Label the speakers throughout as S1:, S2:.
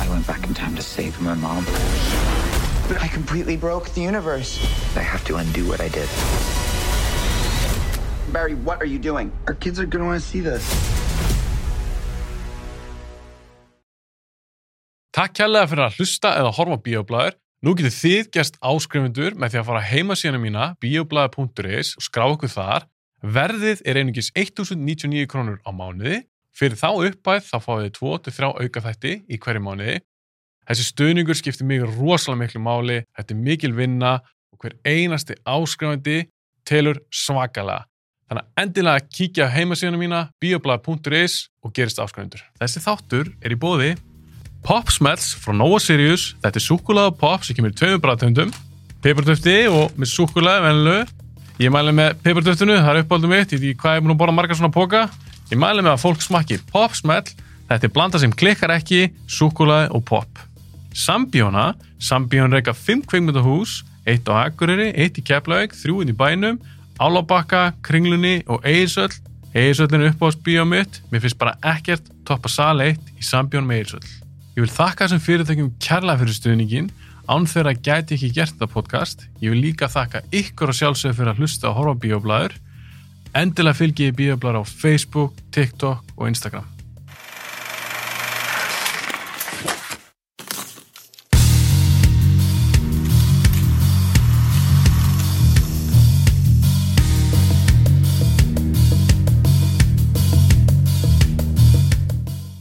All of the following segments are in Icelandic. S1: I went back in time to save my mom.
S2: But I completely broke the universe.
S1: I have to undo what I did.
S2: Barry, what are you doing?
S1: Our kids are gonna wanna see this.
S3: Takk kærlega fyrir að hlusta eða horfa á Bíoblæður. Nú getur þið gerst áskrifundur með því að fara á heimasíðana mína bioblæður.is og skrá okkur þar. Verðið er einungis 1099 krónur á mánuði. Fyrir þá uppæð þá fáið þið 2-3 auka þætti í hverju mánuði. Þessi stöðningur skiptir mig rosalega miklu máli, þetta er mikil vinna og hver einasti áskrifandi telur svakalega. Þannig að endilega kíkja á heimasíðana mína bioblæður.is og gerist áskrifundur. Þessi þáttur er í bóði Pop Smells frá Nova Sirius. Þetta er súkulaða pop sem kemur í tveimur bræðtöndum. Peppartöfti og með súkulaði venlu. Ég mæli með peppartöftinu, það er uppáldum mitt. Ég veit ekki hvað ég er búin að borða margar svona póka. Ég mæli með að fólk smakki Pop Smell. Þetta er blanda sem klikkar ekki, súkulaði og pop. Sambjóna, Sambjón reyka 5 kveikmyndahús, eitt á Akureyri, eitt í Keflavík, þrjú inn í bænum, Álabakka, Kringlunni og Eirsöll. Eirsöllin er uppáðsbíó mitt, mér finnst bara ekkert toppa sal eitt í Sambjón með Eirsöll. Ég vil þakka þessum fyrirtækjum kærlega fyrir stuðningin, án þeirra gæti ég ekki gert þetta podcast. Ég vil líka þakka ykkur og sjálfsögur fyrir að hlusta og horfa á bíóblæður. Endilega fylgi ég bíóblæður á Facebook, TikTok og Instagram.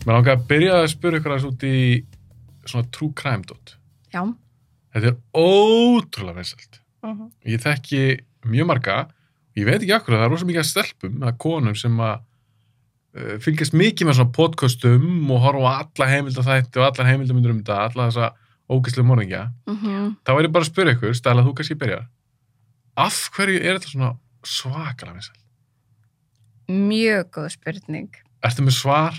S3: Mér langar að byrja að spyrja ykkur aðeins út í svona true crime dot.
S4: Já.
S3: Þetta er ótrúlega vinsælt.
S4: Mhm.
S3: Ég þekki mjög marga, ég veit ekki akkur að það er rosa mikið að stelpum eða konum sem að uh, fylgjast mikið með svona podcastum og horfa á alla heimildar þætti og allar heimildarmyndur um þetta, alla þessa ógæslega morðingja.
S4: Mhm.
S3: Þá er ég bara að spyrja ykkur, stæla þú kannski byrjar. Af hverju er þetta svona svakalega vinsælt?
S4: Mjög góð spurning.
S3: Ertu með svar?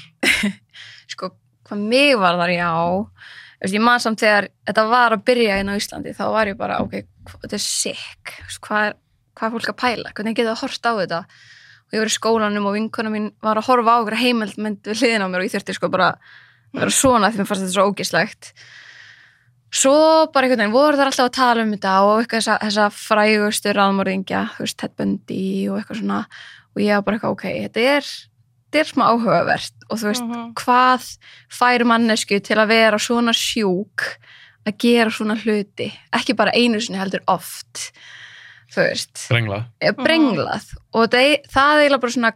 S4: Sko, hvað mig var þar já. Þú veist, ég man samt þegar þetta var að byrja inn á Íslandi, þá var ég bara, ok, hva- þetta er sick. Þú veist, Hvað er, hvað er fólk að pæla? Hvernig getur það hort á þetta? Og ég var í skólanum og vinkona mín var að horfa á okkur heimildmynd við hliðin á mér og ég þurfti sko bara að vera svona því mér fannst þetta svo ógislegt. Svo bara einhvern veginn voru þar alltaf að tala um þetta og eitthvað þessa, þessa frægustu ráðmörðingja, þú veist, Ted Bundy og eitthvað svona og ég var bara eitthvað, ok, þetta er, þetta er smá áhugavert og þú veist, hvað fær mannesku til að vera svona sjúk að gera svona hluti ekki bara einu sinni heldur oft þú veist
S3: Brengla.
S4: eh,
S5: Mhm.
S4: brenglað og það, er- það er eiginlega bara svona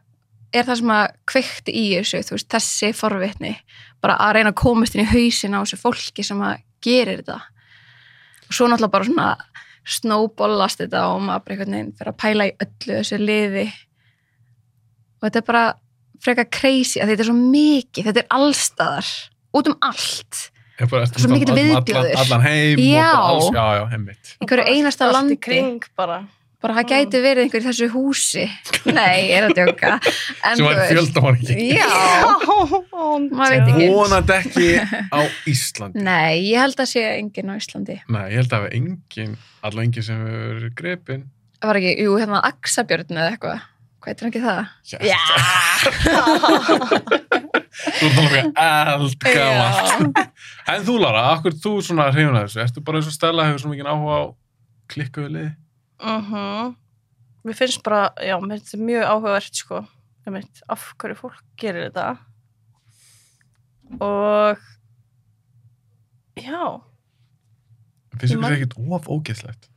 S4: er það sem að kveikti í þessu þú veist, þessi forvitni bara að reyna að komast inn í hausin á þessu fólki sem að gerir þetta og svo náttúrulega bara svona snóbollast þetta og maður bara einhvern veginn fyrir að pæla í öllu þessu liði og þetta er bara frekar crazy að þetta er svo mikið þetta er allstaðar, út um allt
S3: Er bara, ertu
S4: Svo
S3: með
S4: mikill
S3: allan-
S4: viðbjóður.
S3: allan- Allan heim
S4: Já.
S3: og bara alls, já, já, heimitt.
S4: einhverju einasta
S5: Allt
S4: landi
S5: í kring Mm. bara.
S4: bara það gæti verið einhver í þessu húsi nei, ég er að djóka en
S3: sem
S4: þú
S3: var
S4: veist-
S3: fjöldamorðingi
S4: já, maður veit ekki
S3: vonandi ekki á Íslandi
S4: nei, ég held að sé enginn á Íslandi
S3: Nei, ég held að það er engin, allavega engin sem hefur verið grepin
S4: það var ekki, jú, hérna Axabjörn eða eitthvað hvað heitir hann ekki það?
S3: Já, þú ert alveg eldgamalt En þú Lára, akkur þú svona hrifun að þessu Ertu bara eins og Stella hefur svo mikið áhuga á klikkuðu liði?
S5: Mhm. Mér finnst bara, já, mér finnst þetta mjög áhugavert sko, ég veit, af hverju fólk gerir þetta og já,
S3: Finnst
S5: Ég
S3: ykkur
S5: man-
S3: það ekkert of ógeðslegt?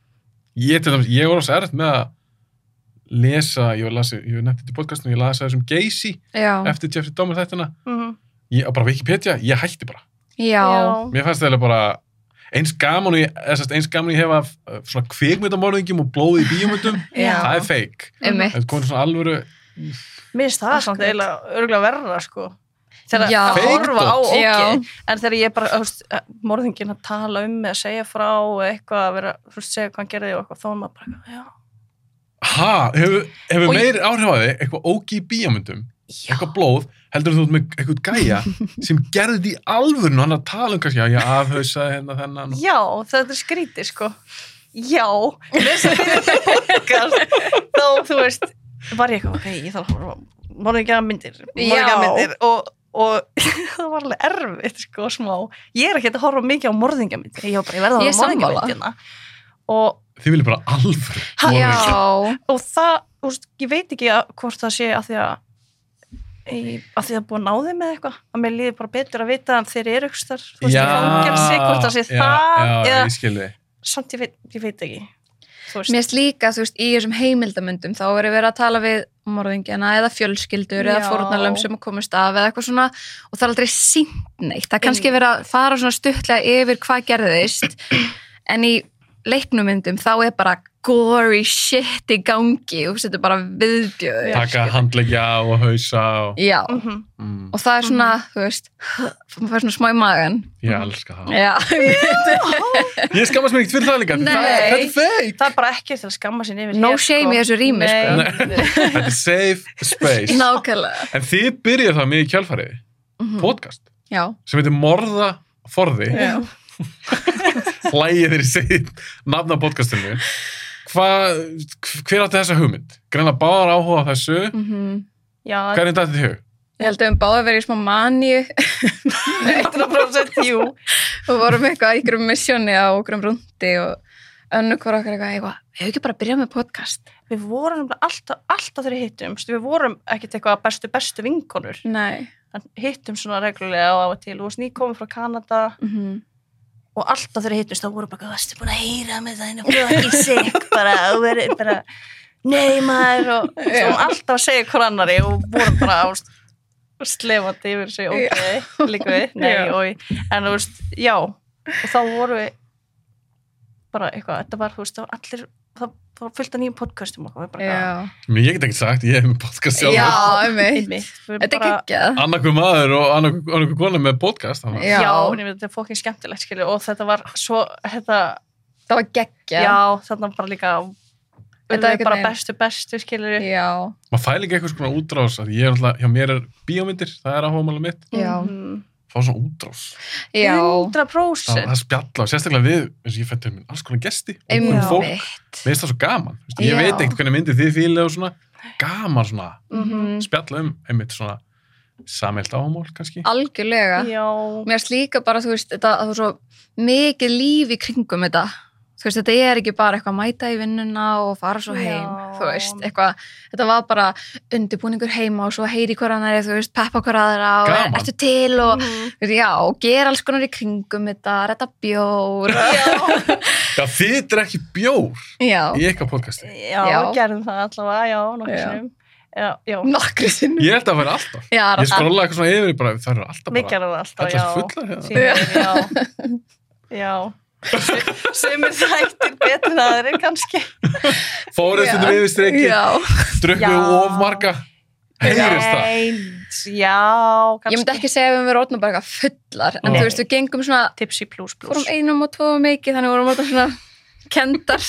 S3: Ég, til dæmis, ég var ás erft með að lesa, ég var lasi, ég nefndi þetta í podcastinu, ég lasi þessum Geisi
S4: já,
S3: eftir Jeffrey Dahmer þættina,
S5: mhm.
S3: ég, bara Wikipedia, ég hætti bara
S4: já,
S3: Mér fannst það bara eins gaman og ég, eða sem sagt, eins gaman og ég hef af uh, svona kvikmyndamorðingjum og blóði í bíómyndum, það er feik.
S4: um
S3: Það er komið svona alvöru,
S5: mér finnst það samt
S4: Akkurat.
S5: eiginlega örgulega verra sko, þegar
S4: Já.
S5: að horfa á
S3: Feikdótt.
S5: ok,
S4: Já.
S5: en þegar ég bara, þú veist, morðingin að tala um með að segja frá og eitthvað að vera, þú veist, segja hvað hann gerði og eitthvað, þá er maður bara, já,
S3: ha, hefur hef
S5: Og ég-
S3: meiri áhrif á þig eitthvað ógi í bíómyndum, eitthvað blóð, heldur þú ert með eitthvað gæja sem gerði þetta í alvörinu, hann að tala um kannski, já, ég afhausaði hérna þennan. og-
S5: Já, þetta er skrítið sko Já, þess að fyrir þetta podcast þá, þú veist var ég eitthvað, ok, ég þarf að horfa morðingja myndir,
S4: Já.
S5: morðingja myndir og og það var alveg erfitt sko, smá, ég er ekki að horfa mikið á morðingamynd ég var bara, ég
S4: Ég
S5: verði að
S4: er
S5: horfa á
S4: sammála.
S5: morðingamyndina og,
S3: Þið viljið bara alvöru.
S5: Ha-
S3: morðingja.
S4: já,
S5: og það, úst, ég veit ekki að, hvort það sé að því að Í- að því að búið að ná þeim með eitthvað að mér líði bara betur að vita að þeir eru ykkur þar, þú veist,
S3: Já,
S5: í fangelsi, hvort það sé
S3: já,
S5: það
S3: já,
S5: eða
S3: ég skilði.
S5: samt ég veit, ég veit ekki þú
S4: mér finnst líka, þú veist, í þessum heimildamöndum þá verið verið að tala við morðingjana eða fjölskyldur eða
S5: Já.
S4: fórnarlöfum sem komust af eða eitthvað svona og það er aldrei sínt neitt, það er kannski verið að fara svona stuttlega yfir hvað gerðist en í leiknumyndum þá er bara gory shit í gangi og þetta er bara viðbjöður
S3: Taka handlegja og hausa og...
S4: Já,
S5: Mhm.
S3: Mm,
S4: og það er svona, þú veist maður fær svona smá í magan
S3: ég elska það.
S4: Já,
S3: Ég skammast mér ekkert fyrir það líka. því það er-
S4: Nei.
S3: Þetta er fake.
S5: það er bara ekki til að skamma sín yfir
S4: no
S5: hér,
S4: shame í þessu rými sko.
S3: Þetta er safe space.
S4: Nákvæmlega
S3: En þið byrjið það mjög í kjálfariði. Podcast.
S4: Já,
S3: Sem heitir Morða forði.
S5: Mhm. Já.
S3: Hlægið þeir í segið nafna á podcastinu. Hvað, hver átti þessa hugmynd? Greinlega báðar áhuga á þessu.
S4: mm
S5: Já,
S3: Hvað er þetta þetta í hug?
S4: ég held að við báðum verið í smá maníu
S5: 100% jú
S4: og vorum eitthvað í einhverjum missjóni á einhverjum rúndi og önnu hvora okkar eitthvað, eitthvað, hefur ekki bara byrjað með podcast?
S5: Við vorum nefnilega alltaf, alltaf þegar hittumst, við vorum ekkert eitthvað bestu, bestu vinkonur.
S4: Nei.
S5: En hittum svona reglulega á og til, þú veist, ný komum frá Kanada
S4: Mm -hmm.
S5: og alltaf þegar hittumst þá vorum bara, hvað varstu búin að heyra með það, það er ekki sikk, bara, þú verður bara, nei maður, og svo vorum alltaf að segja hver annari og vorum bara, þú veist, slefandi yfir sig, ok, líka við, nei,
S4: Já.
S5: og, en þú veist, já, og þá vorum við bara eitthvað, þetta var, þú veist, það var allir, það, það var fullt af nýjum podcastum og okkur, við bara,
S4: Já,
S3: Mér ég get ekki sagt, ég hef með podcast sjálf.
S4: já einmitt.
S5: einmitt Við erum
S4: Þetta er geggjað.
S3: Annarkur maður og annarkur annar kona með podcast. þannig að-
S5: já,
S4: Já,
S5: en ég veit, þetta er fókin skemmtilegt skilju og þetta var svo þetta,
S4: það var
S5: já.
S4: geggja.
S5: þarna bara líka
S4: Þetta
S5: þetta
S4: er
S5: er bara
S4: einhvern veginn-
S5: bestu bestu skilju
S4: Já,
S3: Maður fæli ekki eitthvað svona útrás. að Ég er alltaf, hjá mér er bíómyndir, það er áhugamálið mitt.
S4: já,
S5: Mhm.
S3: Fá svona útrás.
S4: já,
S5: 100%
S3: Það, það spjalla og sérstaklega við, eins og ég fætti um minn, alls konar gesti.
S5: Já.
S3: Einmitt. Fólk, mér
S4: einmitt.
S3: finnst það svo gaman. Veistu, ég
S4: Já.
S3: veit ekkert hvernig myndið þið fílið og svona. Gaman svona.
S4: Mhm.
S3: Spjalla um, einmitt svona samhelt áhugamál kannski.
S4: Ah. Algjörlega.
S5: já, Mhm.
S4: Mér erst líka bara, þú veist, þetta, það er svo mikið líf í kringum þetta. Þú veist, þetta er ekki bara eitthvað að mæta í vinnuna og fara svo heim,
S5: Já.
S4: þú veist, eitthvað, þetta var bara undirbúningur heima og svo heyri hver annari, þú veist, peppa hver aðra og
S3: Gaman.
S4: ertu til og,
S5: Mhm.
S4: þú veist, já, og gera alls konar í kringum þetta, retta bjór,
S3: Já, þið drekki bjór
S4: já,
S3: í eitthvað podcasti.
S5: já,
S4: Já.
S5: gerðum það allavega já, nokkuð
S4: Já.
S5: sinnum já, já,
S4: nokkri sinnum.
S3: Ég held að það væri alltaf.
S4: Já,
S3: Ég
S4: já,
S3: skrolla eitthvað svona yfir, ég bara, það eru alltaf
S5: við
S3: bara,
S5: gerðum það alltaf,
S3: alltaf
S5: já
S3: fullar. hérna.
S5: Sýnir, já, já. Sum- sumir þættir betur en aðrir kannski
S3: Fóruð stundum yfir streki,
S4: já.
S3: drukku
S5: Já.
S3: of marga. Heyrist það.
S5: Nei, já,
S4: Ég myndi
S5: kannski
S4: ekki segja að við verðum orðnum bara eitthvað fullar, en
S3: Nei.
S4: þú veist, við gengum svona
S5: tipsi plus plus
S4: fórum einum og tóum mikið þannig vorum alltaf svona kendar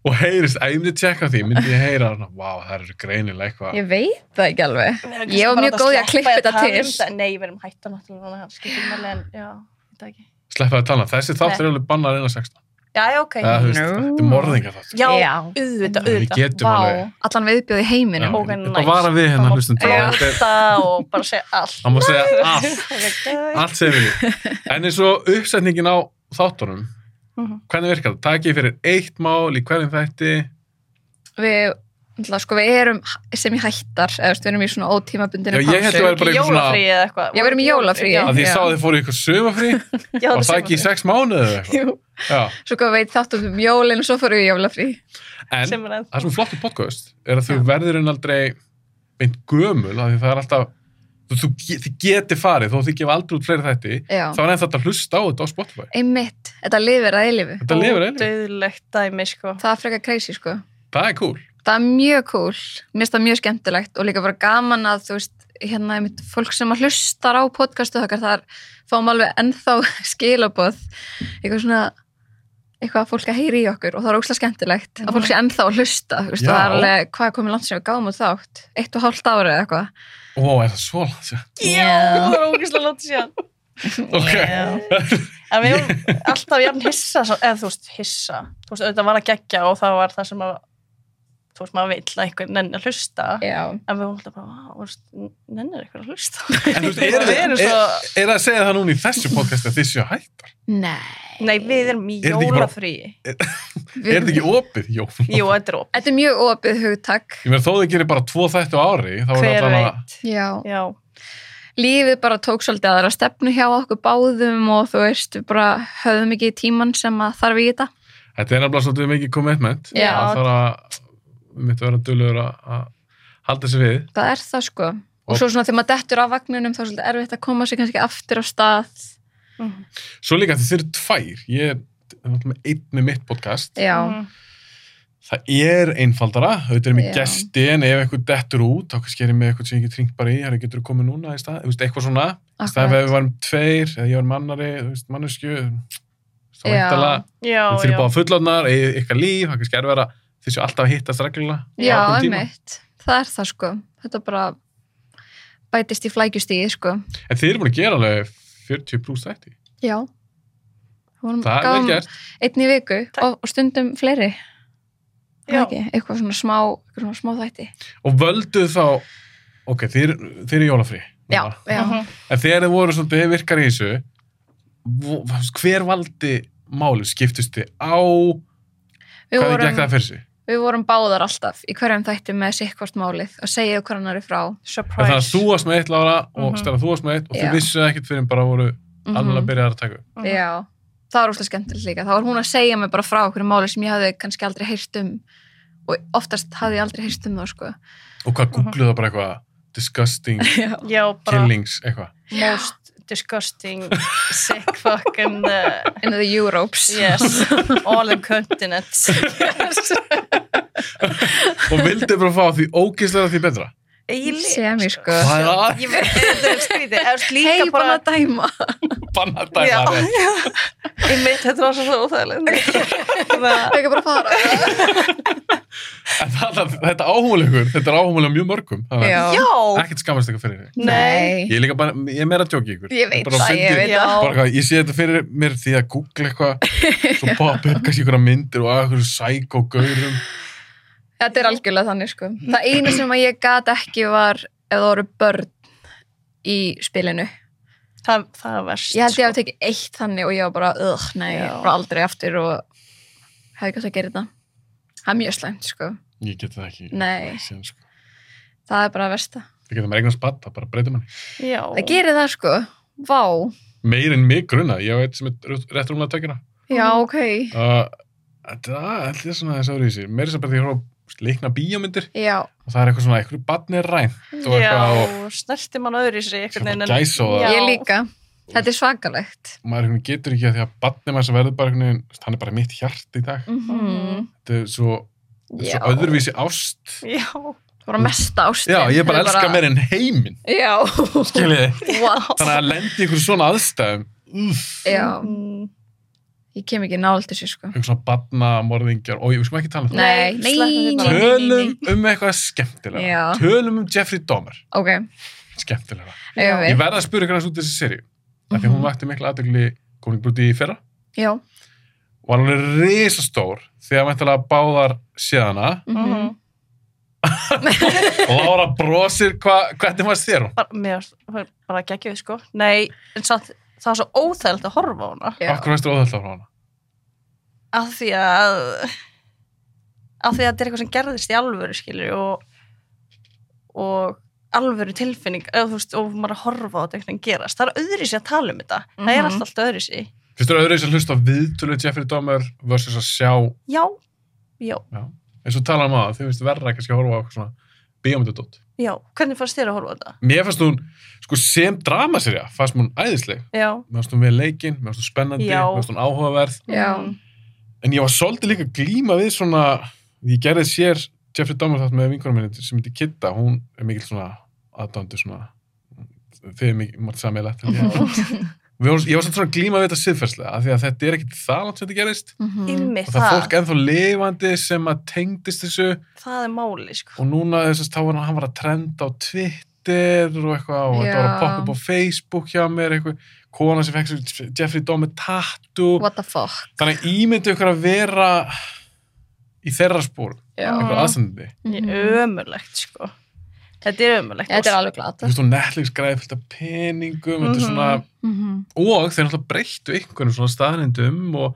S3: Og heyrist, að ég myndi tjekka á því, myndi ég heyra, svona, vá, það eru greinilega eitthvað.
S4: ég veit það ekki alveg
S5: Við erum
S4: Ég var
S5: kannski
S4: mjög
S5: bara
S4: góð í að
S5: sleppa
S4: klippa þetta
S5: tala um
S4: til.
S5: þetta. Nei, við erum hætta náttúrulega núna, það skiptir máli en já, þetta ekki.
S3: Sleppaði að tala, þessi þáttur
S5: Nei.
S3: er alveg bannar 1.16.
S5: Já, já, ok.
S3: Eða, þú veist,
S4: No.
S3: Þetta er morðingar þáttur.
S5: já,
S4: Já.
S5: auðvitað,
S3: Við
S5: auðvitað.
S3: getum alveg-
S4: allan viðbjóð í heiminum
S5: ok,
S3: Þetta
S5: nice.
S3: vara við hérna,
S5: Það
S3: hennar
S5: má
S3: hlustum til.
S5: Vá, blóta og bara segja allt.
S3: Það má segja allt,
S5: Allt.
S3: allt segir við. En eins og uppsetningin á þáttunum,
S5: Mhm.
S3: hvernig virkar það? Takk ég fyrir eitt mál í hverjum þætti.
S4: við, náttúrulega, sko, við erum sem í hættar, eða þú veist, við erum í svona ótímabundinu
S3: Já, ég held að vera bara
S5: Í
S3: eitthvað svona-
S5: jólafríi eða eitthvað.
S4: Ég verðum í jólafríi.
S5: Já,
S3: Af því ég
S4: Já.
S3: sá að þið fóru í eitthvað sömafrí
S5: já,
S3: og
S5: það
S3: það ekki í sex mánuði eða eitthvað.
S4: Jú.
S3: Já.
S4: svo hvað veit þáttum við um jólin og svo fórum við í jólafrí
S3: En
S5: sem er enn.
S3: það sem er flott í podcast er að þau verður en aldrei beint gömul af því það er alltaf þú, þú, þið geti farið þó þið gefa aldrei út fleiri þætti
S4: já,
S3: þá er enn þetta að hlusta á þetta á Spotify
S4: einmitt, þetta lifir að eilifu
S3: þetta lifir einnig,
S5: Döðlegt dæmi, sko.
S4: það er frekar crazy, sko
S3: það er cool
S4: það er mjög cool, mér finnst það mjög skemmtilegt og líka bara gaman að, þú veist hérna, einmitt, fólk sem að hlustar á podcastu þakkar, þar fáum alveg ennþá skilaboð eitthvað svona eitthvað að fólk að heyri í okkur og það er óslega skemmtilegt að fólk sé ennþá að hlusta, þú veist,
S3: Já.
S4: það er alveg hvað er komið langt sem við gáum út þátt, eitt og hálft ára eða eitthvað
S3: Ó, er það svo langt sér?
S5: Það var ógæslega lótt síðan.
S3: Ok.
S5: En við erum alltaf jafn hissa, svo- eða þú veist, hissa. Þú veist, auðvitað var að gegja og það var það sem að þú veist, maður vill að einhver nenni að hlusta
S4: já,
S5: en við vorum alltaf bara, "Vá, þú veist, nennir einhver að hlusta
S3: En þú veist,
S5: Við
S3: er, er,
S5: erum
S3: er,
S5: svo-
S3: er að segja það núna í þessu podcast að þið séu hættar?
S4: nei
S5: Nei, við erum í
S3: Er þetta ekki bara-
S5: jólafríi.
S3: Er þetta ekki opið? Jó.
S5: Jú, þetta er opið.
S4: Þetta er mjög opið hugtak
S3: Ég meina þó þið gerir bara tvo þættu ári, þá er
S5: Hver
S3: allan að...
S5: veit?
S4: já.
S5: Já,
S4: lífið bara tók svolítið aðra stefnu hjá okkur báðum og þú veist við bara höfðum ekki tímann sem að þarf í þetta
S3: Þetta er nefnilega svolítið mikið commitment.
S4: Já.
S3: Það þarf að, við myndum að vera dölur að að halda sér við.
S4: það er það sko
S3: Og-
S4: og svo svona þegar maður dettur af vagninum þá er svolítið erfitt að koma sér kannski aftur á stað
S3: Svo líka þið eru tvær. Ég er náttúrulega með einn með mitt podcast.
S4: já,
S5: Mhm.
S3: Það er einfaldara, auðvitað er með
S4: Já.
S3: gesti en ef eitthvað dettur út, þá kannski er ég með eitthvað sem ég get ringt bara í, hérna getur þú komið núna í stað, þú veist, eitthvað svona, í stað ef
S4: akkurat.
S3: við varum tveir, eða ég var mannari, þú veist, mannesku, þá
S4: Já.
S3: veitala,
S5: já,
S3: þið
S5: já.
S3: eru báða fullornar, eigið ykkar líf, það kannski er verið að þið séu alltaf að hittast reglulega. á
S4: já,
S3: ákveðnum tíma.
S4: einmitt það er það sko, þetta bara bætist í flækjustíði sko
S3: En þið eru búin að gera alveg 40 pluss þætti,
S4: já Hún
S3: það er vel gert.
S4: einn í viku
S5: Takk.
S4: og, og stundum fleiri Er
S5: Já.
S4: það ekki, eitthvað svona smá, eitthvað svona smá þætti
S3: Og völduð þá, ok, þið eru- þið eru í jólafrí.
S4: já,
S3: núna.
S4: já.
S5: Mhm.
S3: En þegar þið voru svolítið virkar í þessu, vo- hver valdi málið? Skiptust þið á,
S4: Við
S3: hvað
S4: vorum-
S3: gekk það fyrir sig?
S4: við vorum báðar alltaf í hverjum þætti með sikkvort málið og segja okkur annari frá
S5: Surprise.
S3: En þannig að þú varst með eitt, Lára, og
S5: Mhm.
S3: Stella, þú varst með eitt og
S4: Já.
S3: þið vissuð ekkert fyrir en bara voru
S4: Mhm.
S3: alveg að byrja að taka upp.
S5: Mhm.
S4: Já, það var úrslega skemmtilegt líka þá var hún að segja mig bara frá okkur máli sem ég hafði kannski aldrei heyrt um og oftast hafði ég aldrei heyrt um það sko.
S3: Og hvað googluðu það bara eitthvað disgusting
S5: Já, bara
S3: killings eitthvað.
S5: most disgusting, sick fucking, uh,
S4: in the Europes
S5: yes, all the continents.
S3: Og vildu bara fá því ógeðslega því betra.
S4: sem ég sko
S3: Það er að
S5: Ég veit, þetta er skrítið. Er líka
S4: hei, búin
S5: bara...
S4: að dæma
S3: banna að
S5: Já,
S3: dæma það.
S5: já. Ég veit, þetta var svo svo óþægilegt. Það-
S4: ekki bara að fara
S3: En það- það- Þetta áhumulegur, þetta er áhumulega mjög mörgum. Það er
S4: Já.
S5: Já,
S3: Ekkert skammast eitthvað fyrir því.
S5: nei.
S3: Ég er líka bara, ég er meira að djóki ykkur.
S4: ég veit
S3: Bara
S4: það, ég
S3: fyndi-
S4: veit
S5: Já.
S4: það
S3: Bara hvað, ég sé þetta fyrir mér því að googla eitthvað, svo poppa upp kannski einhverja myndir og að einhverju sæk og gaurum.
S4: þetta er algjörlega þannig sko það eina sem að ég gat ekki var ef það voru börn í spilinu
S5: Það, það er verst. sko.
S4: ég held ég hafi tekið eitt þannig og ég var bara ugh, nei,
S5: Já.
S4: bara aldrei aftur og hefði kannski að gera þetta það er mjög slæmt, sko
S3: Ég get það ekki.
S4: Nei.
S3: Síðan, sko.
S4: það er bara að versta,
S3: Það getur maður eignast barn, það bara breytir manni.
S5: Já.
S4: það gerir það, sko vá,
S3: meir en mig grunna, ég veit sem er rú- rétt rúmlega tökina
S4: já, ok
S3: uh, þetta þetta er svona þess aðrið sér, meira sem bara því að horfa líkna bíómyndir
S4: já,
S3: og það er eitthvað svona, eitthvað barn er rænt og
S5: Já,
S3: eitthvað og
S5: snerti mann öðru í sig
S3: Sem
S5: einhvern veginn.
S3: bara gæs og-
S5: Já.
S4: ég líka þetta er svakalegt
S3: maður einhvern veginn getur ekki að því að barnið maður sem verður bara einhvern veginn, hann er bara mitt hjart í dag
S4: mm -hmm.
S3: þetta er svo, þetta er
S4: já,
S3: svo öðruvísi ást
S5: Já,
S4: það var mesta ástin
S3: já, ég
S4: Þetta
S3: bara
S4: er
S3: elska meir en heiminn
S4: já,
S3: skiljiði,
S4: what
S3: þannig að lendi í einhverjum svona aðstæðum uff,
S4: já,
S5: Mm.
S4: ég kem ekki nált þessu, sko
S3: einhvern svona barnamorðingjar og ég, við skulum ekki tala um það
S4: nei,
S5: Nei,
S4: nei,
S5: sleppum
S4: nei,
S5: því bara.
S4: nei, nei,
S3: tölum
S4: nei.
S3: um eitthvað skemmtilega
S4: Já.
S3: tölum um Jeffrey Dahmer
S4: ok,
S3: skemmtilega
S4: eigum
S3: Ég
S4: við
S3: verð að spyrja ykkur hans út í þessi seri af því
S4: Mhm.
S3: að hún vakti mikla aðdegli koningbrúti í fyrra
S4: já,
S3: og hann er risastór þegar mæntalega báðar séðana
S4: mhm
S5: Mhm.
S3: og Lára brosir hva, hvernig maður sér hún
S5: bara, mér varst bara geggjuð sko nei, en samt, það var svo óþægilegt að horfa á hana
S4: Já.
S3: okkur veistur óþöld á hana
S5: af því að af því að þetta er eitthvað sem gerðist í alvöru skilur og, og alvöru tilfinning eða, þú veist, og maður að horfa á þetta einhvern veginn gerast það er öðru sér að tala um þetta það er
S4: Mhm.
S5: allt alltaf öðru sér
S3: finnst þú öðru þess að hlusta á viðtölu Jeffrey Dahmer versus að sjá
S5: já, já,
S3: eins og tala um að þið finnst verra kannski að horfa á eitthvað svona bíómyndadótt
S5: já hvernig fannst þér að horfa á þetta?
S3: mér fannst hún sko sem dramaserja fannst mér hún æðisleg
S5: já,
S3: mér fannst hún vel leikinn mér fannst hún spennandi
S5: Já.
S3: mér fannst hún áhugaverð
S4: Já.
S5: Mhm.
S3: en ég var svolítið líka að glíma við svona ég gerði sér Jeffrey Dahmer þátt með vinkunum minni sem heitir Kitta, hún er mikill svona aðdándu svona þið er mikið, margt samilegt ég var ég var svolítið svona að glíma við þetta siðferðslega af því að þetta er ekkit það langt sem þetta gerist
S4: Mhm.
S5: Einmitt
S3: og það er fólk
S5: það,
S3: ennþá lifandi sem að tengdist þessu
S5: það er máli sko
S3: og núna þessast þá var hann- hann var að trenda á Twitter og eitthvað og þetta var að
S4: Já.
S3: poppa upp á Facebook hjá mér eitthvað, kona sem fekk sér Jeffrey Dahmer tattoo
S4: what the fuck
S3: Þannig að ímyndu ykkur að vera í þeirra spór
S4: Já.
S3: einhver aðstandandi
S5: ömulegt sko þetta er sko. ömulegt
S4: Mhm. Þetta er alveg glata
S3: þú veist og Netflix græði fullt af peningum þetta er
S5: Mhm.
S3: svona,
S4: Mhm.
S3: og þeir náttúrulega breyttu einhvern svona staðnindum og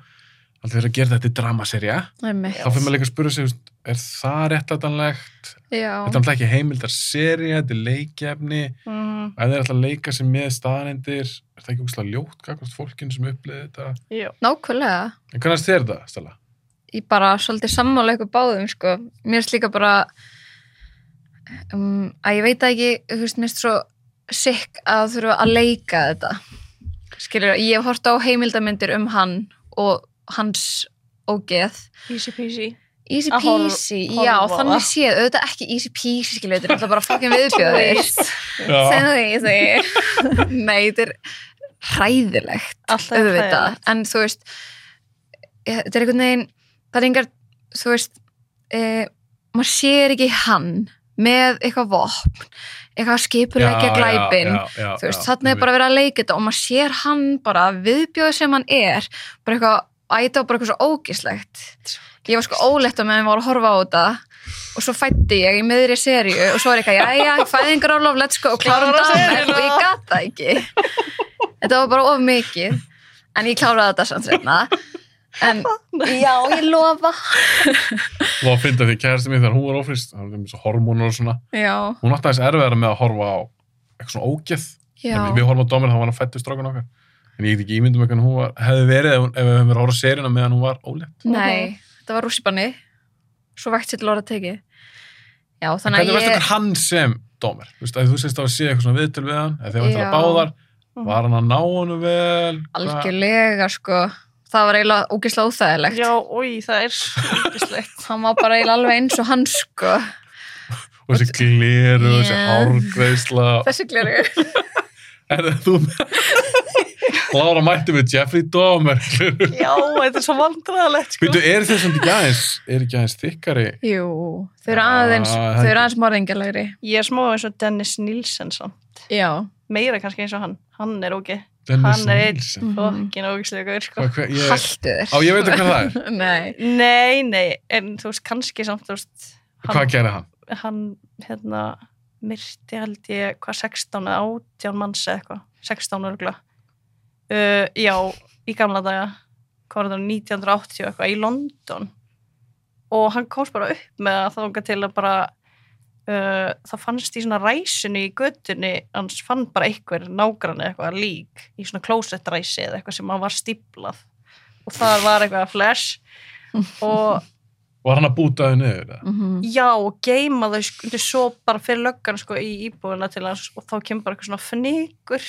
S3: alltaf þeir að gera þetta í dramaserja
S4: Einmitt.
S3: þá fyrir maður líka að spura sig þú veist, er það réttlætanlegt
S4: Já.
S3: þetta er náttúrulega ekki heimildarserja þetta er leikjefni,
S5: mm,
S3: ef þeir ætla að leika sér með staðnindir, er það ekki úkslega ljótt kakvast fólkinn sem upplýði þetta
S5: já,
S4: Nákvæmlega
S3: en hvernig fannst þér þetta, Stella?
S4: ég bara svolítið sammála ykkur báðum sko. mér finnst líka bara um, að ég veit það ekki þú veist, mér finnst svo sikk að þurfa að leika þetta skilur, ég hef hort á heimildamindir um hann og hans ógeð
S5: easy peasy
S4: easy
S5: Að horfa-
S4: peasy,
S5: horfa
S4: já,
S5: á það.
S4: þannig séð auðvitað ekki easy peasy, skilur, þetta er alltaf bara fucking viðbjöðir sem því, ég segi nei, þetta er hræðilegt
S5: Alltaf er
S4: auðvitað,
S5: hræðilegt.
S4: en þú veist eh, þetta er einhvern veginn það er engar, þú veist e, maður sér ekki hann með eitthvað vopn eitthvað skipulegja glæpin þú veist, þarna er bara verið að leika þetta og maður sér hann bara viðbjóð sem hann er bara eitthvað, æta og bara eitthvað svo ógislegt ég var sko óletta meðan ég var að horfa á þetta og svo fætti ég í miðri seríu og svo er eitthvað, jæja, fæðingar álof let's go, klárum
S5: Klára
S4: daginn
S5: seríuna.
S4: og ég gat það ekki þetta var bara of mikið en ég kláraði þetta samt reyna en já, ég lofa
S3: og að finna því kærasti mín þegar hún var ófrist það var eins og hormónur og svona
S4: já,
S3: hún átti aðeins erfiðara með að horfa á eitthvað svona ógeð
S4: já,
S3: við, við horfum á domir þá var hann fættu strókan okkar en ég get ekki ímyndum hvernig hún var, hefði verið ef, hún- ef við hefum verið að horfa á seríuna meðan hún var ólétt
S4: nei þetta var rússipanni svo vægt sér til orða tekið já,
S3: En
S4: þannig
S3: hvernig
S4: að
S3: veist
S4: ég
S3: okkur hann sem domir þú veist, að þú sést að sé eitthvað svona viðtöl við hann eða þegar
S4: Já.
S3: við
S4: Mhm.
S3: ætlaði báðar var hann að ná honum vel Hvað-
S4: algjörlega sko það var eiginlega ógislega óþægilegt
S5: já, oi, það er svolítislegt
S4: hann var bara eiginlega alveg eins og hann sko
S3: og þessi gliru, þessi
S4: Já.
S3: hárgreisla
S4: þessi gleru
S3: er það þú Lára mætti með Jeffrey Dahmer gliru
S5: já, þetta er svo vandræðalegt sko.
S3: Veitu, er þeir samt ekki aðeins, er ekki aðeins þykkari?
S4: jú, þau eru
S3: Já,
S4: aðeins
S3: það
S4: þau
S3: ekki.
S4: eru aðeins morðingjalegri
S5: ég er smá eins og Dennis Nilsen samt.
S4: já,
S5: meira kannski eins og hann, hann er ógi
S3: Dennis
S5: Hann er einn.
S3: Nielsen.
S4: Mhm.
S5: fokkin ógislega gaur sko
S3: Hvað, hvað, ég,
S4: haltu
S3: á, ég veit hvað það er.
S4: þér nei,
S5: nei, nei, en þú veist kannski samt þú veist,
S3: Hvað
S5: hann,
S3: gerði hann?
S5: hann hérna myrti held ég hvað 16 eða 18 manns eða eitthvað 16 örgla uh, já, í gamla daga hvað var það 1980 eitthvað í London og hann komst bara upp með að þanga til að bara uh, það fannst í svona ræsinu í göttunni, hans fann bara einhver nágrann eitthvað lík í svona klósettræsi eða eitthvað sem hann var stíplað og þar var eitthvað flash og
S3: Var hann að búta þau niður? eða?
S4: Mhm.
S5: Já, og geima þau sko, undir svo bara fyrir löggan sko í íbúðuna til hans og þá kemur bara eitthvað svona fnykur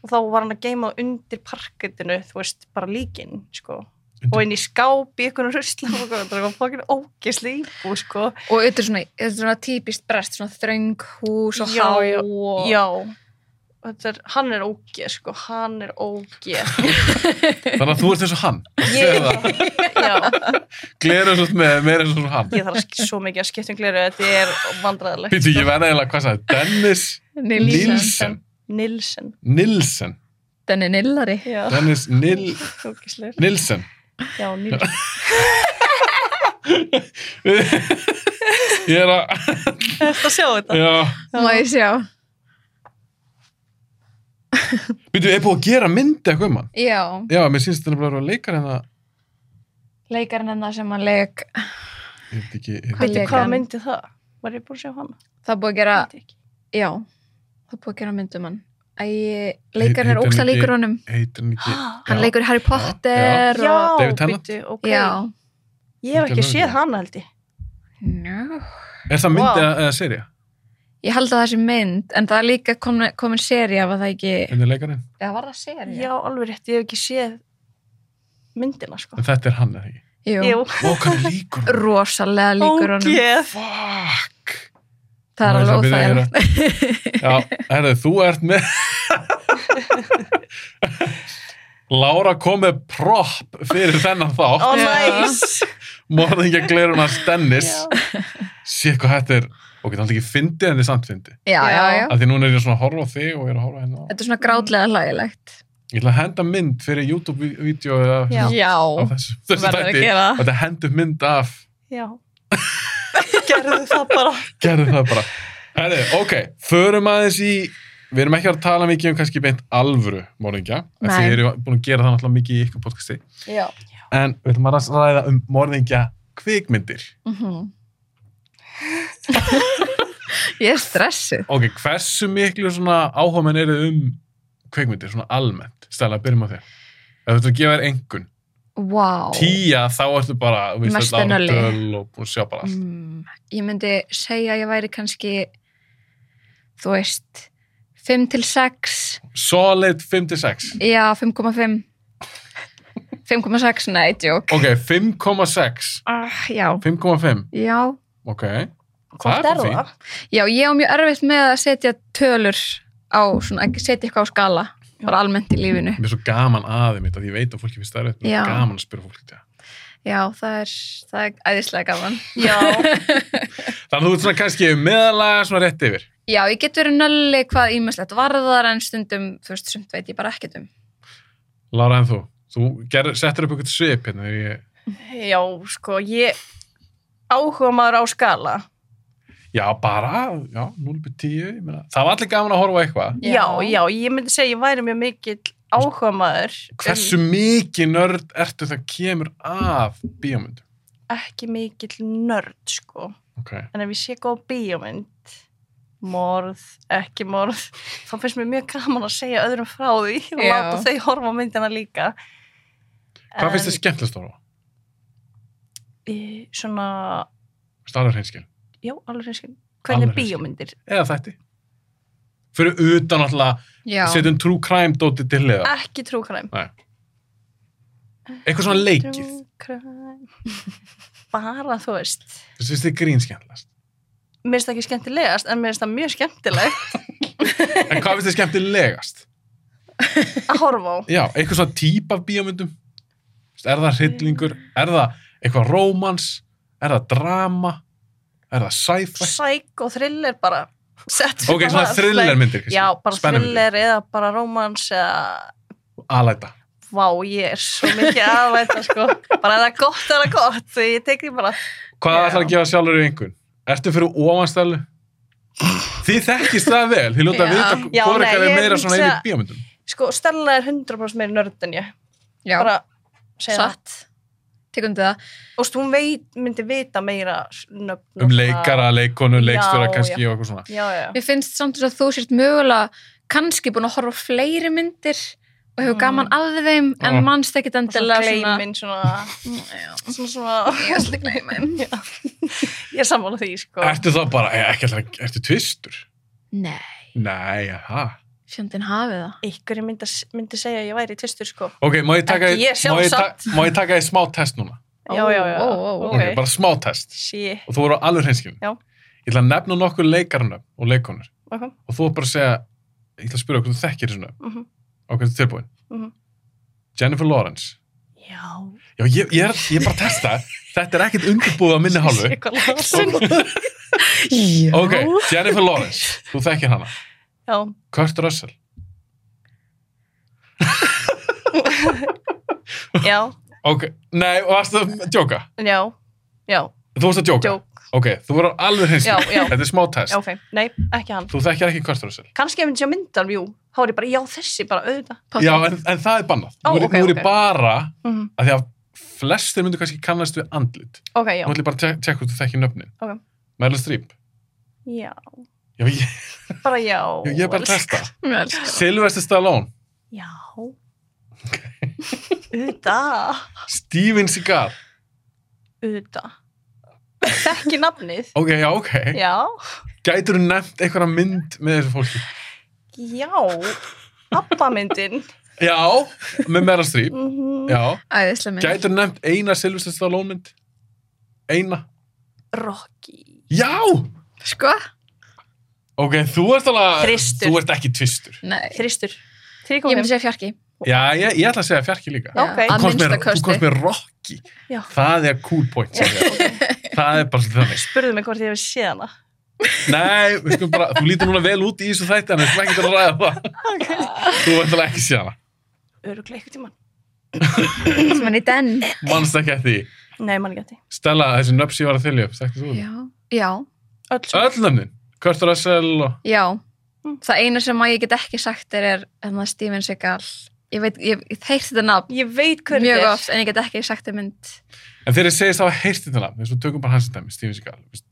S5: og þá var hann að geima þau undir parkettinu, þú veist, bara líkin sko.
S3: Undir-
S5: Og inn í skáp í eitthvað rusla og eitthvað, þetta er eitthvað fokkin ógisli íbúð sko.
S4: og þetta er svona, þetta er svona típist brest svona þröng hús og
S5: Já,
S4: há
S5: já,
S4: og
S5: Já, þetta er, hann er ógeð sko, hann er ógeð.
S3: Þannig að þú ert eins og hann.
S5: Ég, já,
S3: Gleru svo með meira eins og hann.
S5: ég þarf að sk- svo mikið að skipta um gleru, þetta er vandræðilegt.
S3: Býtu, ég verði eiginlega, hvað sagði? Dennis Nilsen.
S4: Nilsen
S5: Nilsen,
S3: Nilsen.
S4: Denni Nillari
S5: já,
S3: Dennis Nil...
S5: ógislegur.
S3: Nilsen.
S5: Já, Nilsen,
S3: ég er að...
S5: þetta sjá þetta.
S3: Já.
S4: má ég sjá
S3: Býtu, er búið að gera myndi eitthvað um hann?
S4: já,
S3: Já, mér sínst þetta bara að vera leikar en það...
S4: leikarinn hennar sem hann leik
S3: Ég veit ekki... ég veit
S4: Hvað
S5: Veitu,
S3: ekki-
S4: lék
S5: hvað
S4: hann?
S5: myndi það? Var ég búin að sjá hana?
S4: það er búið að gera,
S5: Veit ekki.
S4: já það er búið að gera myndum hann Æ, leikarinn
S3: Heitir
S4: er ógsta
S3: hann ekki-
S4: líkur honum
S3: Heitir hann ekki...
S4: hann
S3: Já.
S4: leikur í Harry Potter
S5: Já,
S4: og,
S3: David Tennant?
S5: bíddu, ok.
S4: já.
S5: Ég hef
S3: Þetta
S5: ekki
S3: er
S5: séð
S3: mögulega.
S5: hana held ég.
S4: No.
S3: Er það myndi
S5: Vá.
S3: wow. eða serið?
S4: ég held að það sé mynd en það er líka komin, komin seri af að það ekki
S3: Hvernig er leikarinn?
S4: eða var það seri?
S5: Já, alveg rétt, ég hef ekki séð myndina sko.
S3: En þetta er hann, eða ekki?
S4: Jú.
S5: Jú,
S3: Ó, hvað er líkur?
S4: rosalega líkur honum
S5: ógeð.
S3: Fuck!
S4: það er alveg
S3: Nú er það að byrja
S4: óþægilegt
S3: Já, herðu, þú ert með Lára kom með prop fyrir þennan þátt
S5: Ó,
S4: Já.
S5: næs.
S3: morðingja gleruna Stennis
S5: Já.
S3: sé hvað þetta er og geta alltaf ekki fyndið en þið samt fyndið
S4: já, já, já. Mm.
S3: af því núna er ég svona að horfa á þig og ég er að horfa hérna á
S4: þetta er svona grátlega hlægilegt
S3: ég ætla að henda mynd fyrir YouTube-vídeó
S5: Já.
S3: á þessu, þessu
S4: verður að
S3: tætti
S4: gera það.
S3: og þetta hendur mynd af
S5: já gerðu það bara
S3: gerðu það bara Herri, ok, förum aðeins í við erum ekki að tala mikið um kannski beint alvöru morðingja, en
S4: Nei.
S3: þið eru búin að gera það náttúrulega mikið í ykkur podcasti
S4: já.
S3: en við ætlum að ræða um morðingja kvikmyndir
S4: Mhm. ég er stressuð
S3: ok, hversu miklu svona áhómen eru um kveikmyndir, svona almennt stæla, byrjum á þér ef þú ert að gefa þér engun,
S4: wow.
S3: tíja þá ertu bara, þú veist,
S4: Mesta
S3: þetta ára
S4: nölli.
S3: töl og búin að sjá bara allt
S4: mm, ég myndi segja að ég væri kannski þú veist 5 til 6
S3: solid 5-6,
S4: já 5,5 5,6 nei, djók
S3: ok, 5,6
S4: ah, já,
S3: 5,5,
S4: já,
S3: ok
S5: hvort er
S3: fínt.
S5: það?
S4: já, ég á mjög erfitt með að setja tölur á, svona, að setja eitthvað á skala bara almennt í lífinu
S3: Mér er svo gaman aðeim þetta, því ég veit að fólki finnst það erfitt, mér
S4: Já.
S3: er gaman að spyrja fólki þetta.
S4: já, það er, það er æðislega gaman
S5: já,
S3: Þannig að þú ert svona kannski meðalega svona rétt yfir.
S4: já, ég get verið nölli hvað ímestlegt varðar en stundum, þú veist, sumt veit ég bara ekkert um
S3: Lára en þú, þú ger, settir upp eitthvað svip hérna þegar ég...
S5: já, sko ég áhuga maður á skala
S3: Já, bara, já, 0-10, ég meina, það var allir gaman að horfa á eitthvað.
S5: já. já, ég myndi segja ég væri mjög mikill áhuga maður
S3: Hversu mikið nörd ertu það kemur af bíómyndum?
S5: ekki mikill nörd, sko
S3: Ok,
S5: en ef ég sé góð bíómynd morð, ekki morð þá finnst mér mjög gaman að segja öðrum frá því og
S4: Já.
S5: láta þau horfa á myndina líka
S3: hvað finnst þið skemmtilegst að horfa? á?
S5: skil? Svona,
S3: Finnst það alveg hreinskil?
S5: já, alveg reynskil Hvernig
S3: Alveg hreinskilin.
S5: bíómyndir?
S3: Eða þætti? Fyrir utan alltaf,
S4: já, Ah,
S3: setjum um true crime dótið til liða.
S5: Ekki trúkræm
S3: Eitthvað svona leikið.
S5: Trúkræm Bara, þú veist
S3: Finnst þið grín skemmtilegast?
S5: Mér finnst það ekki skemmtilegast, en mér finnst það mjög skemmtilegt
S3: En hvað finnst þið skemmtilegast?
S5: að horfa á
S3: Já, eitthvað svona típ af bíómyndum Þú veist, Er það hryllingur? Er það eitthvað rómans? Er það drama? Er það sci-fi?
S5: Sæk og thriller bara Sett
S3: Ok,
S5: bara
S3: svona
S5: að-
S3: thrillermyndir
S5: Já, bara
S3: Spennumyndir.
S5: thriller eða bara romans eða
S3: Alæta
S5: Vá, ég er svo mikið aðlæta sko. bara er það gott, er það gott Því ég tek því bara
S3: Hvað
S5: Já.
S3: ætlar að gefa sjálfur í einhvern? Ertu fyrir ofanstælu? Þið þekkist það vel Þið lúta
S4: Já.
S3: að vita
S5: Já,
S3: hvort
S5: nei,
S3: eitthvað er
S5: ég
S3: meira svona
S5: hugsa-
S3: yfir bíómyndum
S5: Sko, Stella er 100% meiri nörd en ég
S4: já,
S5: bara segja það
S4: satt tekum þetta
S5: Og stu, hún veit, myndi vita meira nöfn
S3: Um leikara, leikonu,
S5: Já,
S3: leikstjóra kannski
S5: já.
S3: og eitthvað svona
S5: Já, já
S4: Mér finnst samt þess að þú sért mögulega kannski búin að horfa á fleiri myndir og hefur
S5: Mm.
S4: gaman að þeim en
S3: Já.
S4: mannst ekkit
S5: Og Svona
S4: endilega svona,
S5: gleimin, svona Svona, svona
S4: Ég er svolítið gleymin.
S5: Já. Ég er sammála því, sko
S3: Ertu þá bara, eh, ekki ætlar að, ertu tvistur?
S4: Nei,
S3: Nei, aha
S4: fjöndin hafið það
S5: Ykkur myndi, myndi segja að ég væri tvistur, sko
S3: Ok, má ég taka,
S5: Ekki ég sjálf
S3: má ég ta-
S5: samt.
S3: má ég taka í smá test núna?
S5: Já, já, já
S4: Ó, ó, ó.
S5: Ok.
S3: Ok, bara smá test
S5: Sí,
S3: og þú eru á alveg hreinskilin
S5: Já.
S3: ég ætla að nefna nokkur leikarnum og leikonur
S5: ok
S3: og þú er bara að segja ég ætla að spyrja okkur þú þekkir þessu nöfn
S5: Mhm.
S3: og hvernig tilbúin
S5: Mhm.
S3: Jennifer Lawrence
S5: Já
S3: já ég, ég, er, ég er bara að testa þetta er ekkert undirbúið á minni hálfu
S5: Sé hvað lagsin.
S4: Já.
S3: ok, Jennifer Lawrence, þú þekkir hana
S5: Já,
S3: Kurt Russell,
S5: já,
S3: ok, nei og varstu að djóka,
S5: já Já,
S3: þú varst að djóka
S5: djók
S3: ok, þú eru á alveg hreinskilin,
S5: Já, já.
S3: þetta er smá test
S5: Já, ok, nei, ekki hann
S3: þú þekkir ekki Kurt Russell
S5: kannski ef ég myndi sjá myndar, jú, þá er ég bara, já, þessi bara auðvitað.
S4: Páll.
S3: já, en, en það er bannað
S5: Ó,
S3: nú er,
S5: ok,
S3: nú er
S5: ok.
S3: ég bara
S5: Mm -hmm.
S3: að því að flestir myndu kannski kannast við andlit
S5: Ok, já.
S3: Nú ætlum ég bara að tek- tekka út að þekki nöfnin.
S5: Ok.
S3: Meryl Streep.
S5: Já,
S3: Já, ég,
S5: bara já.
S3: já, ég er bara að testa.
S4: Ég elska það.
S3: Sylvester Stallone.
S5: Já. Auðvitað.
S3: Steven Seagal.
S5: Auðvitað. Þekki nafnið.
S3: Ok, já, ok.
S5: Já.
S3: Gætur þú nefnt einhverja mynd með þessu fólki?
S5: Já. Appamyndin.
S3: Já, með Meryl Streep.
S5: Mm -hmm.
S3: Já.
S4: Æðislega mynd
S3: Gætur þú nefnt eina Sylvester Stallone mynd? Eina.
S5: Rocky.
S3: Já!
S4: Sko?
S3: Ok, þú ert alveg...
S5: Þristur.
S3: Þú ert ekki tvistur.
S4: Nei,
S5: Þristur.
S4: ég myndi
S5: Þrýkomum.
S4: segja fjarki
S3: Já, ég, ég ætla að segja fjarki líka.
S5: Já. Ok.
S3: Þú
S4: Að
S3: komst með-
S4: minnsta
S3: Þú
S4: kosti
S3: komst með Rocky.
S5: Já.
S3: Það er cool point. sagði ég. Það er bara svolítið þannig.
S5: Spurðu mig hvort ég hef séð hana.
S3: Nei, við skulum bara, þú lítur núna vel út í þessu þætti en við skulum ekki að ræða það Þú veit alveg ekki séð hana
S5: Öruglega ykkur tíman.
S4: Sem hann í den
S3: Manst ekki að því
S5: Nei, mann ekki
S3: Stella, þessi nöfn sem ég var að þylja upp, þekktu þú?
S4: já, já,
S5: þetta
S3: Öll nöfnin, Kurt Russell og...
S4: já.
S5: Mm.
S4: það eina sem að ég get ekki sagt er, er hérna, Steven Seagal ég veit, ég, ég heyrst þetta nafn
S5: Ég veit hvernig
S4: mjög oft, en ég get ekki sagt þetta mynd
S3: En þegar ég segist það að heyrst þetta nafn, eins og tökum bara hans dæmi, Steven Seagal, veist,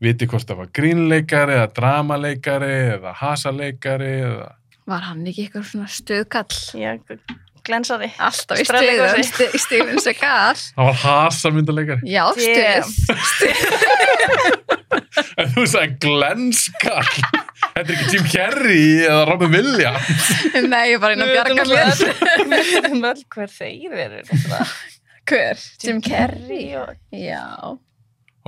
S3: viti hvort það var grínleikari eða dramaleikari eða hasaleikari eða...
S4: var hann ekki eitthvað svona stuðkall
S5: Já, glensari
S4: alltaf í
S5: Sprelligosi.
S4: stuðum Ste- Steven Seagal
S3: Það var hasamyndaleikari.
S4: já,
S5: Damn.
S4: stuð
S3: En þú sagði glenskall. Þetta er ekki Jim Carrey eða Robin Williams.
S4: nei, ég um er bara inn að bjarga mér
S5: Við veitum öll hver þeir eru náttúrulega.
S4: hver, Jim Carrey
S5: og-
S4: já,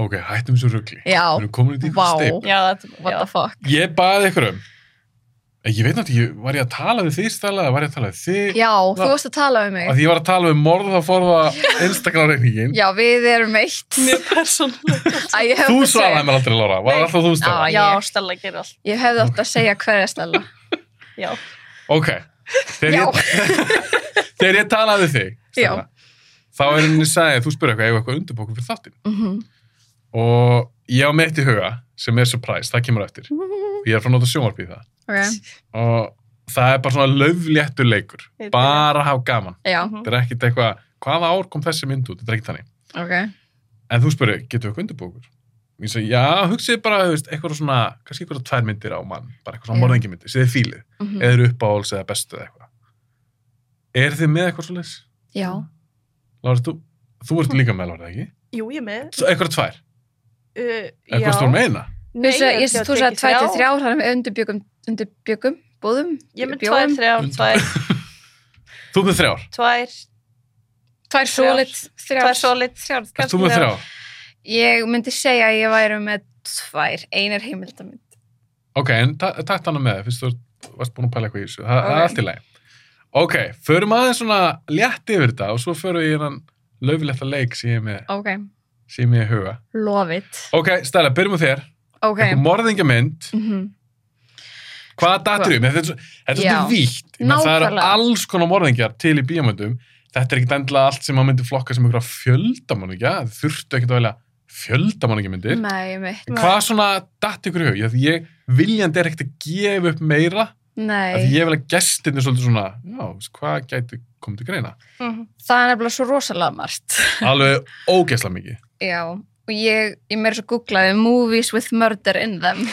S3: Ok, hættum þessu rugli.
S4: já,
S3: Við erum komin í dýrt
S4: Vá.
S3: steip.
S5: Já, þetta
S4: what
S5: já.
S4: the fuck
S3: Ég baði ykkur um. En Ég veit náttúrulega, ég- var ég að tala við þið stæla eða var ég að tala við þið?
S4: já,
S3: Va-
S4: þú varst að tala um mig
S3: Að ég var að tala við morð að forða Instagram-reikningin.
S4: já, við erum eitt
S5: Mér persónulega.
S4: Æ, ég hefði
S3: Þú
S4: átt að segja-
S3: svaraði mér aldrei, Laura. Var
S5: Nei.
S3: alltaf þú stæla?
S4: Æ.
S5: Já, Stella gerir allt.
S4: ég hefði átt að segja hverja stella
S5: Já.
S3: Ok, þegar ég, þegar ég talaði við þig, Stella, þá er henni sagði, þú spurði eitthvað, eigum við eitthvað undirbókum fyrir þáttinn.
S4: Mhm.
S3: Og ég á meitt í huga, sem er surprise, það kemur á eftir. Og ég er frá að nota sjónvarp í það.
S4: ok,
S3: Og það er bara svona löfléttur leikur.
S5: Við
S3: Bara að hafa gaman.
S4: já,
S5: Mhm.
S3: Þetta er ekkit eitthvað, hvaða ár kom þessi mynd út? Þetta er ekkit þannig.
S4: ok
S3: En þú spurði, getur við eitthvað undirbókur? Ég sagði, já, hugsið bara, þú veist, eitthvað svona, kannski eitthvað tvær myndir á mann, bara eitthvað
S4: Já.
S3: svona morðingmyndir, séð þið fílið
S4: Mhm.
S3: eða eru uppáhalds eða bestu eða eitthvað Er þið með eitthvað svo leys?
S4: já,
S3: Lára, þú, þú ert líka með Lára, ekki?
S5: Jú, ég er með.
S3: Svo Eitthvað tvær,
S5: Uh,
S3: eða hvað stór meina?
S4: þú sagði, ég- þú sagði 23
S5: þrjá.
S4: ára hann með undirbyggum, undirbyggum, búðum
S5: Ég er með
S4: bjórum.
S5: 2, 3, 2,
S3: Þú ert með þrjár,
S5: 2,
S4: tvær solid, þrjár,
S5: Tvær solid.
S4: þrjár,
S3: ert þú með
S4: þrjár.
S3: þrjár?
S4: ég myndi segja að ég væri með tvær, einar heimildamind
S3: Ok, en ta- takt hana með, fyrst þú ert- varst búin að pæla eitthvað í þessu, það það
S4: Ok.
S3: er allt í lagi Ok, förum aðeins svona létt yfir þetta og svo förum við í hennan löfilegt leik sem ég er með,
S4: ok,
S3: sem ég er í huga
S4: love it
S3: Ok, Stella, byrjum á þér,
S4: ok,
S3: eitthvað morðingamynd
S4: mhm
S3: Hvað dattur um? Þetta er svo- þetta er
S4: Já.
S3: svolítið vítt. Ég meina, Það eru
S4: Nákvæmlega.
S3: alls konar morðingjar til í bíómyndum. Þetta er ekkit endilega allt sem maður myndi flokka sem einhverja fjöldamorðingja. Það Þurftu ekkit að velja fjöldamorðingjamyndir.
S4: Nei, mitt.
S3: En Hvað svona datt ykkur í hug? Ég, ég viljandi er ekkit að gefa upp meira. af Því
S4: Nei,
S3: ég vil að gestinni svolítið svona, já, veist, hvað gæti komið til greina?
S5: Mhm.
S4: það er nefnilega svo rosalega margt.
S3: Alveg ógeðslega mikið.
S4: Já, og ég, ég meira svo googlaði movies with murder in them.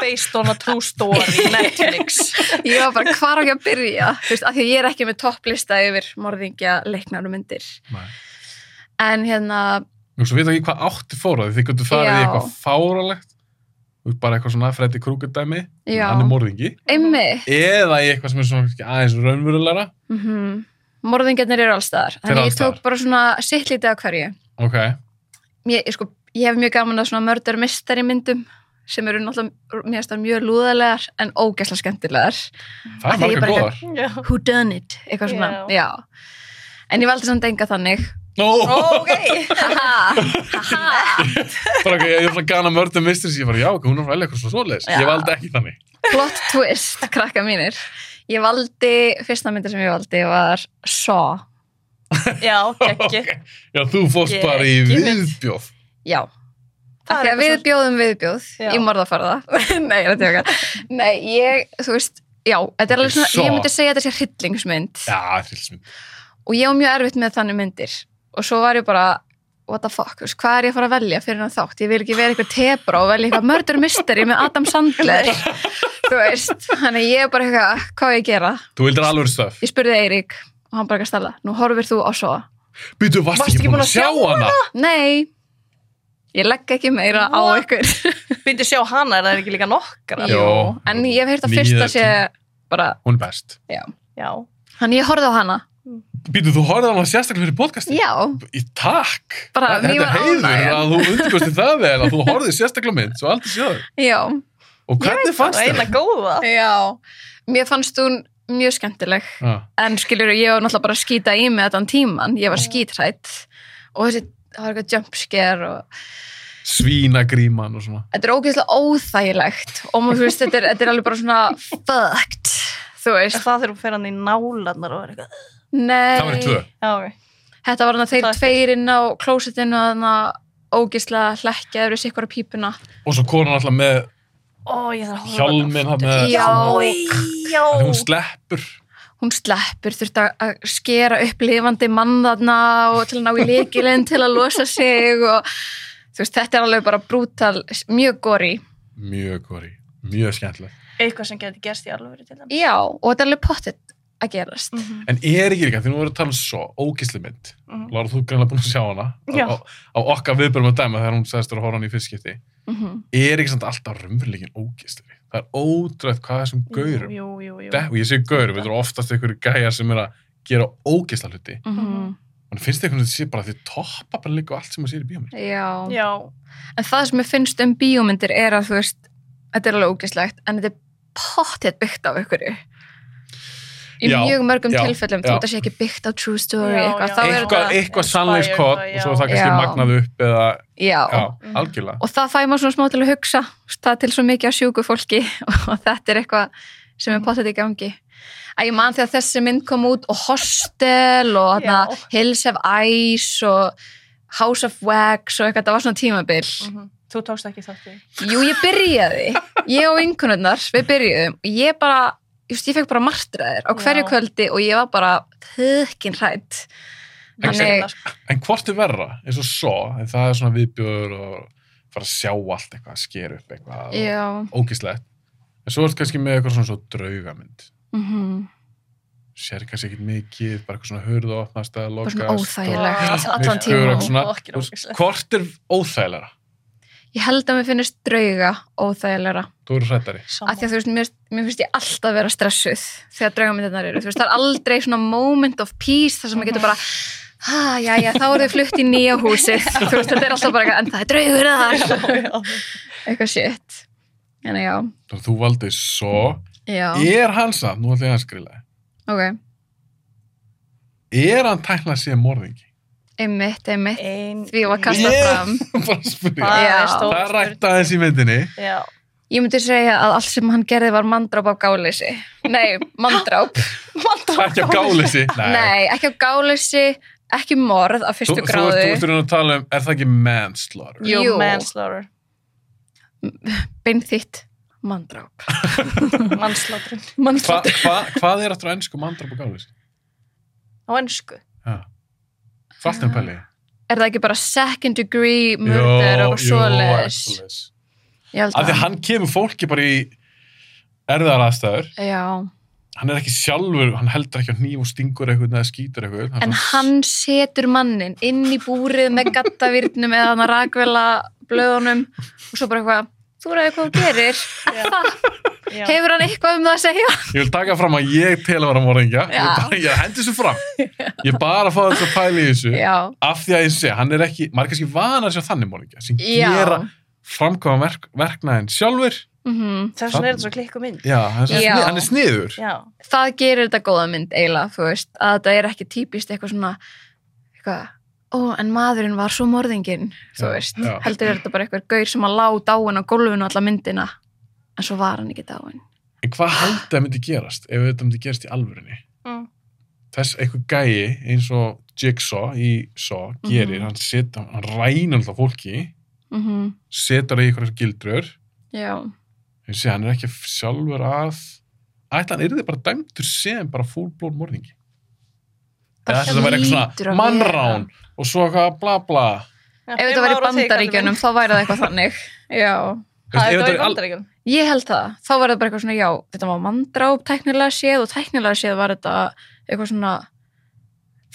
S5: Based on a true story, Netflix.
S4: Ég var bara, hvar á ég að byrja? Þú veist, af því að ég er ekki með topplista yfir morðingja, leiknar og myndir.
S3: Nei.
S4: En hérna,
S3: Nú, svo veit ekki hvað átti fóra því þið gotu farið
S4: Já.
S3: í eitthvað fáralegt. Þú veist, Bara eitthvað svona Freddy Krueger dæmi.
S4: Já.
S3: Hann er morðingi.
S4: einmitt,
S3: eða í eitthvað sem er svona kannski aðeins raunverulegra
S4: mm morðingjarnir eru allstaðar. Þannig
S3: alls
S4: ég tók
S3: staðar.
S4: bara svona sitt lítið af hverju.
S3: ok,
S4: Ég, ég, sko, ég hef mjög gaman að svona murder mystery myndum sem eru náttúrulega mér finnst þær mjög lúðalegar en ógeðslega skemmtilegar.
S3: það
S4: Af
S3: er
S4: því ég
S3: margar
S4: bara
S3: góðar
S5: Já.
S4: who done it, eitthvað svona,
S5: Já.
S4: já. En ég valdi samt enga þannig.
S3: no,
S5: Ok.
S4: Haha, haha.
S3: bara ok, ég er svona gana mörgum mistur ég bara já, ok, hún er að velja eitthvað svona svoleiðis
S4: Já.
S3: ég valdi ekki þannig
S4: Plot twist, krakka mínir. Ég valdi, fyrsta myndi sem ég valdi var Saw.
S5: Já, geggi.
S3: okay. já, þú fórst
S5: Ég-
S3: bara í
S5: ég mynd.
S3: viðbjóð
S4: Já.
S5: Það
S4: Af
S5: er
S4: því að
S5: eitthvað
S4: við
S5: sem-
S4: bjóðum viðbjóð
S5: Já.
S4: í morðafarða. Nei, þetta er okkar. Nei, ég, þú veist, já, þetta er alveg svona,
S3: Saw.
S4: ég myndi segja þetta sé hryllingsmynd.
S3: já, trilsmynd
S4: Og ég á mjög erfitt með þannig myndir. Og svo var ég bara, what the fuck, þú veist, hvað er ég að fara að velja fyrir hann þátt? Ég vil ekki vera eitthvað tebra og velja eitthvað murder mystery með Adam Sandler. þú veist, þannig ég er bara eitthvað, "Ah, hvað á ég að gera?
S3: þú vildir alveg stöf
S4: Ég spurði Eirík og hann bara ekki að stella, nú horfir þú á svo.
S3: býtu, varst
S5: Varstu
S3: ekki búin að sjá hana
S4: Nei, ég legg ekki meira á
S5: What?
S4: ykkur.
S5: Býndi sjá hana, er það ekki líka nokkara?
S3: Já.
S4: Jú, en ég hef heyrt að
S3: Níu
S4: fyrsta
S3: eða
S4: sé bara,
S3: hún er best
S5: Já.
S4: þannig ég horfði á hana.
S3: býtu, þú horfði á hana sérstaklega fyrir podcastin
S4: Já,
S3: í takk
S4: Bara,
S3: þetta
S4: mér
S3: er
S4: var
S3: heiður
S4: ánægjan.
S3: að þú undirkosti það vel að þú horfði sérstaklega á mynd svo aldrei sjáðu
S4: já,
S3: og hvernig
S5: Það
S3: fannst
S5: er eina
S3: þér?
S5: góða.
S4: já. Mér fannst hún mjög skemmtileg,
S3: Já.
S4: en skilur ég var náttúrulega bara að skýta í mig þetta tíman, ég var skítrætt og þessi, það var eitthvað jumpscare og
S3: svínagríman og svona
S4: þetta er ógeðslega óþægilegt og maður, þú veist, þetta er, þetta er alveg bara svona fucked, þú
S5: Er
S4: veist
S5: það þegar hún fer hann í nálarnar og er eitthvað?
S4: Nei,
S3: það var í tvö
S5: Já, ok.
S4: Þetta var hann að þeir
S5: Það er
S4: tveir inn á klósettinu að hann að ógislega hlekkja eða sikkur á pípuna.
S3: og svo konan alltaf með
S5: Ó, ég þarf að horfa á þetta.
S3: hjálminn hann með
S4: Já.
S5: Oj, já.
S3: Af því hún sleppur
S4: Hún sleppur, þurfti að- að skera upp lifandi mann þarna og til að ná í leikilinn til að losa sig og þú veist, þetta er alveg bara brútal, mjög gori.
S3: mjög góri, mjög skemmtileg
S5: Eitthvað sem getur gerst í alvöru til Mhm, þeim.
S4: Já, og þetta er alveg pottitt að gerast.
S3: en er ekki líka, því nú voru að tala um svo ógisli mynd,
S5: mhm.
S3: Lára þú er greinlega búin að sjá hana
S5: Já.
S3: á, á okkar viðbörum að dæma þegar hún sagðist þér að horfa á hana í fyrstskipti
S4: Mm
S3: er ekki samt alltaf raunveruleikin ógisli það er ódrætt hvað þessum gaurum
S5: Jú, jú, jú.
S3: De- og ég segi gaurum, þetta eru oftast einhverju gæjar sem er að gera ógisla hluti
S5: Mhm.
S3: og finnst þér einhvern veginn að þetta sé bara að þið toppa bara líka á allt sem maður sér í bíómynd
S4: Já.
S5: Já,
S4: En það sem ég finnst um bíómyndir er að þú veist, þetta er alveg ógislegt en þetta er pottet byggt á einhverju í
S3: Já,
S4: mjög mörgum
S3: já,
S4: tilfellum,
S3: já.
S4: þú veist það sé ekki byggt á true story
S5: Já,
S4: eitthvað,
S5: já.
S4: þá er
S3: eitthvað,
S4: þetta
S3: eitthvað
S5: Inspired,
S3: sannleiskott og
S5: já.
S3: svo er það kannski
S4: Já.
S3: magnað upp eða,
S4: já.
S3: já,
S5: Mhm.
S3: algjörlega
S4: og það fæ maður svona smá til að hugsa það er til svo mikið á sjúku fólki og þetta er eitthvað sem er pottet í gangi að ég man þegar þessi mynd kom út og Hostel og hana,
S5: Já.
S4: Hills of Ice og House of Wax og eitthvað, það var svona tímabil
S5: Mhm. þú tókst ekki þátt í.
S4: Jú, ég byrjaði. Ég og vinkunarnar, við byrjuðum og ég bara, just, ég fekk bara martraðir á hverju
S5: Já.
S4: kvöldi og ég var bara þökkin hrætt.
S3: En-
S4: Þannig,
S5: sko.
S3: en hvort er verra, eins og svo en það er svona viðbjöður og fara að sjá allt eitthvað, sker upp eitthvað og
S4: já,
S3: ógislegt en svo er þetta kannski með eitthvað svona svo draugamynd
S4: mm
S3: sér kannski ekkit mikið, bara eitthvað svona hörðu að opnast að
S4: bara
S3: lokast
S4: svona óþægilegt
S5: Já,
S4: allan
S5: myrkur
S4: tíma.
S5: og-
S3: svona,
S5: og ekki
S3: þú veist,
S5: ógeðslegt.
S3: hvort er óþægilega
S4: Ég held að mér finnist drauga óþægilegra.
S3: þú eru hrættari
S4: Af því að þú veist, mér, mér finnst ég alltaf vera stressuð þegar draugamindirnar eru. Þú veist, það er aldrei svona moment of peace þar sem maður getur bara Ah, já, já, þá eru þau flutt í nýja húsið þú veist, þetta er alltaf bara eitthvað, en það er draugur þar eitthvað shit en já,
S3: þannig að þú valdið svo
S4: já
S3: er hann samt, nú ætlum ég að skrila
S4: Ok, er
S3: er hann tæknað að sé morðingi
S4: einmitt, einmitt
S5: Ein,
S4: því var kastað
S3: Ég-
S4: fram
S3: bara að spyrja,
S5: Það
S4: Já.
S5: er stór
S3: það er rætt aðeins í myndinni
S5: Já,
S4: Ég myndi segja að allt sem hann gerði var mandráp á gáleysi Nei, mandráp
S3: Það er ekki á gáleysi
S4: Nei, ekki á gáleysi, ekki morð á
S3: Þú,
S4: fyrstu
S3: þú, þú, þú
S4: gráðu
S3: ert raun að tala um, er það ekki manslaughter?
S5: jú,
S4: Jú.
S5: manslaughter.
S4: Beinþýtt, mandráp
S5: Manslaughter.
S3: Hva,
S4: Mannslátt
S3: hva, hvað er aftur á ennsku mandrap og gáleysi?
S5: Á ennsku.
S3: Ja. Fast en pæli
S4: Er það ekki bara second degree murder Ah, og svoleiðis? Ég held
S3: Af því að hann kemur fólki bara í erðar aðstæður
S4: Já,
S3: hann er ekki sjálfur, hann heldur ekki á hníf og stingur eitthvað eða skýtur eitthvað
S4: en hann setur mannin inn í búrið með gattavýrnum eða hann að rakvela blöðunum og svo bara eitthvað, þú ræði hvað þú gerir
S5: Já. Já.
S4: Hefur hann eitthvað um það að segja?
S3: Ég vil taka fram að ég tel að vera morðingja ég,
S4: Já.
S3: vil bara- ég hendi þessu fram Ég er bara að fá þetta að pæla í þessu
S4: Já,
S3: af því að ég sé, hann er ekki maður er kannski vanar sér þannig morðingja sem
S4: Já.
S3: gera framkvæma verk, verknaðin sjálfur
S4: mm
S5: Þess vegna er þetta svo klikku mynd.
S3: Já, hann er, svo
S4: Já.
S3: snið, hann er sniður
S5: Já.
S4: það gerir þetta góða mynd eiginlega, þú veist, að þetta er ekki típist eitthvað svona eitthvað, ó, en maðurinn var svo morðinginn þú
S3: Já,
S4: veist,
S3: já.
S4: heldur er þetta bara eitthvað gaur sem að lá dáin á gólfinu alla myndina en svo var hann ekki dáin
S3: En hvað haldið að myndi gerast ef þetta myndi gerast í alvörinni?
S5: Mm.
S3: Þess eitthvað gæi eins og Jigsaw í Saw gerir,
S4: Mhm.
S3: hann, set, hann rænir alltaf fólki,
S4: mm
S3: setar það í einhverjar gildrur,
S4: Já,
S3: ég sé, hann er ekki sjálfur að, ætla hann yrði bara dæmtur sem bara fullblón morðingi. Eða þetta var eitthvað
S4: hlýtur að
S3: svona mannrán og svo eitthvað bla bla.
S4: vera. Ef þetta var í bandaríkjunum þá væri það eitthvað þannig Já,
S3: Þú
S5: Það
S3: veist, ef
S5: var í
S3: þetta er al-
S5: bandaríkjunum.
S4: ég held það þá var það bara eitthvað svona, já, þetta var mandráp teknilega séð og teknilega séð var þetta eitthvað svona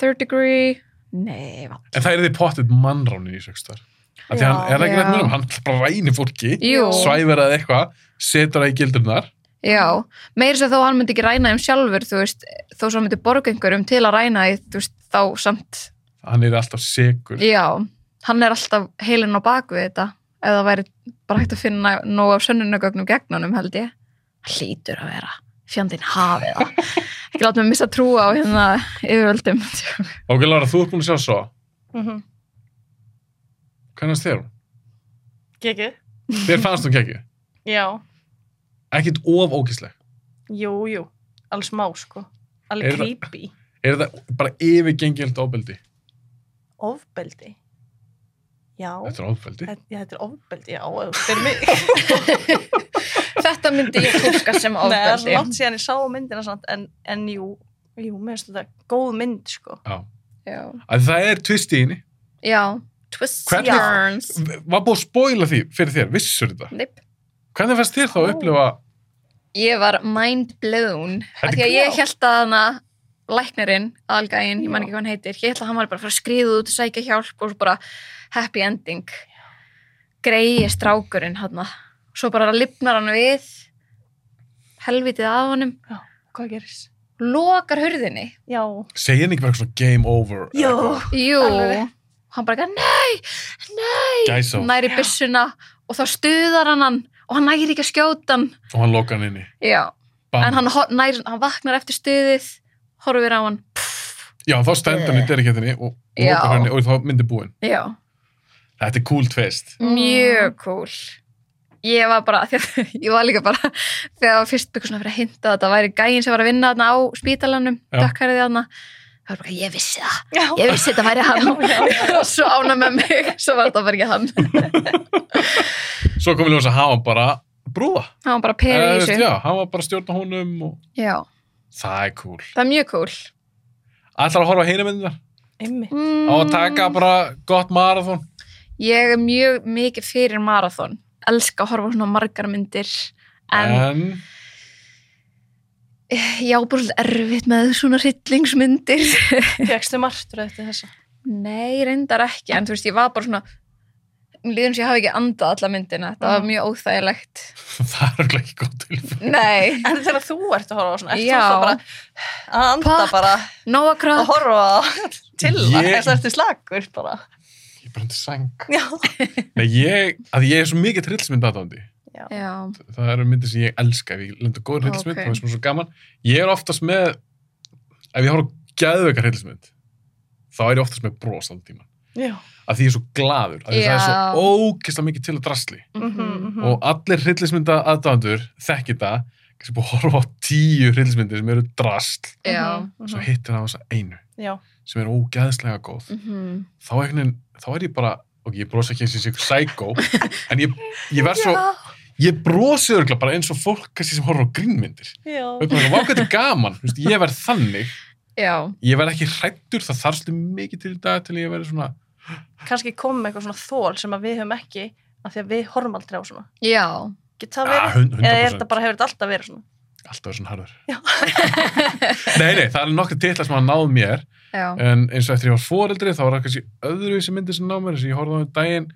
S4: third degree, nei, var
S3: En það er því pottið mannránin í sögstar. Því
S5: Já,
S3: hann er það ekki
S4: já.
S3: rétt mjög, hann bara rænir fólki,
S4: Jú.
S3: svæfir að eitthvað, setur það í gildurnar.
S4: Já, meira þess að þó hann myndi ekki ræna þeim sjálfur, þú veist, þó svo hann myndi borga einhverjum til að ræna því, þú veist, þá samt,
S3: hann er alltaf segur
S4: já, hann er alltaf heilin á baku við þetta, ef það væri bara hægt að finna nóg af sönnunagögnum gegnunum, held ég. Það hlýtur að vera, fjandinn hafið það. ekki láta mig missa trúa á hérna yfirvöldum.
S3: ok Lára, þú ert búin að sjá svo
S5: Mhm.
S3: hvernig þér hún?
S5: Gekki?
S3: þér fannst hún kekju,
S5: Já.
S3: ekkit of ógísleg
S5: Jú, jú. Alls má, sko.
S3: Er
S5: Alveg
S3: það-
S5: creepy.
S3: er það bara yfirgengild ofbeldi
S5: ofbeldi já,
S3: Þetta er ofbeldi.
S5: þetta já, þetta er ofbeldi já, ef þú spyr mig
S4: Þetta myndi ég tólka sem
S5: Nei, það er svo
S4: ofbeldi.
S5: langt síðan ég sá myndina samt, en, en jú, jú, mér finnst þetta góð mynd, sko.
S4: Já,
S3: Að það er tvist í henni.
S4: já. twists and
S3: Hvernig-
S4: turns.
S3: Var búið að spoila því fyrir þér, vissur þetta.
S4: Neip.
S3: Hvernig fannst þér þá að
S5: Ó.
S3: upplifa
S4: Ég var mind blown.
S3: Þetta
S4: Af því að
S5: er-
S4: ég held að hana læknirinn, algæinn, ég man
S5: Já.
S4: ekki hvað hann heitir, ég held að hann var bara að fara að skriða út, sækja hjálp og svo bara happy ending. Greiði strákurinn hann. Svo bara lifnar hann við, helvitið af honum,
S5: Hvað gerist?
S4: lokar hurðinni.
S5: Já,
S3: segja henni ekki bara svona game over? uh,
S5: já,
S4: Jú,
S5: Alveg.
S4: hann bara, nei, nei,
S3: Gæsa á.
S4: næri
S5: Já.
S4: byssuna og þá stuðar hann hann og hann næri ekki að skjóta hann.
S3: og hann loka hann inni.
S4: Já,
S3: Bam.
S4: en hann, hor- nær, hann vaknar eftir stuðið, horfir á hann.
S3: Já, þá stendur hann í derikettinni og, og
S4: Eh. Já.
S3: lokar henni og þá myndi búin.
S4: Já,
S3: Þetta er cool tvist.
S4: mjög cool. Ég var bara, því að, ég var líka bara, þegar það var fyrst byggur svona fyrir að hinta að þetta væri gæin sem var að vinna þarna á spítalanum,
S3: Já.
S4: dökkariði þarna. Það var bara, ég vissi það,
S5: já.
S4: ég vissi þetta væri hann. og svo ána með mig, svo var þetta bara ekki hann.
S3: Svo kom við ljósa að hafa hann bara brúða.
S4: Það var bara peri í
S3: Eða, þú veist,
S4: þessu.
S3: Eh, Já, hann var bara að stjórna honum og
S4: Já,
S3: það er cool.
S4: það er mjög cool.
S3: Ætlar að horfa á heyna myndirnar?
S5: Einmitt.
S4: Mm,
S3: Á að taka bara gott marathon?
S4: Ég er mjög mikið fyrir marathon. Elska að horfa á svona margar myndir. En
S3: En, Eh.
S4: ég á bara svolítið erfitt með svona hryllingsmyndir.
S5: Fjöxtu martur eftir þessa.
S4: Nei, reyndar ekki, en þú veist, ég var bara svona um líðum sem ég hafi ekki andað alla myndina þetta var
S5: Mm.
S4: mjög óþægilegt
S3: það er örugglega ekki góð tilfell.
S4: Nei,
S5: En þegar þú ert að horfa á svona, ert
S4: Já.
S5: þú svo bara að anda
S4: Popp.
S5: bara
S4: Nóa
S5: að
S4: Kropp
S5: horfa á- til það,
S3: Ég-
S5: þess að ertu slagur bara.
S3: Ég brendi sæng.
S5: Já.
S3: Nei, ég, að ég er svo mikið trillsmynd aðdándi.
S4: Já,
S3: Það eru myndir sem ég elska. Ef ég lendur góð trillsmynd,
S4: Ok.
S3: þá er sem svo gaman. Ég er oftast með, ef ég horfa gæðveika trillsmynd, þá er ég oftast með bros allan tíma.
S5: Já.
S3: Að því ég er svo gladur. Að því það er
S4: Já.
S3: svo ógeðslega mikið til að drasli.
S5: mhm.
S3: og allir hryllismynda aðdæðandur þekki þetta, kannski búið að horfa á tíu hryllismyndir sem eru drasl
S4: já
S5: Mhm,
S3: svo
S5: mhm.
S3: hittir það á þessa einu
S5: Já.
S3: sem er ógæðslega góð
S4: Mhm.
S3: þá, einhvern, veginn- þá er ég bara, ok, ég brosi ekki eins og ég sé ykkur sækó, en ég, ég verð svo ég brosi örgulega bara eins og fólk kannski sem horfa á grínmyndir
S5: Já.
S3: og ég bara, vá, hvað þetta er gaman, Þú veist, ég verð þannig
S4: Já,
S3: ég verð ekki hrættur, það þarf svolítið mikið til í dag til ég verði svona
S5: Kanski komið með eitthvað svona þól sem að við höfum ekki, af því að við horfum aldrei á svona.
S4: já
S5: Getur það
S3: ah,
S5: verið?
S3: hund-
S5: Eða
S3: 100%
S5: er þetta bara, hefur þetta alltaf verið svona?
S3: alltaf er svona harður
S5: Já.
S3: nei, nei, það er nokkið titla sem að náð mér
S4: Já,
S3: en eins og eftir ég var foreldri þá var það kannski öðruvísi myndir sem ná mér þess að ég horfði á um daginn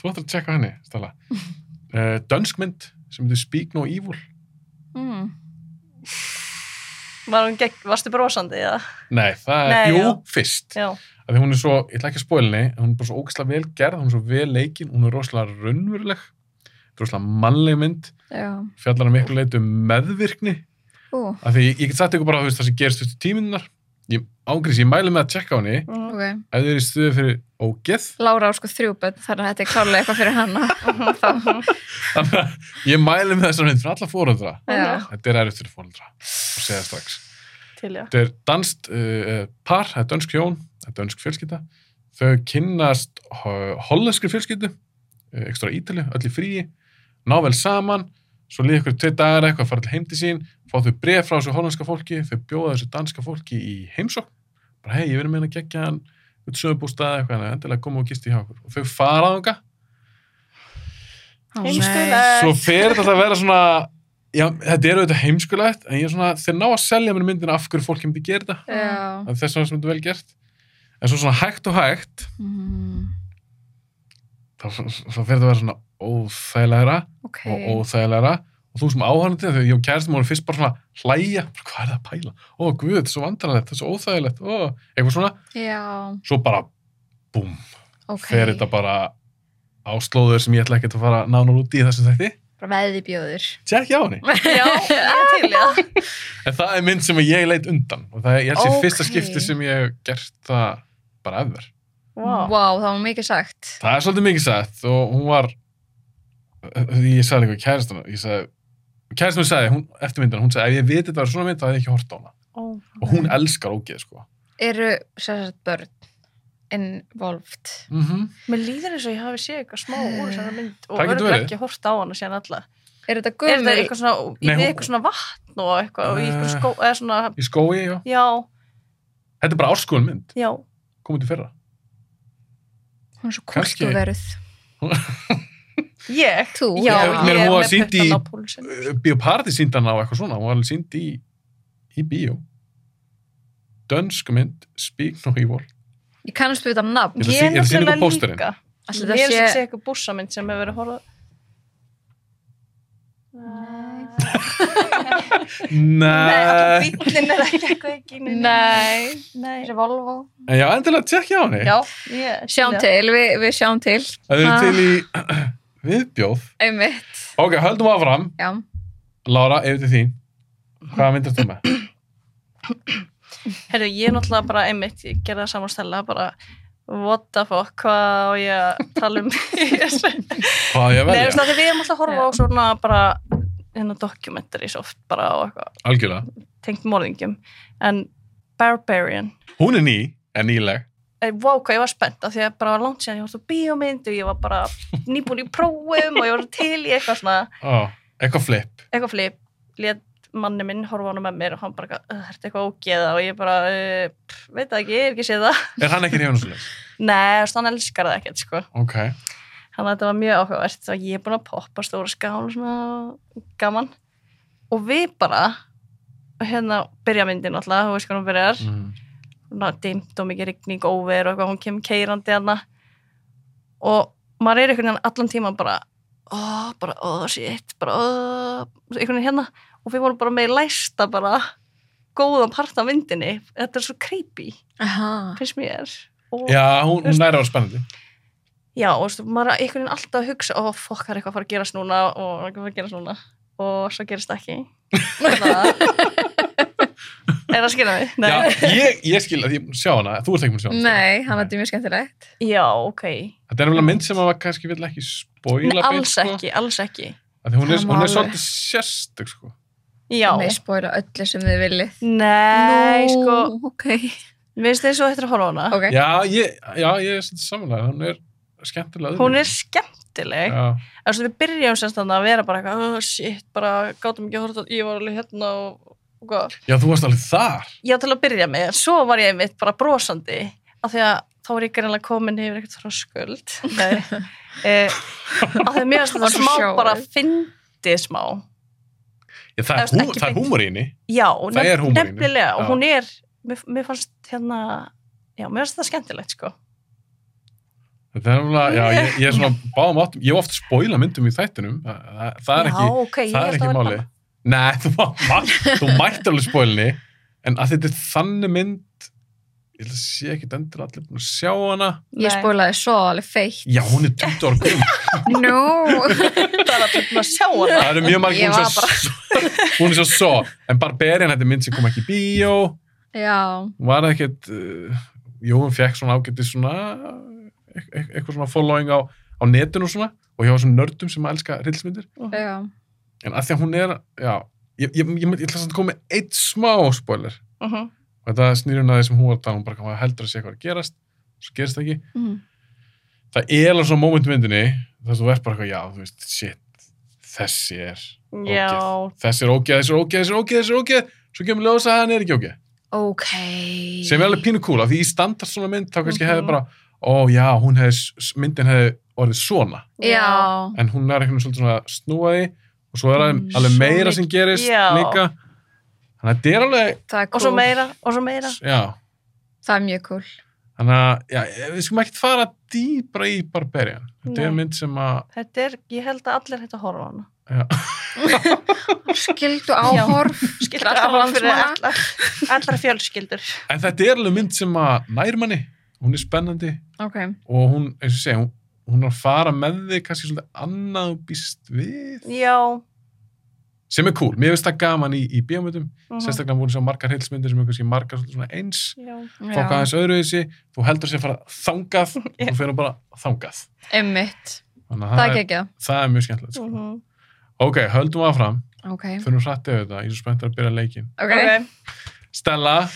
S3: þú ættir að tjekka henni, Stella uh, dönskmynd sem heitir Speak No Evil
S4: mm.
S5: Var hún gegn, varstu brosandi eða?
S3: nei, það er,
S5: Nei,
S3: jú,
S5: já.
S3: fyrst
S5: Já.
S3: af því hún er svo, ég ætla ekki að spóla henni en hún er bara svo ógeðslega vel gerð, hún er svo vel leikin hún er rosalega raunveruleg rosalega mannleg mynd,
S4: já
S3: fjallar að miklu leitu meðvirkni
S4: Ú,
S3: af því ég get sagt ykkur bara þú veist, það sem gerist fyrstu tíminnar ég ángriðs, ég mæli með að tjekka á henni
S5: Mm.
S4: ok
S3: ef þið eru í stuðu fyrir ógeð
S4: Lára á sko þrjú börn, þannig að þetta er klárlega eitthvað fyrir hana Þá,
S3: þannig að ég mæli með þessar mynd fyrir alla fóröldra
S4: já,
S3: Þetta er erfitt fyrir fóröldra og segja strax.
S5: Til, já.
S3: Þetta er danst uh, eh, par, þetta er dönsk hjón, þetta er dönsk fjölskylda. Þau kynnast ho- hollensku fjölskyldu, eh, ekki stóra ítali, öll í fríi, ná vel saman, svo líða ykkur tvei dagar eða eitthvað, fara til heim til sín, fá þau bref frá þessu hollenska fólki, þau bjóða þessu danska fólki í heimsókn, bara hei, ég verið meina að gegja hann, út sögubústað eitthvað, en endilega koma og gisti hjá okkur. Og þau fara þangað,
S4: Ó, nei.
S5: Heimskulegt.
S3: svo fer þetta að vera svona já, þetta er auðvitað heimskulegt en ég er svona, þeir ná að selja mér myndina af hverju fólki myndi gera þetta,
S5: Mm.
S4: Já
S3: af þess vegna sem þetta er vel gert en svo svona hægt og hægt
S4: Mm,
S3: þá svo fer þetta að vera svona óþægilegra
S4: Ok
S3: og óþægilegra og þú sem áhörnandi, þegar ég og kæristum voru fyrst bara svona hlæja, bara, hvað er það að pæla ó, guð, þetta er svo vandrarlegt, þetta er svo óþægilegt ó, eitthvað svona,
S4: Já,
S3: svo bara búm,
S4: ok
S3: fer þetta bara á slóður sem ég ætla ekkert að fara nánar út í í þessum þætti,
S4: Bara veði bjóður
S3: tjekk á henni
S5: Já, ég er til, já.
S3: En það er mynd sem ég leit undan og það er, ég held sér
S4: Ókei.
S3: fyrsta skipti sem ég hef gert það bara efer.
S4: Vá, það var mikið sagt
S3: Það er svolítið mikið sagt og hún var, ég sagði líka kæristana, ég sagði, kæristan sagði, hún, eftir myndina, hún sagði, ef ég viti þetta var svona mynd, þá hefði ég ekki hort á hana.
S5: Ó,
S3: Og hún elskar ógeð, sko.
S4: Eru sérsagt börn involved
S3: Mm
S5: Mér líður eins og ég hafi séð eitthvað smá úr þessari mynd og
S3: Það getur
S5: örgulega
S3: verið.
S5: ekki hort á hana síðan alla.
S4: er þetta
S5: Er
S4: gömul
S5: það eitthvað svona, í
S3: Nei,
S5: við
S3: hún-
S5: eitthvað svona vatn og eitthvað og í eitthvað
S3: Eh.
S5: skó, eða svona,
S3: Í skói, já.
S5: já,
S3: Þetta er bara árskóðun mynd.
S5: já.
S3: Komum til fyrra.
S4: hún er svo
S3: Kannski.
S4: kultúveruð
S5: Ég?
S4: Þú?
S5: Já,
S4: Ég
S5: ég,
S4: meina,
S5: er
S3: hún var
S5: með
S3: sýnd í-
S5: puttan á púlsin.
S3: Bíóparti síndi hann á eitthvað svona. Hún var alveg síndi í, í bíó. Dönsk mynd, Speak No Evil.
S4: ég kannast við þetta nafn
S3: Ég ætla að
S5: Ég
S3: sý-
S5: er
S3: ég ætla að sýna ykkur
S5: nefnilega
S3: pósterinn.
S5: líka.
S4: Ætli
S5: Ég
S4: þetta
S5: er sem sé
S4: sé-
S5: eitthvað bússamynd sem hefur verið horfað.
S3: Nei.
S5: Bíllinn er ekki eitthvað ekki.
S4: nei,
S5: Nei.
S4: þetta er Volvo
S3: En já, endilega tjekkja á henni.
S5: Já, ég.
S4: sjáum til, við, við sjáum til
S3: Það eru
S4: Ha.
S3: til í viðbjóð.
S4: einmitt,
S3: Ok, höldum áfram.
S4: já
S3: Lára, yfir til þín. Hvaða myndar þú með?
S5: Herru, ég er náttúrulega bara einmitt, ég gerði það saman stella, bara what the fuck, hvað á ég að tala um í þessu?
S3: Hvað á ég að
S5: Nei,
S3: velja?
S5: þess að við erum alltaf að horfa á svona bara hérna dokumentari svo oft bara á eitthvað
S3: Algjörlega.
S5: tengt morðingjum, en Barbarian
S3: Hún er ný, en nýleg.
S5: Eh, Vá, wow, hvað ég var spennt af því að bara var langt síðan ég horfði á bíómynd og ég var bara nýbúin í prófum og ég var til í eitthvað svona
S3: Ó, eitthvað flip.
S5: eitthvað flip, let manni minn horfa á hana með mér og hann bara, "Ugh, er þetta eitthvað ógeða og ég bara, "Eh, pff, veit það ekki, ég er ekki séð það
S3: Er hann ekki reyðunisleis?
S5: Nei, þú veist, hann elskar það ekkert, sko
S3: Ok.
S5: Þannig að þetta var mjög áhugavert og ég er búin að poppa stóra skál svona gaman og við bara hérna byrja myndin alltaf, þú veist hvað hún byrjar mm.
S3: Mm.
S5: dimt og mikið rigning over og eitthvað, hún kemur keirandi hana og maður er einhvern veginn allan tíman bara ó, bara, ó, shit, bara, ó einhvern veginn hérna og við vorum bara með í læsta bara góðan part af myndinni þetta er svo creepy,
S4: Aha.
S5: finnst mér og
S3: Já, hún, hún næra var spennandi.
S5: Já, og stu, maður er einhvern veginn alltaf að hugsa ó, fokk, það er eitthvað að fara að gerast núna og það er eitthvað að fara að gerast núna og svo gerist það ekki Þannig að- Er það að skilja mig? Nei.
S3: Já, ég, ég skil að ég er búin að sjá hana, þú ert ekki búin að sjá hana.
S4: nei, það var þetta mjög skemmtilegt
S5: Já, ok
S3: Þetta er alveg mynd sem maður kannski vill ekki spoila
S5: Nei,
S3: beint,
S5: alls
S3: sko.
S5: ekki, alls ekki
S3: Af því Hún er,
S4: Það má
S3: hún er
S4: alveg.
S3: svolítið sérstök, sko.
S5: Já,
S4: með spóra öllu sem þið viljið
S5: nei,
S4: Nú,
S5: sko Ah,
S4: ok,
S5: minnst þið svo eftir að horfa á hana
S4: okay.
S3: Já, ég, já, ég er svolítið samanlega, hún er skemmtilega.
S5: Hún er
S3: öðruvísi.
S5: skemmtileg
S3: Já,
S5: En svo við byrjum semst þarna að vera bara eitthvað, oh, shit, bara gátum ekki að horfa á- ég var alveg hérna og, og hvað
S3: já, þú varst alveg þar.
S5: já til að byrja með, en svo var ég einmitt bara brosandi, af því að þá var ég greinlega komin yfir eitthvað þröskuld Nei. eh, af því að mér varst
S4: Var
S5: þetta
S4: svo
S5: smá
S4: sjáir.
S5: bara fyndið smá
S3: Já, það er,
S5: Það er
S3: hú,
S5: ekki
S3: það er
S5: beint.
S3: húmur í henni.
S5: já,
S3: Það er húmorinn,
S5: nefnilega
S3: já.
S5: og hún er, mér, mér fannst hérna já, mér fannst það skemmtilegt sko
S3: Þetta er alveg, já, ég, ég er svona báðum áttum, ég hef oft spoila myndum í þættinum, það, það, það er
S5: já,
S3: ekki,
S5: ok,
S3: það
S5: ég
S3: er
S5: held að
S3: ekki
S5: vera
S3: máli.
S5: bara-
S3: Nei, þú, má- þú mættir alveg spoilni, en að þetta er þannig mynd, ég held að sé ekki endur allir búin að sjá hana.
S4: ég
S5: Nei.
S4: spólaði svo alveg feitt
S3: Já, hún er 20 ára gömul.
S4: nú,
S5: það er allir búin að sjá hana
S3: Það eru mjög margir
S4: Ég
S3: hún
S4: var
S3: svo, hún er svo svo. En Barbarian, þetta er mynd sem kom ekki í bíó,
S4: já
S3: hún var ekkert, uh, jú, hún fekk svona ágætið svona, e e eitthvað svona following á, á netinu og svona, og hjá þessum nördum sem að elska rillsmyndir.
S4: já,
S3: En að því að hún er, já, ég, ég, ég, ég, ég ætla samt að koma með eitt smá spoiler.
S5: uh -huh.
S3: Og þetta snýr hún að því sem hún var að tala, hún bara kom að heldur að sé eitthvað að gerast, svo gerist það ekki.
S4: Mhm.
S3: Það er alveg svona moment í myndinni, þar sem þú ert bara eitthvað, já, þú veist, shit, þessi er
S5: já,
S3: Ógeð. þessi er ógeð, þessi er ógeð, þessi er ógeð, þessi er ógeð svo kemur ljósa að hann er ekki ógeð
S4: ok
S3: sem er alveg pínu kúla, því í standart svona mynd þá kannski
S5: Mhm.
S3: hefði bara, ó já, hún hefði s- myndin hefði orðið svona
S4: já,
S3: en hún er einhvern veginn svolítið svona snúaði og svo er
S4: Mm,
S3: alveg, alveg
S5: svo
S3: meira
S5: mikið-
S3: sem gerist
S5: já.
S3: líka þannig að þetta er alveg
S4: það er
S5: og svo
S4: cool
S5: meira og svo meira
S3: já,
S4: það er mjög cool
S3: þannig að já, við skulum ekkert fara dýbra í Barbarian þetta er
S5: Nei.
S3: mynd sem að
S5: þetta er, ég held að allir hættu að horfa á hana
S4: skildu áhorf
S5: skildur
S4: Allra
S5: allra fyrir
S4: landsmanna.
S5: allra, allra fjölskyldur
S3: en þetta er alveg mynd sem að nærmanni hún er spennandi
S4: ok,
S3: og hún, eins og ég segi, hún, hún er að fara með þig kannski svolítið annað og býst við
S5: já
S3: sem er cool, mér finnst það gaman í, í bíómyndum
S5: mhm.
S3: sérstaklega búin að sjá margar heilsmyndir sem er kannski margar svolítið svona eins
S5: já,
S3: fólk
S4: já,
S3: aðeins öðruvísi, þú heldur sér að fara þangað
S5: Já.
S3: og þú fyrir bara þangað
S4: emmitt
S3: þannig að
S4: það er
S3: það, er,
S4: ekki
S3: það er mjög skemmtilegt sko.
S5: mhm.
S3: ok, höldum að fram,
S4: ok,
S3: fyrir hrættið þetta ég er svo spennt að byrja leikin
S4: ok
S5: Ok.
S3: Stella,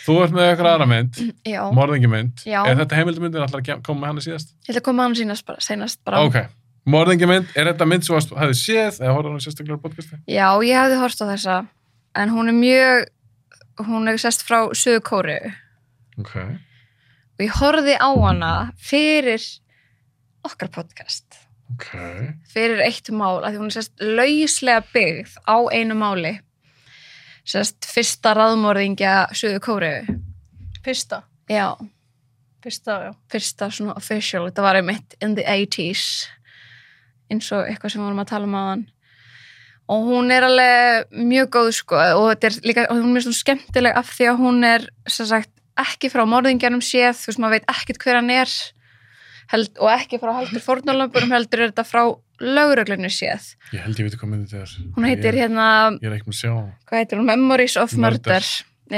S3: Þú ert með eitthvað aðra mynd,
S4: Já,
S3: morðingjamynd.
S4: Já.
S3: Er þetta heimildamyndin alltaf að kem- koma með hana síðast?
S4: ég ætla að koma hann sínast bara, seinast bara.
S3: Ok. Morðingjamynd, er þetta mynd sem þú hefði séð eða horfði hann sérstaklega á podcasti?
S4: Já, ég hefði horft á þessa, en hún er mjög, hún er sest frá Suðu Kóriðu
S3: Ok.
S4: og ég horfði á hana fyrir okkar podcast,
S3: Ok.
S4: fyrir eitt mál, að því hún er sest lauslega byggð á einu máli, sest fyrsta raðmorðingja Suðu Kóriðu.
S5: Fyrsta,
S4: Já.
S5: fyrsta, já.
S4: fyrsta svona official, þetta var einmitt in the 80s eins og eitthvað sem við vorum að tala um á hann og hún er alveg mjög góð sko og þetta er líka, og hún er svona skemmtileg af því að hún er sem sagt ekki frá morðingjarnum séð, þú veist maður veit ekkert hver hann er held, og ekki frá heldur fórnarlömburum heldur er þetta frá lögreglunni séð.
S3: Ég held ég veit hvað myndi þetta er.
S4: Hún heitir
S3: Ég,
S4: hérna,
S3: ég er ekki með að sjá. hana.
S4: hvað heitir hún, Memories of
S3: Murder.
S4: Murder,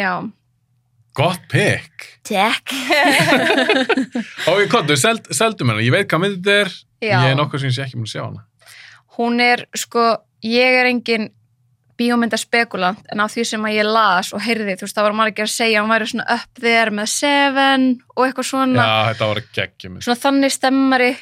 S4: já,
S3: Gott pick.
S5: Takk.
S3: Ok, kontur, seld, seldum hennar. Ég veit hvað myndi þetta er.
S4: já.
S3: Ég er nokkuð sem ég sé ekki múin að sjá hana.
S4: hún er sko, ég er engin bíómyndaspekulant en á því sem að ég las og heyrði þú veist, það var margir að segja að hún væri svona upp þér með Seven og eitthvað svona
S3: Já, þetta var geggjum.
S4: svona þannig stemmari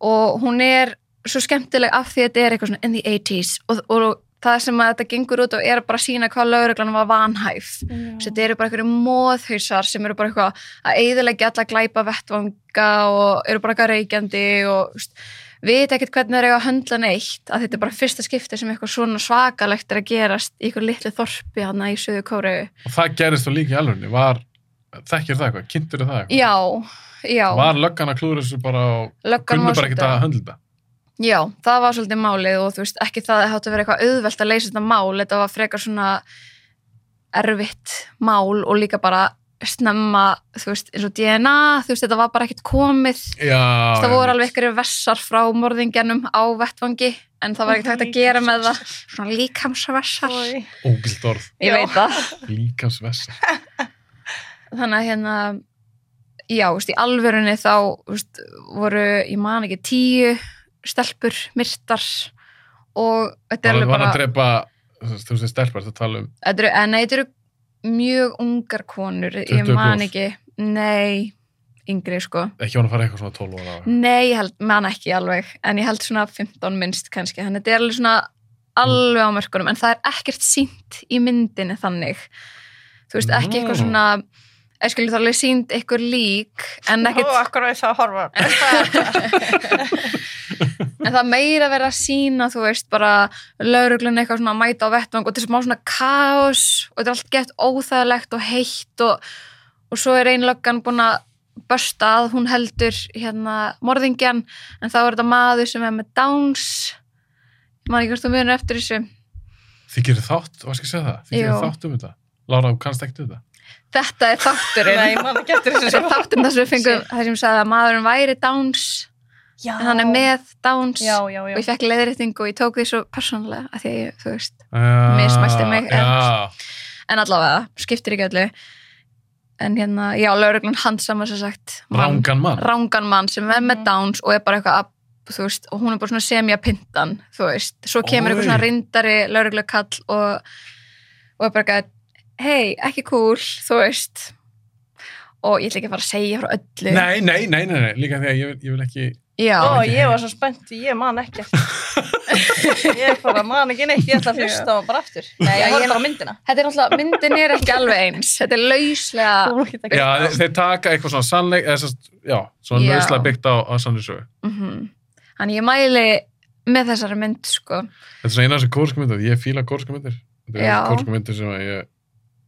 S4: og hún er svo skemmtileg af því að þetta er eitthvað svona in the 80s og, og það sem að þetta gengur út og er bara að sína hvað lögreglan var vanhæf Svo þetta eru bara einhverju móðhausar sem eru bara eitthvað að eiðilegja alla glæpa vettvanga og eru bara eitthvað reykjandi og veist, veit ekkert hvernig þeir eru að höndla neitt að þetta er bara fyrsta skipti sem eitthvað svona svakalegt er að gerast í einhverju litlu þorpi hann í söðu kóru.
S3: Og það gerist þú líka í alvörni. Var, þekkir það eitthvað? Kynntur það eitthvað?
S4: Já, já.
S3: Var löggan að klúra þessu bara og
S4: Löggan
S3: kunnu
S4: var
S3: bara ekkert
S4: svolítið-
S3: að höndla þetta?
S4: Já, það var svolítið málið og þú veist ekki það að það hátti að vera eitthvað auðvelt að leysa þetta mál, þetta var frekar svona erfitt mál og líka bara snemma, þú veist, eins og DNA, þú veist, þetta var bara ekkert komið,
S3: Já.
S4: það voru
S3: einmitt.
S4: alveg einhverju vessar frá morðingjanum á vettvangi, en það var ekkert hægt að gera með það, svona líkamsvessar,
S5: Oj.
S3: Ógild orð,
S4: ég veit það.
S3: líkansvessa.
S4: þannig að hérna já, þú veist, í alvörunni þá þú veist, voru, ég man ekki tíu stelpur, myrtar og þetta er
S3: Það
S4: alveg
S3: var
S4: bara
S3: að drepa, þú veist, þú veist, stelpar, það tala um
S4: þetta eru, en nei, þetta eru mjög ungar konur, ég
S3: 20
S4: man
S3: plús.
S4: ekki nei, yngri sko
S3: ekki hún að fara eitthvað svona 12 ára. Mm.
S4: nei, ég held, man ekki alveg en ég held svona 15 minnst kannski þannig að þetta er alveg svona alveg á mörkunum en það er ekkert sínt í myndinni þannig þú veist, ekki eitthvað
S3: Nú.
S4: svona eða skilur það er alveg sínt eitthvað lík en
S5: Ó,
S4: ekkert
S5: akkur veið það að horfa.
S4: En það meira verið að sína, þú veist, bara lauruglun eitthvað svona að mæta á vettvang og þetta er smá svona kaos og þetta er allt gett óþægilegt og heitt og, og svo er ein löggan búin að börsta að hún heldur hérna morðingjan en þá er þetta maður sem er með Downs ég man ekki hvort þú munur eftir þessu
S3: Þið gerir þátt, hvað skal ég segja það? Þið
S4: Jú.
S3: gerir þátt um þetta. Lára, þú kannst ekkert um þetta.
S4: þetta er þátturinn
S5: Nei, mann ekki eftir þessu
S4: þetta er
S5: sko.
S4: þátturinn þar sem við fengum það sem sagði að maðurinn væri Downs
S5: Já.
S4: en hann er með Downs
S5: Já, já,
S4: og
S5: já.
S4: ég fekk leiðréttingu og ég tók því svo persónulega að því að ég, þú veist
S3: Ah, Já,
S4: Mismælti mig, eh, en-
S3: Já,
S4: en allavega, skiptir ekki öllu en hérna, já, lauruglun handsama sem sagt, mann-
S3: rángan mann.
S4: rangan mann sem er með
S5: Mhm.
S4: Downs og er bara eitthvað að þú veist, og hún er bara svona semjapintan þú veist, svo kemur
S3: Oj.
S4: eitthvað svona rindari lauruglu kall og, og er bara eitthvað, hei, ekki cool þú veist og ég ætla ekki að fara að segja frá öllu
S3: Nei, nei, nei, nei, nei, líka því að ég vil, ég vil ekki,
S4: já,
S5: Ó,
S3: ekki
S5: ég var svo spennt, ég man ekki eftir. Ég bara man ekki neitt, ég ætla að hlusta á hann bara aftur. Nei,
S4: Já,
S5: ég
S4: ég-
S5: horfði bara á myndina.
S4: þetta er náttúrulega, myndin er ekki alveg eins þetta er lauslega
S5: Þú getur ekki-
S3: já, þeir, þeir taka eitthvað svona sannleik, eða sérst, já, svona
S4: Já.
S3: lauslega byggt á, á sannleysögu.
S4: mm þannig ég mæli með þessari mynd sko
S3: Þetta er svona eina af þessi kórsku myndir, ég fíla kórsku myndir. Þetta
S4: Já.
S3: er kórsku myndir sem að ég,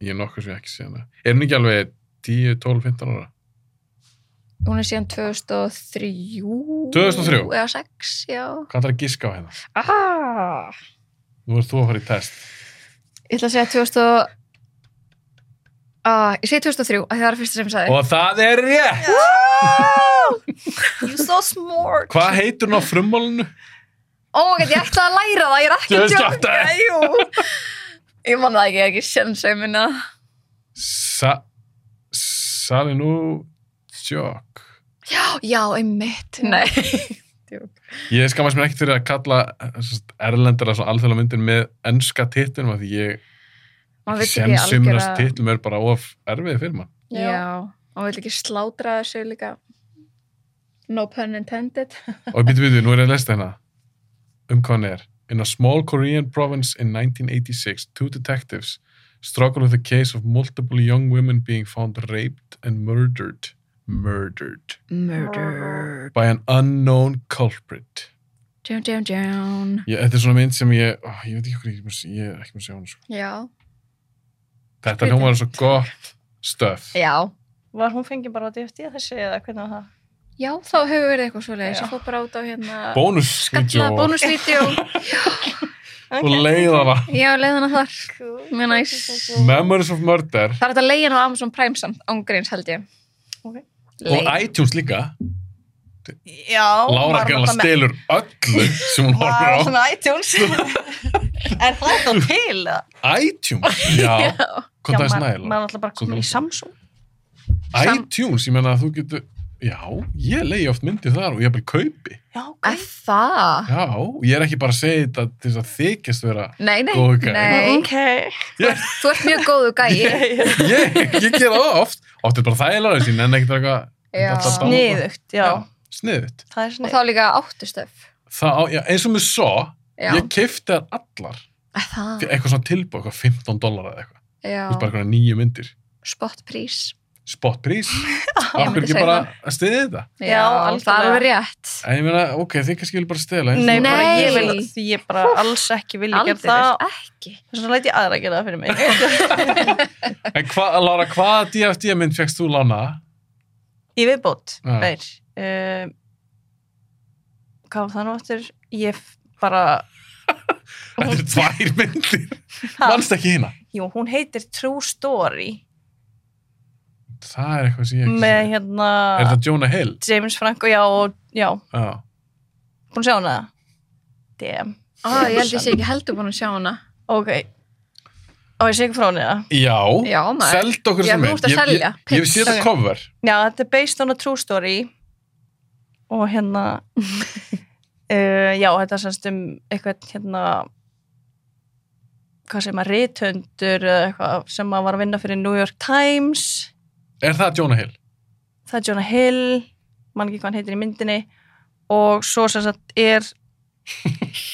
S3: ég nokkuð sem ég ekki sé hana. Er hún ekki alveg 10, 12, 15 ára?
S4: hún er síðan 2003
S3: 2003?
S4: eða 6, já
S3: Hvað þarf að giska á hérna?
S4: ah.
S3: Nú er þú að fara í test.
S4: ég ætla að segja 2000 og... ah, ég segi 2003 af því það var fyrsta sem ég sagði
S3: Og það er rétt!
S5: You so smart.
S3: Hvað heitur hún á frummálinu?
S4: ó, get ég ætla að læra það, ég er ekki
S3: Ég
S4: að
S3: veist
S4: djóka,
S3: þetta.
S4: jú ég man það ekki, ég er ekki sjans að minna
S3: Sa... Salinu... Sjokk.
S4: já, einmitt, nei Djók.
S3: Ég skammast mér ekkert fyrir að kalla eh, sem sagt, erlendara svona alþjóðlega myndir með enska titunum að því ég
S4: maður veit ekki
S3: Sensum
S4: algjör
S3: næst titlum er bara of erfið fyrir maður.
S4: já, maður veit ekki slátra þessu líka no pun intended
S3: Og býtu, býtu, nú er ég að lesta hérna. Um hvað hann er. In a small Korean province in 1986, two detectives struggle with a case of multiple young women being found raped and murdered. Murdered.
S4: murder
S3: By an unknown culprit.
S4: down down down
S3: Ég, þetta er svona mynd sem ég, ó, ég veit ekki okkur, ég, er búin að sé- ég er ekki með að sjá hann. Sko.
S4: já,
S3: Þetta hljómar er svo gott stöf.
S4: já
S5: Var hún fengið bara á DFT þessi eða hvernig var það?
S4: Já, þá hefur verið eitthvað svoleiðis.
S5: Já.
S4: Ég fór bara út á hérna...
S3: Bónusvídeó
S4: Skalla, bónusvídeó.
S3: og leiðara.
S4: Já, leiðan að þar. Mjög næs.
S3: Memories of Murder
S4: Það er þetta leiðan á Amazon Prime samt, ángreins held ég.
S5: Ok.
S3: og
S4: Leiðin.
S3: iTunes líka.
S5: Já.
S3: Lára
S5: var
S3: gæla
S5: náttúrulega með-
S3: stelur öllu sem hún
S5: Vá,
S3: horfir á.
S5: svona iTunes. er það þá til? eða?
S3: iTunes, já, hvað það er
S5: Já, maður-
S3: snæðilega.
S5: Maður er alltaf bara komin í Samsung.
S4: sam-
S3: iTunes, ég menna að þú getur, já, ég leiði oft myndir þar og ég er bara kaupi.
S5: Já, ok.
S4: Að Það?
S3: Já, ég er ekki bara að segja þetta til þess að þykjast vera.
S4: Nei, nei,
S3: Góður gæi.
S4: nei.
S5: Ok.
S4: Þú ert mjög góðu gæi.
S3: Ég, ég gera það oft, oft er bara þægilega þessi, en ekkert eitthvað.
S4: Já.
S3: alltaf bara-
S5: Sniðugt, já.
S3: Sniðut.
S5: Það er
S4: Og
S5: sniðugt.
S4: þá líka áttustöf.
S3: Það, á- já, eins og með svo,
S4: Já.
S3: ég kefti þar allar,
S4: Að Það?
S3: fyrir eitthvað svona tilbúið, eitthvað 15 dólar eða eitthvað. Þú veist bara
S4: Já.
S3: eitthvað nýju myndir.
S4: Spotprís.
S3: Spot prís, akkur
S4: myndi
S3: ekki
S4: segja
S3: bara að stiði þetta.
S4: Já,
S5: Já,
S4: það er
S5: algjörlega.
S4: alveg rétt.
S3: En ég meina, ok, þið kannski vilja bara stela. eins og-
S5: Nei, bara
S4: Nei.
S5: ég vil því ég bara alls ekki vilja gera það.
S4: Aldrei ekki.
S5: Þess vegna læt ég aðra gera það fyrir mig.
S3: En hvað, Lára, hvaða DFD mynd fegst þú lána?
S5: Í viðbót,
S3: Já.
S5: veir. Um, hvað var það nú aftur? Ég f- bara...
S3: Þetta er tvær myndir.
S5: Ha?
S3: Manst ekki hérna?
S5: Jú, hún heitir True Story
S3: Það er eitthvað sem ég ekki
S5: með
S3: sé.
S5: hérna
S3: Er það Jonah Hill?
S5: James Franco, já, og, já,
S3: Já.
S5: búin að sjá hana það? Damn,
S4: Ó, Ah, ég held ég sé ekki heldur búin að sjá hana.
S5: ok og ég sé ekki frá henni það
S3: Já,
S4: Já, maður.
S3: seld okkur
S4: Já,
S3: sem
S4: þú ert að
S3: Ég-
S4: selja.
S3: Ég, ég, ég sé þetta
S4: Ok.
S3: cover.
S5: Já, þetta er based on a true story og hérna uh, já, þetta er semst um eitthvað hérna hvað sem að rithöndur eða eitthvað sem að var að vinna fyrir New York Times
S3: Er það Jonah Hill?
S5: það er Jonah Hill mann ekki hvað hann heitir í myndinni og svo sem sagt er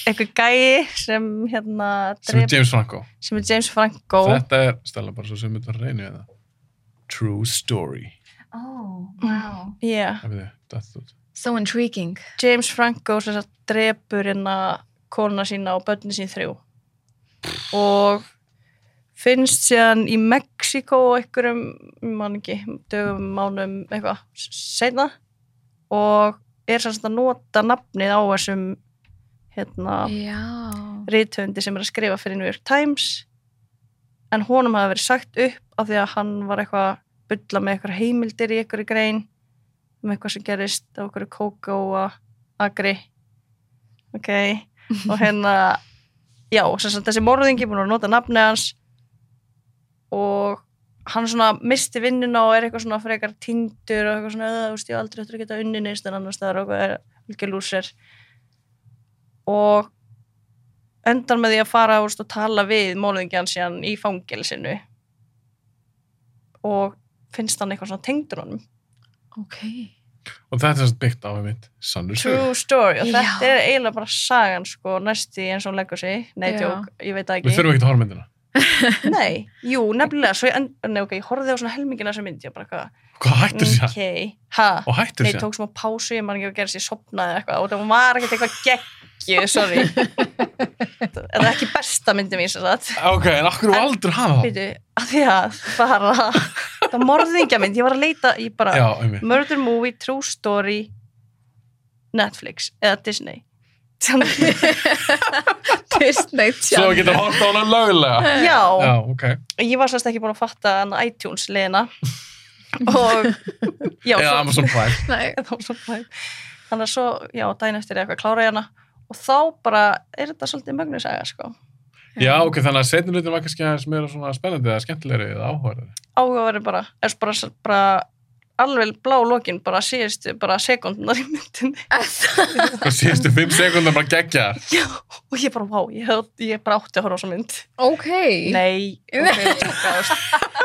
S5: eitthvað gæi sem hérna
S3: Sem er
S5: drep,
S3: James Franco.
S5: sem er James Franco
S3: Þetta er, stella bara svo sem þetta reynir við það. True Story.
S4: Oh, wow.
S5: yeah.
S3: Það við þið, death note.
S4: So intriguing.
S5: James Franco sem sagt drepur hérna konuna sína og börnin sín þrjú og finnst síðan í Mexiko einhverjum, mann ekki dögum, mánum, eitthvað seinna og er sem sagt að nota nafnið á þessum hérna
S4: Já.
S5: rithöndi sem er að skrifa fyrir New York Times en honum hafi verið sagt upp af því að hann var eitthvað að bulla með eitthvað heimildir í eitthvað grein um eitthvað sem gerist á eitthvað kóka og agri ok og hérna já, sem sagt, þessi morðingi búin að nota nafni hans og hann svona misti vinnuna og er eitthvað svona frekar tindur og eitthvað svona, "Eða, þú veist, ég á aldrei eftir að geta unni neist en annars staðar og eitthvað er ekki lúsir og endar með því að fara úst, og tala við mólingjan síðan í fangilsinu og finnst hann eitthvað svona tengdur honum
S4: Ok.
S3: Og þetta er þess að byggt á einmitt sannur sögur.
S5: true story og
S4: Já.
S5: þetta er eiginlega bara sagan sko næsti eins og hún leggur sig nei,
S4: Já.
S5: tjók, ég veit það
S3: Við
S5: ekki
S3: þurfum ekki að horfa á myndina.
S5: nei, jú, nefnilega, svo ég, en, nei, ok, ég horfði á svona helmingina sem myndi ég bara hvað
S3: Hvað hættur sér?
S5: ok, ha,
S3: Og hættur
S5: nei,
S3: sér?
S5: tók smá pásu ég man ekki að gera sér sopnaði eitthvað og það var ekkert eitthvað geggju, sorry það er ekki besta myndi mín sem sagt
S3: Ok, en akkur og
S5: En-
S3: aldur hafa það?
S5: Býtu, að því að bara það var morðingjamind, ég var að leita ég bara,
S3: Já, einmitt.
S5: Murder Movie, True Story Netflix eða Disney Þannig-
S4: Disney
S3: Svo
S4: Channel.
S3: getur horta á hana lögulega.
S5: Já,
S3: Já, ok.
S5: ég var sérst ekki búin að fatta hann iTunes liðina og já,
S3: Eða
S5: svo,
S3: Amazon Prime.
S4: Nei.
S5: eða Amazon Prime. þannig að svo, já, daginn eftir er eitthvað klára ég hana og þá bara er þetta svolítið mögnu saga, sko
S3: Já, ok, þannig að setjum hlutin var kannski aðeins meira svona spennandi eða skemmtilegri eða áhugaverðari.
S5: áhugaverði bara, er bara, bara alveg blá lokin bara síðustu bara sekundnar í myndinni
S3: og síðustu fimm sekundar bara geggja
S5: Já, og ég bara, vá, ég, hef, ég bara átti að horfa á þessa mynd
S4: ok
S5: Nei, ok, tjókaðast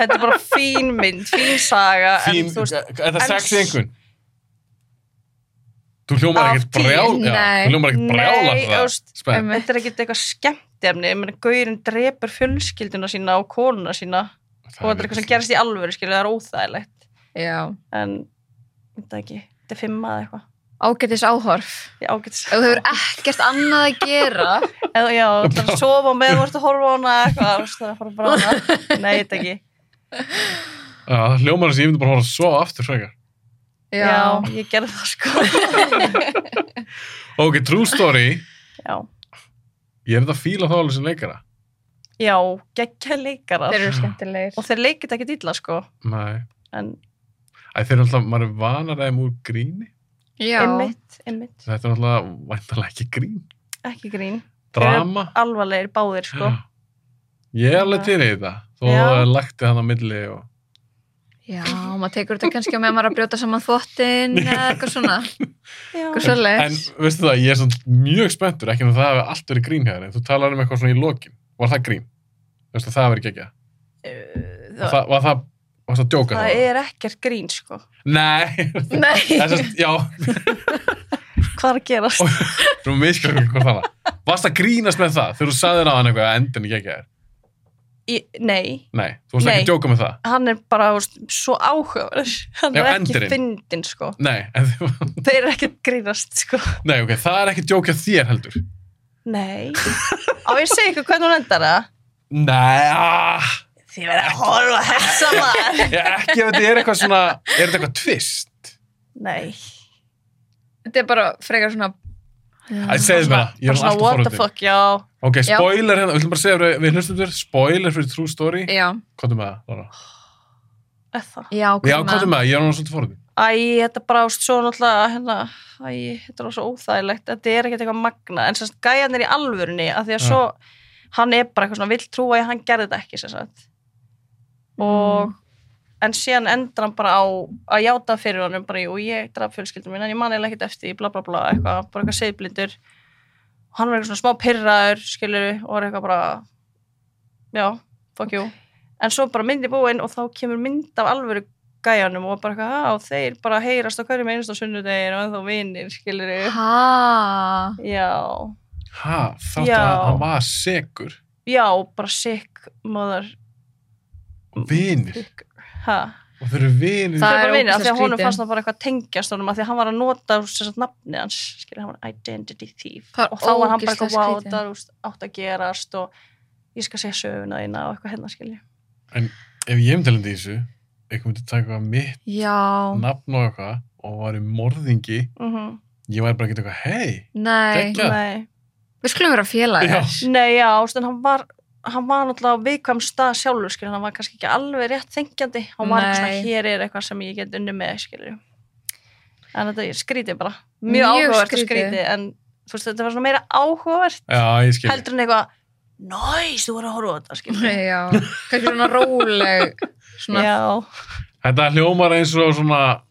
S5: Þetta er bara fín mynd, fín saga
S3: Fím,
S5: en þú veist,
S3: er það
S5: en-
S3: sex í einhvern? Þú hljómar
S4: Af
S3: ekkert
S4: tíu,
S3: brjál já,
S4: nei.
S3: Þú hljómar ekkert
S5: Nei, um,
S3: brjál af það
S5: ást,
S3: Spennt.
S4: Einmitt.
S5: Þetta er ekkert eitthvað skemmtefni, menn gaurin drepur fjölskylduna sína og konuna sína og
S3: Það
S5: þetta er eitthvað sem gerist í alvöru, skilur það er óþægilegt
S4: já
S5: en, veit það ekki, þetta er fimm að eitthvað
S4: ágætis áhorf
S5: ég ágætis
S4: ef þú hefur ekkert annað að gera
S5: eða já, þú ætlar að sofa með þú ert að horfa á hana eitthvað, þú veist það er að fara bara á hana nei, þetta ekki,
S3: Já, það hljómar þess að ég myndi bara horfa svo aftur frekar
S5: já,
S4: já,
S5: ég gerði það sko
S3: Ok, True Story
S5: já,
S3: Ég er þetta að fíla þá alveg sem leikara
S5: já, geggja leikarar
S4: þeir eru skemmtilegir
S5: og þeir leikir þetta ekki dýla sko
S3: Nei,
S5: en
S3: Æ, þeir eru alltaf, maður er vanar aðeim úr gríni
S4: já,
S5: einmitt, einmitt,
S3: Þetta er alltaf, væntalega ekki grín
S5: ekki grín
S3: Drama
S5: alvarlegir báðir sko
S3: Ég er alveg til í þetta Þó
S5: Já.
S3: það er lagt hann á milli og...
S4: já, maður tekur þetta kannski á með maður að brjóta saman þvottin eða eitthvað svona
S5: já,
S4: Hvers-
S3: en,
S4: Svoleiðis.
S3: en veistu það, ég er svona mjög spenntur ekki en það hefur allt verið grín hér en þú talar um eitthvað svona í lokin, var það grín? Veistu, það hefur verið gegja
S5: Uh,
S3: var það, var það, var það að djóka
S5: það
S3: það?
S5: er ekkert grín sko
S3: Nei,
S4: nei,
S3: þessast, já
S5: hvað er að gerast
S3: þú miskjörður hvað það var Varst að grínast með það þegar þú sagði ráðan eitthvað að endinu gegja þér?
S5: Í- nei,
S3: Nei, þú varst ekki
S5: Nei.
S3: að djóka með það
S5: hann er bara þú veist, svo áhugaverð hann
S3: Já,
S5: er ekki
S3: endirinn.
S5: fyndin sko
S3: Nei, en, þið-
S5: þeir eru ekki grínast sko
S3: nei ok, það er ekki að djóka þér heldur
S5: nei, á ég að segja ykkur hvernig hún endar það
S3: Nei, aah,
S5: þið verða að horfa þessa maður
S3: ég ekki ef þetta er eitthvað svona er þetta eitthvað tvist?
S5: nei,
S4: þetta er bara frekar svona
S3: Æ, segðu mér það, ég
S5: bara
S3: er
S5: svona
S3: alltaf
S5: what the
S3: forutið
S5: fuck, já
S3: Ok,
S4: Já.
S3: spoiler hérna, við viljum bara segja fyrir- við hlustundur, spoiler fyrir True Story
S4: já,
S3: Hvað er með það, Lára?
S5: er það
S4: já,
S3: Já, hvað er með það, ég er nú svolítið forðið
S5: Æ, þetta brást svo náttúrulega hérna, æ, þetta er svo óþægilegt þetta er ekkert eitthvað magna, en sérst gæjan er í alvörunni af því að
S3: Já.
S5: svo, hann er bara eitthvað svona vill trúa að hann gerði þetta ekki sérst og en síðan endur hann bara á að játa fyrir honum bara, jú, ég draf fjölskyldum minn en ég man eða ekkert eftir, því, bla bla bla eitthvað, bara eitthvað seðblindur og hann var eitthvað svona smá pyrraður, skilur og var eitthvað bara já, fuck you, en svo bara myndi búinn og þá kemur mynd af alvöru gæjanum og bara eitthvað, á þeir bara heyrast á hverjum einust á sunnudegin og ennþá vinir, skilur
S4: ha,
S5: já,
S3: Ha, þáttu
S5: Já.
S3: að hann var segur
S5: já, bara sick mother,
S3: og vinir
S5: ha
S3: og þeir eru
S4: Það
S3: vinir
S5: það er
S4: er
S5: bara vinir, af því
S4: ógeðslega
S5: að honum
S4: skrítið.
S5: fannst það bara eitthvað tengjast honum, af því að hann var að nota sem sagt, nafni hans, skilja, hann var identity thief
S4: Það er
S5: og þá var hann bara
S4: ógeðslega
S5: eitthvað wow,
S4: skrítið.
S5: það er, þú veist, átt að gerast og ég skal segja söguna þína og eitthvað hérna, skilja
S3: Ef ég umtalandi í þessu, eitthvað myndi taka mitt
S4: já,
S3: nafn og eitthvað og væri morðingi,
S5: mm
S4: Mhm.
S3: ég væri bara að geta eitthvað hei,
S4: nei
S3: Geggjað. Já.
S5: nei,
S4: við skulum vera
S3: Já.
S4: félagar
S5: nei, já, þú veist, en hann var hann var náttúrulega á viðkvæm stað sjálfur skilja, hann var kannski ekki alveg rétt þengjandi hann var eitthvað
S4: Nei.
S5: svona, hér er eitthvað sem ég get unni með, skilja en þetta er skrítið bara,
S4: Mjög
S5: mjög, áhugavert og
S4: skrítið.
S5: skrítið en þú veist, þetta var svona meira áhugavert
S3: já, ég skil
S5: heldur en eitthvað næs, þú voru að horfa á þetta skilur við.
S4: já, kannski svona róleg svona,
S5: já,
S3: Þetta hljómar eins og svona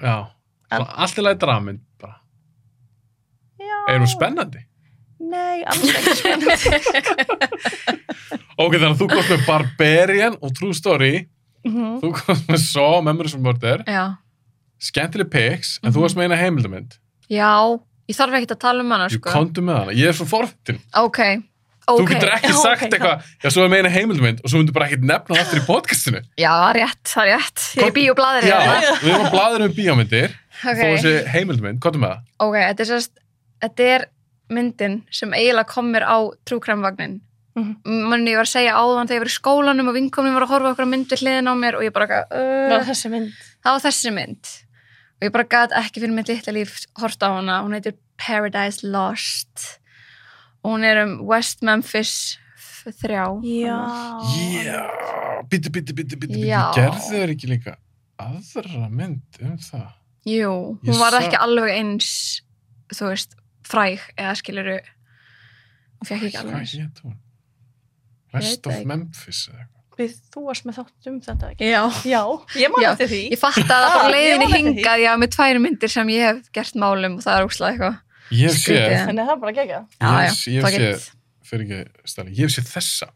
S3: já,
S5: En-
S3: svona allt í lagi dramin bara,
S5: já
S3: erum spennandi
S5: nei, alls ekki spennandi
S3: Ok, þannig að þú komst með Barbarian og True Story
S5: Mhm.
S3: þú komst með Saw, Memories of Murder
S4: já,
S3: skemmtileg pics,
S4: Mhm.
S3: en þú varst með eina heimildamind
S4: já ég þarf ekki að tala um hana
S3: ég
S4: sko.
S3: kontu með hana, ég er svo forfittin
S4: ok,
S3: þú
S4: ok
S3: getur ekki
S5: Já,
S3: sagt
S5: ok, já.
S3: eitthvað, já svo er með eina heimildamind og svo myndir bara ekkert nefna það aftur í podcastinu
S4: já, það er rétt, það er rétt ég er í bíóblaðir
S3: já,
S4: hérna.
S3: við erum að blaður um bíómyndir þó
S4: ok,
S3: þessi heimildamind, kontu með það
S4: ok, þetta er sérst þetta er myndin sem eiginlega komir á trúkramvagnin
S5: Mhm.
S4: mann ég var að segja áðan þegar ég var í skólanum og vinkominn var að horfa okkur myndir hliðin á mér og ég bara
S5: það
S4: eitthvað,
S5: var
S4: uh,
S5: þessi mynd
S4: það var þessi mynd og ég bara gat ekki fyrir mitt litla líf horta á hana, hún heitir Paradise Lost og hún er um West Memphis f- þrjá
S3: já, bíti, bíti, bíti, bíti, bíti
S4: Já.
S3: gerðu þeir ekki líka aðra mynd um það
S4: Jú,
S3: Ég
S4: hún var
S3: sa-
S4: ekki alveg eins þú veist, fræg eða skiluru hún fekk ekki alveg
S3: hvað
S4: eins
S3: hétt hún West
S4: Ég veit
S3: of
S4: ekki.
S3: Memphis eða eitthvað
S5: við þú varst með þátt um þetta ekki?
S4: Já.
S5: Já, ég man
S4: Já,
S5: eftir því.
S4: Ég fatt að
S5: Ah,
S4: það á
S5: ég
S4: leiðinni
S5: man eftir því.
S4: hingað, já, með tvær myndir sem ég hef gert málum og það er óslega eitthvað.
S3: Ég hef
S4: Skrítið,
S3: séð,
S4: en-
S5: Þannig að það er bara gegja.
S4: Já,
S3: Yes,
S4: já,
S3: ég
S4: það
S3: sé-
S4: get.
S3: fyrir ekki stæli, ég hef séð þessa.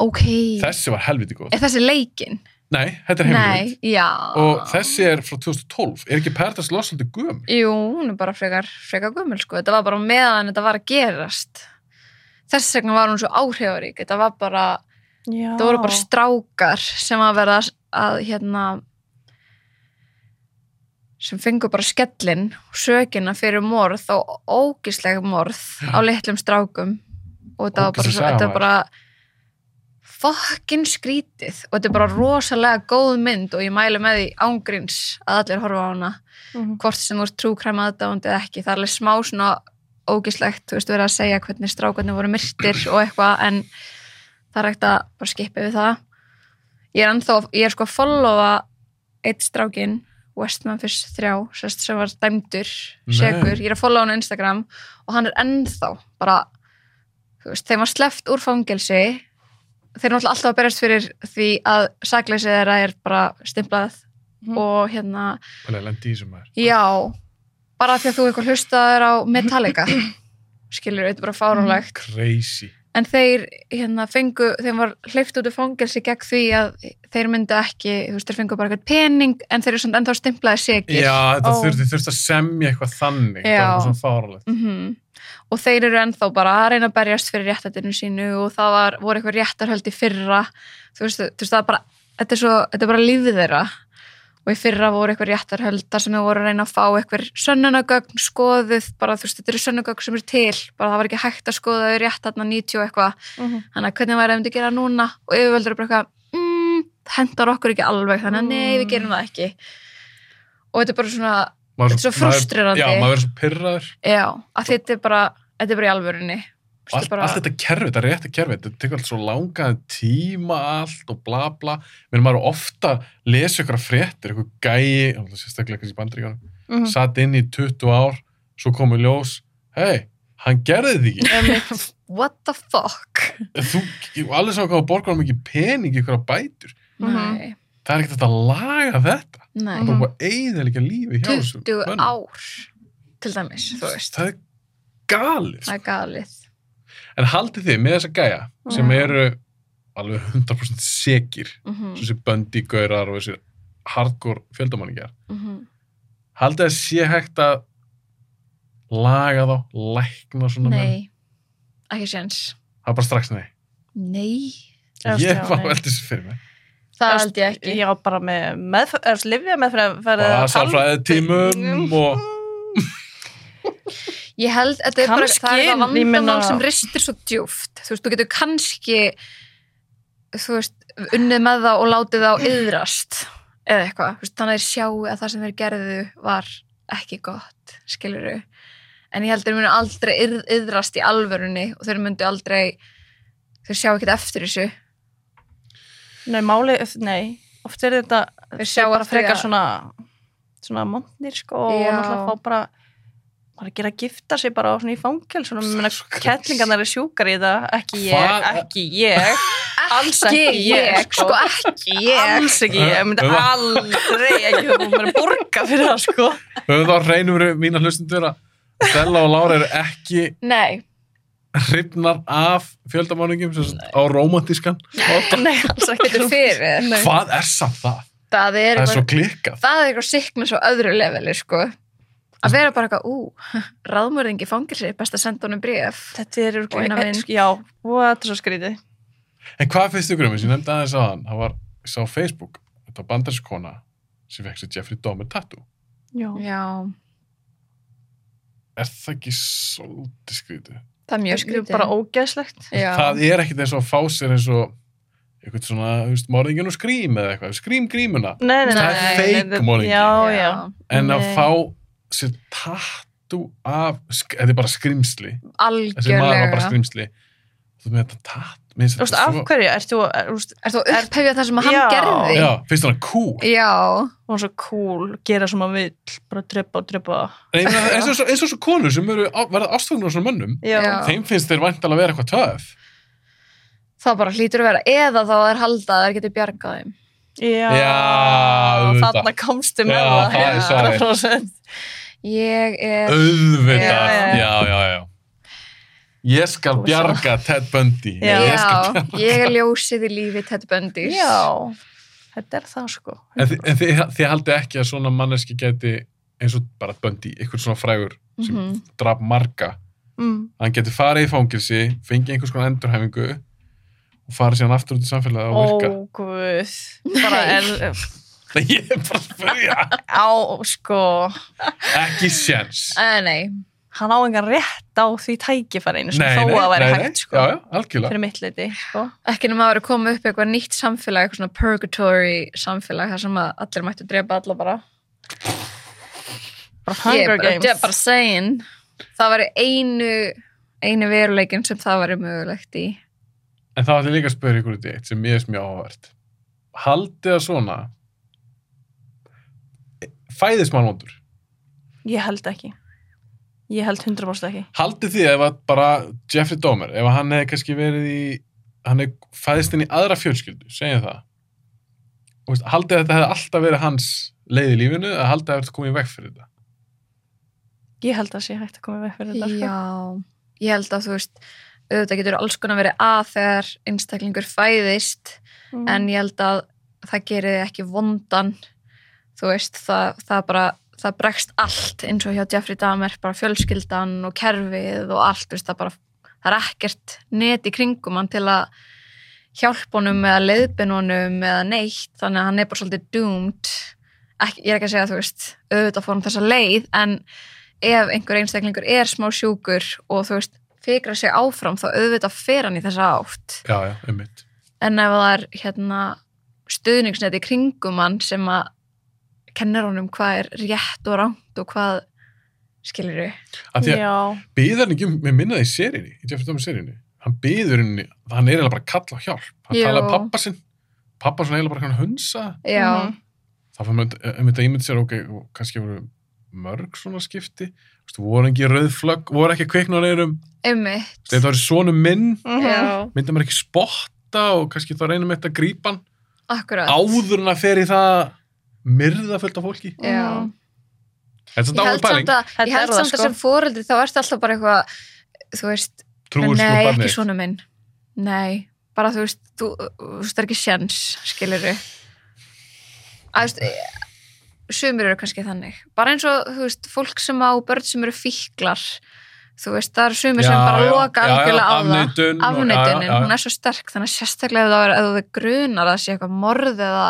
S4: Ok.
S3: Þessi var helviti góð.
S4: Er þessi leikin?
S3: Nei, þetta er heimilið.
S4: Nei, já.
S3: Og þessi er frá 2012. Er ekki Paradise Lost svolítið göm?
S4: Jú, hún er bara frekar, frekar gummul, sko. Þetta var bara á meðan þetta var að gerast. Þess vegna var hún svo áhrifarík. Þetta var bara,
S5: Já.
S4: þetta voru bara strákar sem að verða að, hérna, sem fengu bara skellin og sökina fyrir morð og ógisleg morð á litlum strákum. Og þetta var bara,
S3: Ógeðsleg
S4: svo,
S3: saga,
S4: þetta var
S3: maður.
S4: bara fokkin skrítið og þetta er bara rosalega góð mynd og ég mælu með því ángríns að allir horfa á hana
S5: Mhm.
S4: hvort sem voru trúkræm aðdánd eða ekki, það er alveg smá svona ógislegt, þú veist, verið að segja hvernig strákarnir voru myrtir og eitthvað en það er ekkert að bara skipa við það ég er ennþá, ég er sko að followa eitt strákin Westmanfish 3, sérst sem var dæmdur
S3: Nei.
S4: segur, ég er að followa hann á Instagram og hann er ennþá bara, þú veist, þeim var sleppt úr fangelsi þeir eru náttúrulega alltaf að berjast fyrir því að sakleysið þeirra er bara stimplað
S5: Mhm.
S4: og hérna
S3: Pælega, lendi í þessum maður.
S4: Já, bara af því að þú eitthvað hlustaður á Metallica skilur, þetta er bara fáránlegt
S3: Crazy.
S4: en þeir hérna fengu, þeim var hleyft út af fangelsi gegn því að þeir myndu ekki, þú veist, þeir fengu bara eitthvað pening en þeir eru samt ennþá stimplaði segir
S3: Já, þetta
S5: Ó.
S3: þurfti, þurfti að semja eitthvað þannig.
S4: Já. Mm.
S3: Já. Það var svona fáralegt.
S4: Mm-hmm. og þeir eru ennþá bara að reyna að berjast fyrir réttættinu sínu og það var, voru eitthvað réttarhöld í fyrra þú veist, þú veist það er bara þetta er, svo, þetta er bara lífið þeirra og í fyrra voru eitthvað réttarhöld þar sem þau voru að reyna að fá eitthvað sönnunagögn skoðuð, bara þú veist, þetta eru sönnunagögn sem eru til, bara það var ekki hægt að skoða þau rétt þarna 90 og eitthvað
S5: Mhm.
S4: þannig að hvernig væri að myndi gera núna og yfirvöldur er bara eitthvað mm, það hendar okkur ekki alveg, þannig að nei, við gerum það ekki og þetta er bara svona
S3: Maður
S4: Þetta er svo frustrerandi.
S3: Maður, Mm. já, maður er svo pyrraður.
S4: já, að þetta er bara þetta er bara í alvörunni Þú veist,
S3: Allt,
S4: bara-
S3: allt þetta kerfi, þetta rétta kerfi, þetta tekur allt svo langan tíma allt og bla bla. Mér maður er ofta að lesa ykkur fréttir, ykkur gæi, náttúrulega sérstaklega kannski í bandaríkjónum,
S4: Mm.
S5: Mhm.
S3: satt inn í 20 ár, svo komu ljós, hei, hann gerði því ekki.
S5: Einmitt.
S4: what the fuck
S3: Þú, allir sá hvað borgar hann mikið pening í ykkur bætur.
S5: Mhm.
S4: nei,
S3: Það er ekkert hægt að laga þetta.
S4: nei.
S3: Það er bara eiginlega lífi hjá þessum
S4: 20
S3: mönnum.
S4: Mhm. ár til dæmis, þú veist
S3: Það er galið.
S4: það er galið
S3: En haldið þið með þessa gæja sem
S5: Mhm.
S3: eru alveg 100% sekir
S4: Mhm,
S3: svo þessi böndígaurar og þessi hardcore fjöldamanningjar
S4: mhm.
S3: haldið að sé hægt að laga þá, lækna svona menn?
S4: nei, ekki séns
S3: það er bara strax nei
S4: nei,
S5: Efst,
S3: ég
S5: já,
S3: var
S5: nei.
S3: vel þessi fyrir mig
S4: það
S5: Efst,
S4: held ég ekki
S5: Já, bara með meðferð, er slifja meðferð
S3: og það sálfræði
S5: Mm.
S3: tímum og
S4: ég held, þetta er bara
S5: Kannski,
S4: það er það
S5: ég meina-
S4: vandamál sem ristir svo djúft þú veist, þú getur kannski þú veist, unnið með það og látið það á yðrast eða eitthvað, þú veist, þannig að þeir sjáu að það sem þeir gerðu var ekki gott skilur þau en ég held þeir munu aldrei yð- yðrast í alvörunni og þeir myndu aldrei þeir sjá ekkert eftir þessu
S5: Nei, máli, nei, oft er þetta
S4: Þeir sjá
S5: bara
S4: eftir
S5: frekar
S4: að-
S5: svona svona montnir sko og
S4: Já.
S5: náttúrulega fá bara bara að gera að gifta sig bara á svona í fangel svona,
S3: Það er
S5: menna,
S3: svo crazy.
S5: kettlingarnar er sjúkar í það ekki ég,
S3: Hvað?
S5: ekki ég alls ekki ég,
S4: sko, ekki ég
S5: alls ekki ég, ég myndi
S3: Höfum-
S5: aldrei ekki þú mér borga fyrir það sko
S3: höfum þá reynum við mína hlustundur að Stella og Lára eru ekki
S4: nei,
S3: hrifnar af fjöldamanningum sem sagt, á romantískan
S5: nei, alls ekki
S4: getur fyrir þér.
S3: hvað er samt það?
S4: það er
S3: Það er
S4: eitthvað
S3: svo klikkað
S4: það er eitthvað sickness á öðru leveli sko. að vera bara eitthvað ú, ráðmörðingi fangir sér best að senda honum bréf
S5: þetta er
S4: Vina
S5: örugglega-
S4: mín.
S5: já, og þetta er svo skrítið
S3: En hvað finnst ykkur um þessu? Ég nefndi aðeins á hann. Það var, ég sá á Facebook, þetta var bandarskona sem fekk sér Jeffrey Dahmer tattoo.
S5: já,
S4: já,
S3: Er það ekki svolítið skrítið?
S4: það er mjög
S5: þetta er
S4: skrítið
S5: bara ógeðslegt
S4: já,
S3: Það er ekkit eins og að fá sér eins og eitthvað svona, þú veist, morðingin og skrím eða eitthvað, skrím grímuna.
S5: nei, nei, nei,
S4: Það er
S5: nei,
S3: fake
S5: nei, þetta-
S3: morðingi.
S5: já, já,
S3: En að
S5: Nei.
S3: fá sér tattoo af, sk- þetta er bara skrýmsli. Þessi maður var bara
S4: algjörlega
S3: skrýmsli. Þú með þetta tatt, minnst
S5: Þú veist, af hverju ert þú, er, þú veist,
S4: er þú upphefja það sem hann
S5: Já.
S4: gerði
S3: Já, finnst hann cool.
S4: já,
S5: hún er svo cool, gera sem maður vill, bara drepa og drepa.
S3: En ég meina, Eins og, eins og svo konur sem eru, á- verða ástofnir á svona mönnum,
S5: Já,
S4: Já.
S3: þeim finnst þeir væntalega að vera eitthvað töf.
S4: það bara hlýtur að vera eða þá er halda að þær getur bjargað þeim
S5: Já,
S3: Já, auðvitað.
S5: þarna komstu með
S3: Já,
S5: það.
S3: það er svarið.
S5: 100%.
S4: ég er
S3: auðvitað,
S5: Já,
S3: já, já, já. Ég skal bjarga Ted Bundy.
S5: Já.
S3: Ég skal-
S4: já, ég er ljósið í lífi Ted Bundy
S5: Já, þetta er það sko.
S3: En, þi, en þið, þið haldið ekki að svona manneski geti eins og bara Bundy, einhvern svona frægur sem
S4: Mhm.
S3: draf marga.
S5: Mm.
S3: Hann geti farið í fangilsi, fengið einhvers konar endurhæfingu og farið síðan aftur út í samfélagið og
S5: Ó,
S3: virka.
S5: guð. Bara er,
S3: Það ég er bara að spyrja.
S5: á, sko,
S3: Ekki séns.
S4: Eh, nei,
S5: hann á engan rétt á því tækifæri einu sem
S3: Nei,
S5: þó
S3: nei, nei,
S5: að vera
S3: nei.
S5: hægt, sko.
S3: Já, já, algjörlega.
S5: Fyrir mitt liti, sko.
S4: ekki nema að vera að koma upp eitthvað nýtt samfélag, eitthvað svona purgatory samfélag, þar sem að allir mættu drepa alla bara
S5: Bara
S4: Ég
S5: Hunger
S4: er bara,
S5: Games.
S4: ég er bara saying það var einu einu veruleikin sem það var mögulegt í
S3: En þá ætlum ég líka að spyrja ykkur út í eitt sem ég er smjá áhvert. Haldið að svona fæðist maður vondur?
S5: Ég held ekki. Ég held 100% ekki.
S3: Haldið því ef að bara Jeffrey Dahmer, ef hann hefði kannski verið í hann hefði fæðist inn í aðra fjölskyldu, segjum það og veist, haldið að þetta hefði alltaf verið hans leið í lífinu eða haldið að þetta komið í veg fyrir þetta
S5: Ég held að sé hægt að koma með fyrir þetta, sko.
S4: já, ég held að þú veist auðvitað getur alls konar verið að þegar einstaklingur fæðist
S5: Mm.
S4: en ég held að það gerir þig ekki vondan þú veist, það, það bara það bregst allt eins og hjá Jeffrey Dahmer bara fjölskyldan og kerfið og allt, þú veist, það bara það er ekkert net í kringum hann til að hjálpa honum eða leiðbin honum eða neitt, þannig að hann er bara svolítið doomed ekki, ég er ekki að segja, þú veist auðvitað fór hann þessa leið, en ef einhver einstaklingur er smá sjúkur og þú veist, fikra sig áfram þá auðvitað fer hann í þessa átt
S3: Já, já, um mitt
S4: en ef það er hérna stuðningsneti kringum hann sem að kennir honum hvað er rétt og rangt og hvað skilur við
S3: að Því að
S5: Já,
S3: býður hann ekki um, mér minnaði í serinni, í Jeffrey Dahmer serinni hann býður henni, hann er eiginlega bara að kalla á hjálp hann
S4: Jú.
S3: talaði pappa sinn pappa svona eiginlega bara hann hunsa
S4: já,
S5: Mhm.
S3: þá fyrir maður um þetta ímynd sér ok, og kannski voru mörg svona skipti Þú veist, voru ekki rauðflögg, voru ekki kveiknulegurum
S4: einmitt
S3: þetta var svona minn
S5: Mhm. Mm-hmm.
S4: já,
S3: myndi maður ekki spotta og kannski þá reynum eitt að grípa hann
S4: akkurat
S3: áður en að fer í það myrða fullt af fólki
S4: já.
S5: Mhm.
S4: ég
S3: þetta er
S4: held
S3: dáið
S4: samt
S3: pæling,
S4: að,
S5: Þetta
S4: ég
S5: er
S4: held
S5: það,
S4: samt að
S5: sko.
S4: sem fóreldri þá ertu alltaf bara eitthvað þú veist,
S3: trúur sko
S4: nei,
S3: barnið
S4: ekki svona minn nei, bara þú veist þú, þú veist, það er ekki sjens, skilur við að þú veist sumir eru kannski þannig bara eins og, þú veist, fólk sem á börn sem eru fíklar þú veist, það eru sumir sem
S3: Já,
S4: bara
S3: já,
S4: loka
S3: já, já,
S4: algjörlega á það
S3: afneitun og- já,
S4: afneitunin,
S3: já, já.
S4: hún er svo sterk þannig að sérstaklega ef það er, ef það grunar að það sé eitthvað morð eða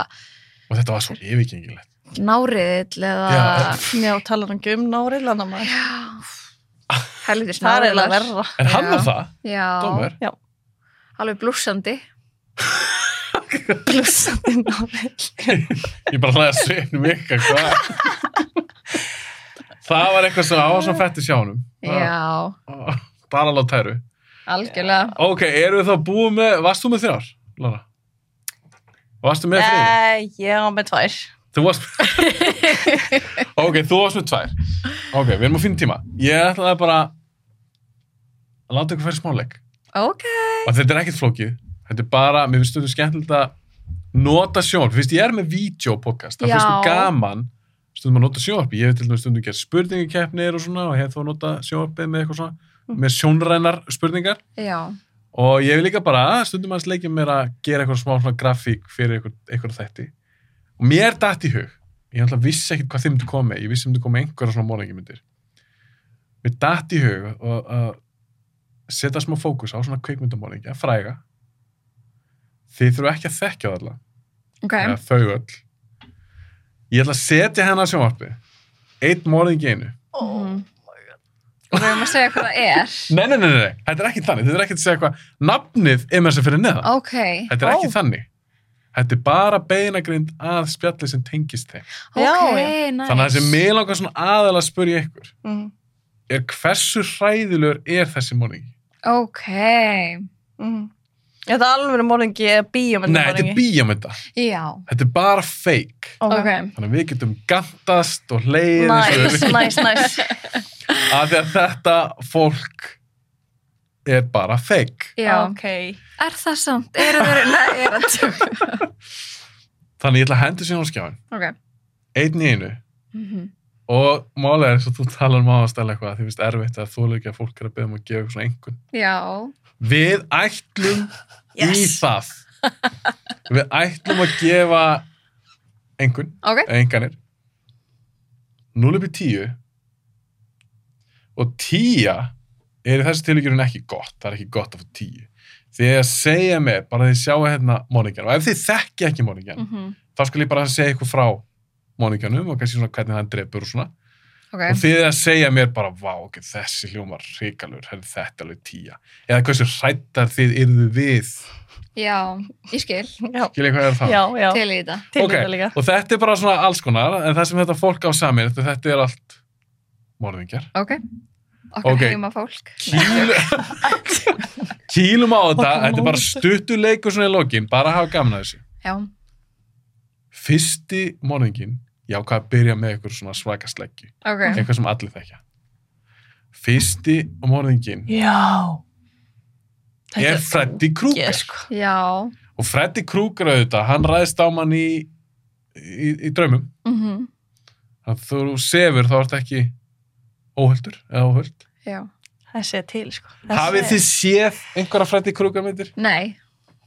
S3: og þetta var svo yfirgengilegt
S4: náriðill eða
S3: Já.
S5: já talar hann um nárið, landa maður.
S4: helvitis
S5: Það er eiginlega
S4: náriðlar.
S5: verra.
S3: en hann
S4: Já.
S3: var það,
S4: já,
S3: Dómer
S5: Já.
S4: alveg blúsandi
S5: Blúsandi nárið.
S3: ég bara hlæði að sveinu mig hvað það var eitthvað sem ávar sem fætti sjánum
S4: já,
S3: bara alveg tæru
S4: algjörlega
S3: ok, erum við þá búið með, varst þú með þrjár, Lara? varstu með þrjár?
S5: Eh, Já, með tvær.
S3: Þú varst Ok, þú varst með tvær Ok, við erum á fínu tíma Ég ætlaði bara að láta ykkur færi smáleik
S4: ok,
S3: og þetta er ekkert flókið Þetta er bara, mér finnst þetta skemmtilegt að nota sjónvarp, fyrst ég er með videopodcast, það
S4: Já.
S3: finnst þú gaman stundum að nota sjónvarp, ég hef til dæmis stundum gert spurningakeppnir og svona og hef þá nota sjónvarpið með eitthvað svona með sjónrænar spurningar
S4: já
S3: og ég vil líka bara stundum aðeins leikja mér að gera eitthvað smá svona grafík fyrir eitthvað, eitthvað þætti og mér datt í hug ég ætla að vissi ekkert hvað þeim myndi koma með, ég vissi að myndi koma með einhverja svona morðingmyndir mér datt í hug og að setja smá fókus á svona kveikmyndamorðingja fræga þið þurfa ekki að þekkja það alla
S4: ok,
S3: eða þau öll ég ætla að setja hérna hennar sjónvarpi eitt morðingi í einu
S4: Mhm.
S5: Mm-hmm.
S4: og við erum að segja hvað það er
S3: nei, nei, nei, nei, nei, þetta er ekki þannig þetta er ekki að segja hvað, nafnið er með þess að fyrir neðan
S4: ok,
S3: Þetta er ekki
S5: Ó.
S3: þannig. Þetta er bara beinagrind að spjalli sem tengist þeim.
S4: ok,
S5: Já,
S4: næs
S3: Þannig að það sem mig langar svona aðalega að spyrja ykkur
S5: Mhm.
S3: er hversu hræðilegur er þessi morðingi?
S4: ok,
S5: Mhm. Þetta er alveg morðingi eða bíómyndamorðingi.
S3: Nei, þetta er bíómynda.
S4: já
S3: Þetta er bara fake.
S4: ok,
S3: Þannig að við getum gantast og leiðið
S5: Næs, næs, næs.
S3: af því að þetta fólk er bara fake.
S4: Já,
S5: ok
S4: er það samt? Er það, nei, er það tjók?
S3: Þannig ég ætla að henda sér á skjáin.
S4: Ok.
S3: Einn í einu.
S4: Mm
S3: Og málega er eins og þú talar um ástæðlega eitthvað, því finnst erfitt að þú ekki að fólk er að beða um að gefa eitthvað svona einhvern.
S4: Já,
S3: Við ætlum í
S5: yes.
S3: það. Við ætlum að gefa einhvern,
S4: ok.
S3: einhvernir, 0 upp í 10 og 10 er í þessu tilvíkjurinn ekki gott, það er ekki gott að fá 10. Þið er að segja mér, bara þið sjáu hérna Mónikan og ef þið þekki ekki Mónikan,
S4: Mm -hmm.
S3: þá skal ég bara segja eitthvað frá Mónikanum og kannski svona hvernig hann drepur og svona.
S4: Ok,
S3: og þið er að segja mér bara vá, ok, þessi hljómar hrikalur herri, þetta er alveg tíja eða hversu hrættar þið yrðu við
S4: já, ég skil
S5: já,
S3: skilja hvað er það
S5: já, já.
S4: til í þetta.
S5: til
S3: Ah. Ok,
S5: þetta líka
S3: og þetta er bara svona alls konar en það sem þetta fólk á samin þetta er allt morðingjar
S4: Ok, okkar
S3: Ok.
S4: heima fólk.
S3: Kýlu... kýlum á þetta
S5: Okkar
S3: þetta er bara
S5: mót.
S3: stuttu leikur svona í lokin bara að hafa gaman að þessu
S4: Já,
S3: fyrsti morðingin ég ákvað að byrja með eitthvað svona svaka sleggju
S4: ok,
S3: eitthvað sem allir þekja fyrsti morðingin
S5: já Þetta
S3: er Freddy Krueger
S5: Yes, sko.
S4: já,
S3: Og Freddy Krueger auðvitað, hann ræðist á mann í, í, í draumum.
S4: mhm,
S3: Þannig að þú sefur þá ertu ekki óhöldur eða óhöld.
S4: já.
S5: það sé til sko. Það
S3: Hafið
S5: sé-
S3: þið séð einhverja Freddy Krueger myndir?
S4: Nei,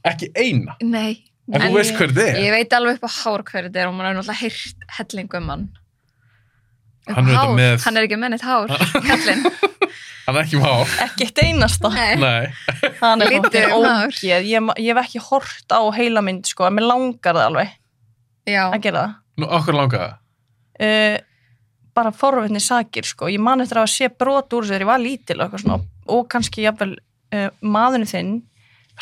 S3: Ekki eina.
S4: nei.
S3: En þú
S5: Nei.
S3: veist hver þið
S4: Ég
S3: er.
S4: veit alveg upp á hár hverju þetta er og maður er náttúrulega heyrt helling um hann. Upp á
S3: Hann er auðvitað
S4: hár.
S3: með-
S4: Hann er ekki með neitt hár, hellin.
S3: Hann er ekki má.
S5: ekki eitt einasta
S4: Nei,
S3: Nei.
S5: hann er
S4: Lítið
S5: hóttir
S4: maður.
S5: ógeð ég, ma- ég hef ekki hort á heila mynd sko, en mér langar það alveg
S4: já,
S5: að gera það
S3: Nú, okkur langaði það.
S5: uh, bara forvitni sakir sko. ég man eftir að hafa sé brot úr þessu þegar ég var lítil og, eitthvað svona, og kannski jafnvel uh, maðurinn þinn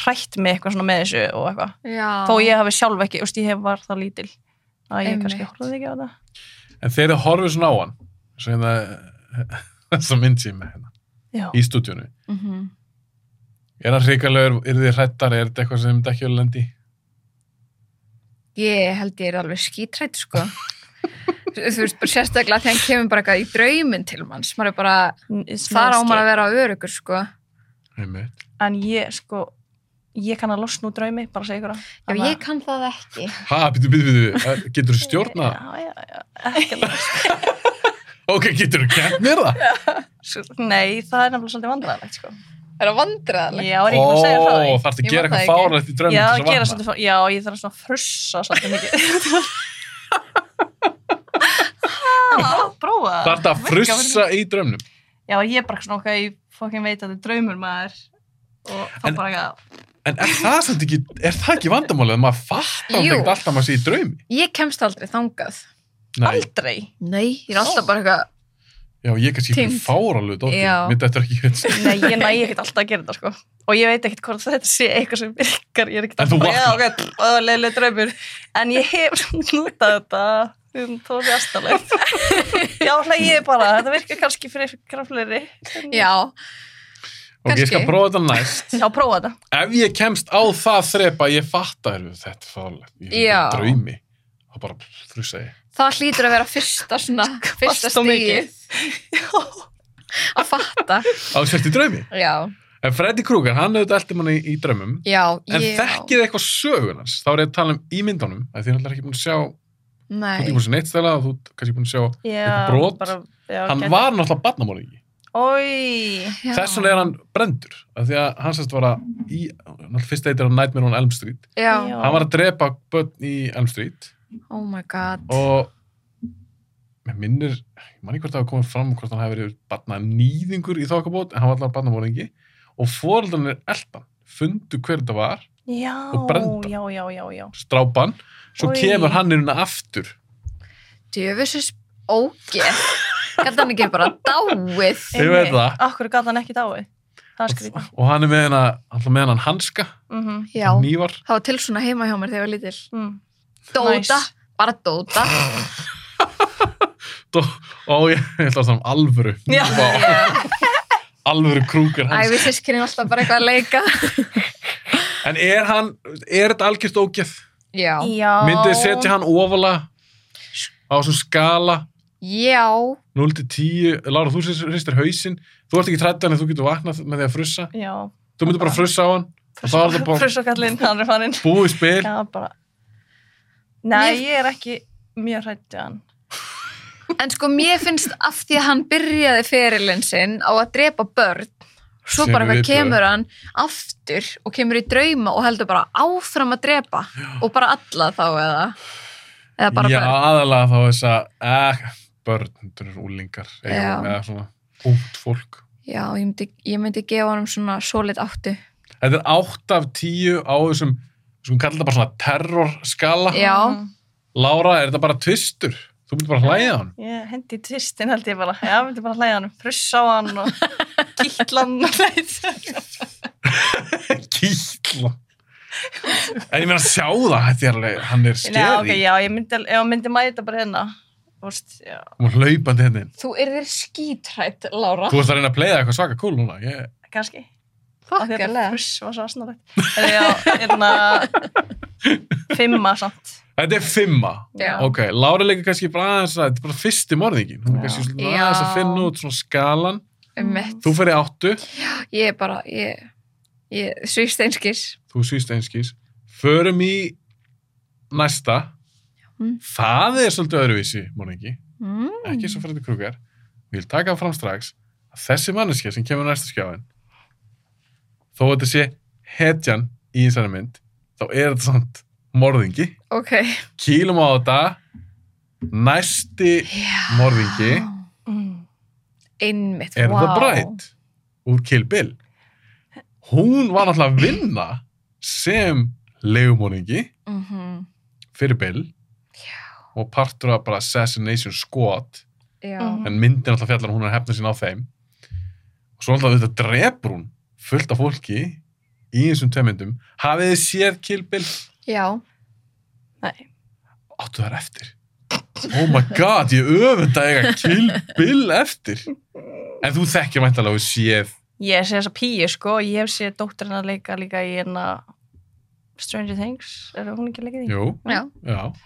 S5: hrætt mig eitthvað svona með þessu og eitthvað
S4: já.
S5: þó ég hafi sjálf ekki, úst, ég hef var það lítil
S4: Ah.
S5: að ég
S4: Einmitt.
S5: kannski horfði ekki á það
S3: En þeir eru horfið svona á hann. Svo hérna, þess að mynd sér með hérna.
S5: Já.
S3: Í stúdíunu.
S4: Mm
S3: Er hann hrikalegur, er þið hrættar, er þetta eitthvað sem þetta ekki alveg lendi? í?
S4: Ég held ég er alveg skítrætt, sko. Þú veist, bara sérstaklega þegar hann kemur bara eitthvað í drauminn til manns. Maður er bara, þar á maður að vera örugur, sko.
S3: Einmitt.
S5: en ég sko ég kann að losna úr draumi, bara að segja ykkur að
S4: Já, ég kann það ekki.
S3: Ha, býtu, býtu, býtu. Getur þú stjórnað?
S5: já, já, já, ekki alveg
S3: Ok, getur þú kent mér það?
S5: sko. nei, það er nefnilega svolítið vandræðilegt sko.
S4: Er það vandræðilegt?
S5: já, er ég ekki að segja frá því
S3: Ó, þarftu
S4: Ég
S3: að
S4: man
S3: gera
S4: það
S3: eitthvað
S4: ekki.
S3: fáralegt í draumum
S5: já,
S3: til þess að
S5: gera
S3: vakna.
S5: svolítið, já, ég þarf svona að frussa svolítið mikið Já, prófa það.
S3: Þarftu að frussa í draumnum.
S5: já, ég er bara svona okkar, ég fokkin veit að þetta er draumur maður og þá
S3: En-
S5: bara eitthvað,
S3: En er það, samt ekki, er það ekki vandamálið að maður fattar
S4: Jú.
S3: ekki alltaf að maður sé í draumi?
S4: Ég kemst aldrei þangað.
S3: Nei,
S5: aldrei
S4: Nei, ég er alltaf bara eitthvað,
S3: já, ég kannski ekki
S4: Týnd.
S3: fáralegu dóttir.
S4: Já.
S3: Mér þetta ekki veit.
S5: nei, ég næ ekkert alltaf að gera þetta sko og ég veit ekkert hvort þetta sé eitthvað sem virkar ég er ekkert
S3: En þú
S5: alltaf, já,
S3: vaknar.
S5: ok, pff, leiðileg draumur en ég hef nútað þetta um tóði astalegt já, hlæg ég bara, þetta virkar kannski fyrir krafleiri
S4: já,
S3: Ok, ég skal
S4: Kannski.
S3: prófa þetta næst.
S5: já, prófa þetta
S3: Ef ég kemst á það þrepa, að ég fattar þetta er fáralegt. Ég er
S4: Já.
S3: í draumi. Þá bara frussa ég.
S4: það hlýtur að vera fyrsta svona, fyrsta
S5: Fast og
S4: stíð
S5: mikið.
S4: að fatta.
S3: Á sért í draumi.
S4: Já,
S3: En Freddy Krueger, hann auðvitað eldi manni í draumum.
S4: já,
S3: En
S4: já.
S3: þekkið þið eitthvað sögunars, þá er ég að tala um ímyndunum, að því náttúrulega ekki búin að sjá, þú ert
S4: Nei,
S3: ekki búin að sjá neitt stæla og þú ert kannski búin að sjá
S5: Já,
S3: Eitthvað brot?
S5: bara, já,
S3: hann
S5: gekk-
S3: var náttúrulega barnamólingi
S5: Oj,
S4: já.
S3: þess vegna er hann brendur af því að hann sérst var að í, náttúrulega fyrst eitir á Nightmare on Elm Street
S4: Já,
S5: Já.
S3: hann var að drepa börn í Elm Street
S4: oh my god.
S3: og mér minnir, ég man ekki hvort það hafa komið fram hvort hann hafi verið barnanýðingur í þokkabót en hann var alltaf barnamólingi og foreldrarnir eldan fundu hver þetta var,
S5: já,
S3: Og brenda.
S5: já, já, já, já.
S3: strápan svo
S5: Oj.
S3: kemur hann inn aftur
S4: Djöfusis ógeð. Gæti hann ekki bara dáið.
S3: Ég veit það.
S5: Akkur gata hann ekki dáið Það er skrítið
S3: og hann er með hana, alltaf með hann hanska
S5: mm -hmm.
S4: Já,
S3: nývar
S4: það var til svona heima hjá mér þegar ég var lítil.
S5: mm.
S4: Dóta,
S5: Nice.
S4: bara dóta.
S3: og ég, ég ætla að það um alvöru
S5: Já.
S3: Vá. alvöru krúkar hans
S4: Ævi sískinni alltaf bara eitthvað að leika.
S3: En er hann, er þetta algjört ógeð?
S4: Já,
S5: Já
S3: Myndið þið setja hann ofalega á þessum skala
S4: Já,
S3: 0 til 10, Lára, þú hristir hausinn þú ert ekki trættan en þú getur vaknað með því að frussa
S5: já,
S3: þú myndir bara frussa á hann og þá er það bara
S5: frussakallinn, hann er farinn
S3: búið spil
S5: já, bara nei,
S4: Mér-
S5: ég er ekki mjög hrættið hann
S4: en sko mér finnst af því að hann byrjaði ferilinn sinn á að drepa börn svo
S3: Sem
S4: bara
S3: við
S4: hvað kemur
S3: bara-
S4: hann aftur og kemur í drauma og heldur bara áfram að drepa og bara alla þá eða eða bara
S3: já,
S4: börn
S3: aðalega þá þess að eh, börn, þetta eru úlingar eða
S4: Já.
S3: eða svona ungt fólk
S4: Já, ég myndi, ég myndi gefa honum svona solid áttu
S3: þetta er 8 af 10 á þessum sko kallar þetta bara svona terrorskala
S4: Já,
S5: Mhm.
S3: Lára, er þetta bara tvistur? Þú myndir bara hlæða hann
S5: ég hendi í tvistin held ég bara já, myndi bara hlæða hann, frussa á hann og kýtla hann og hlæða
S3: kýtla en ég meina að sjá það þetta er alveg, hann er skeri
S5: Nei, ok, já, ég myndi, al- ég myndi mæta bara hérna Þú veist, já,
S3: hún er hlaupandi henni
S4: þú erðir skítrætt, Lára
S3: þú ert að reyna að playa eitthvað svaka cool núna ég,
S5: kannski Af því að þetta
S4: Þakkarlega
S5: fruss var svo asnarætt Já, hérna Fimma samt
S3: þetta er fimma
S4: Já.
S3: ok, Lára er líka kannski bara aðeins að þetta er bara fyrsti morðingin hún
S5: Já.
S3: er kannski svona
S4: Já.
S3: aðeins að finna út svona skalan
S4: Einmitt.
S3: þú fyrir áttu,
S4: Ég er bara, ég, ég svíst einskis
S3: þú síst einskís förum í næsta
S4: Mm.
S3: það er svolítið öðruvísi morðingi
S4: mm.
S3: ekki svo fyrir krúkar ég vil taka það fram strax að þessi manneskja sem kemur á næsta skjáin þó að þetta sé hetjan í þessari mynd þá er þetta samt morðingi
S4: Ok
S3: kýlum á þetta næsti morðingi
S5: mm.
S4: Einmitt,
S3: er
S4: vá.
S3: það brætt úr Kill Bill hún var náttúrulega að vinna sem legumorðingi
S4: Mhm.
S3: fyrir Bill og partur af bara Assassination Squad
S4: Já,
S5: Mhm.
S3: Mm. en myndin alltaf fjallar um hún er hefna sín á þeim og svo alltaf þetta drepur hún fullt af fólki í þessum tveimindum hafið þið séð Kill Bill
S4: já,
S5: Nei,
S3: áttu þar eftir oh my god, ég öfunda eiga Kill Bill eftir en þú þekkir mæntalega og séð
S5: ég sé þessa píu sko Ég hef séð dótturinn að leika líka í hérna Stranger Things Er hún ekki að leika í því?
S3: jú,
S4: já.
S3: já,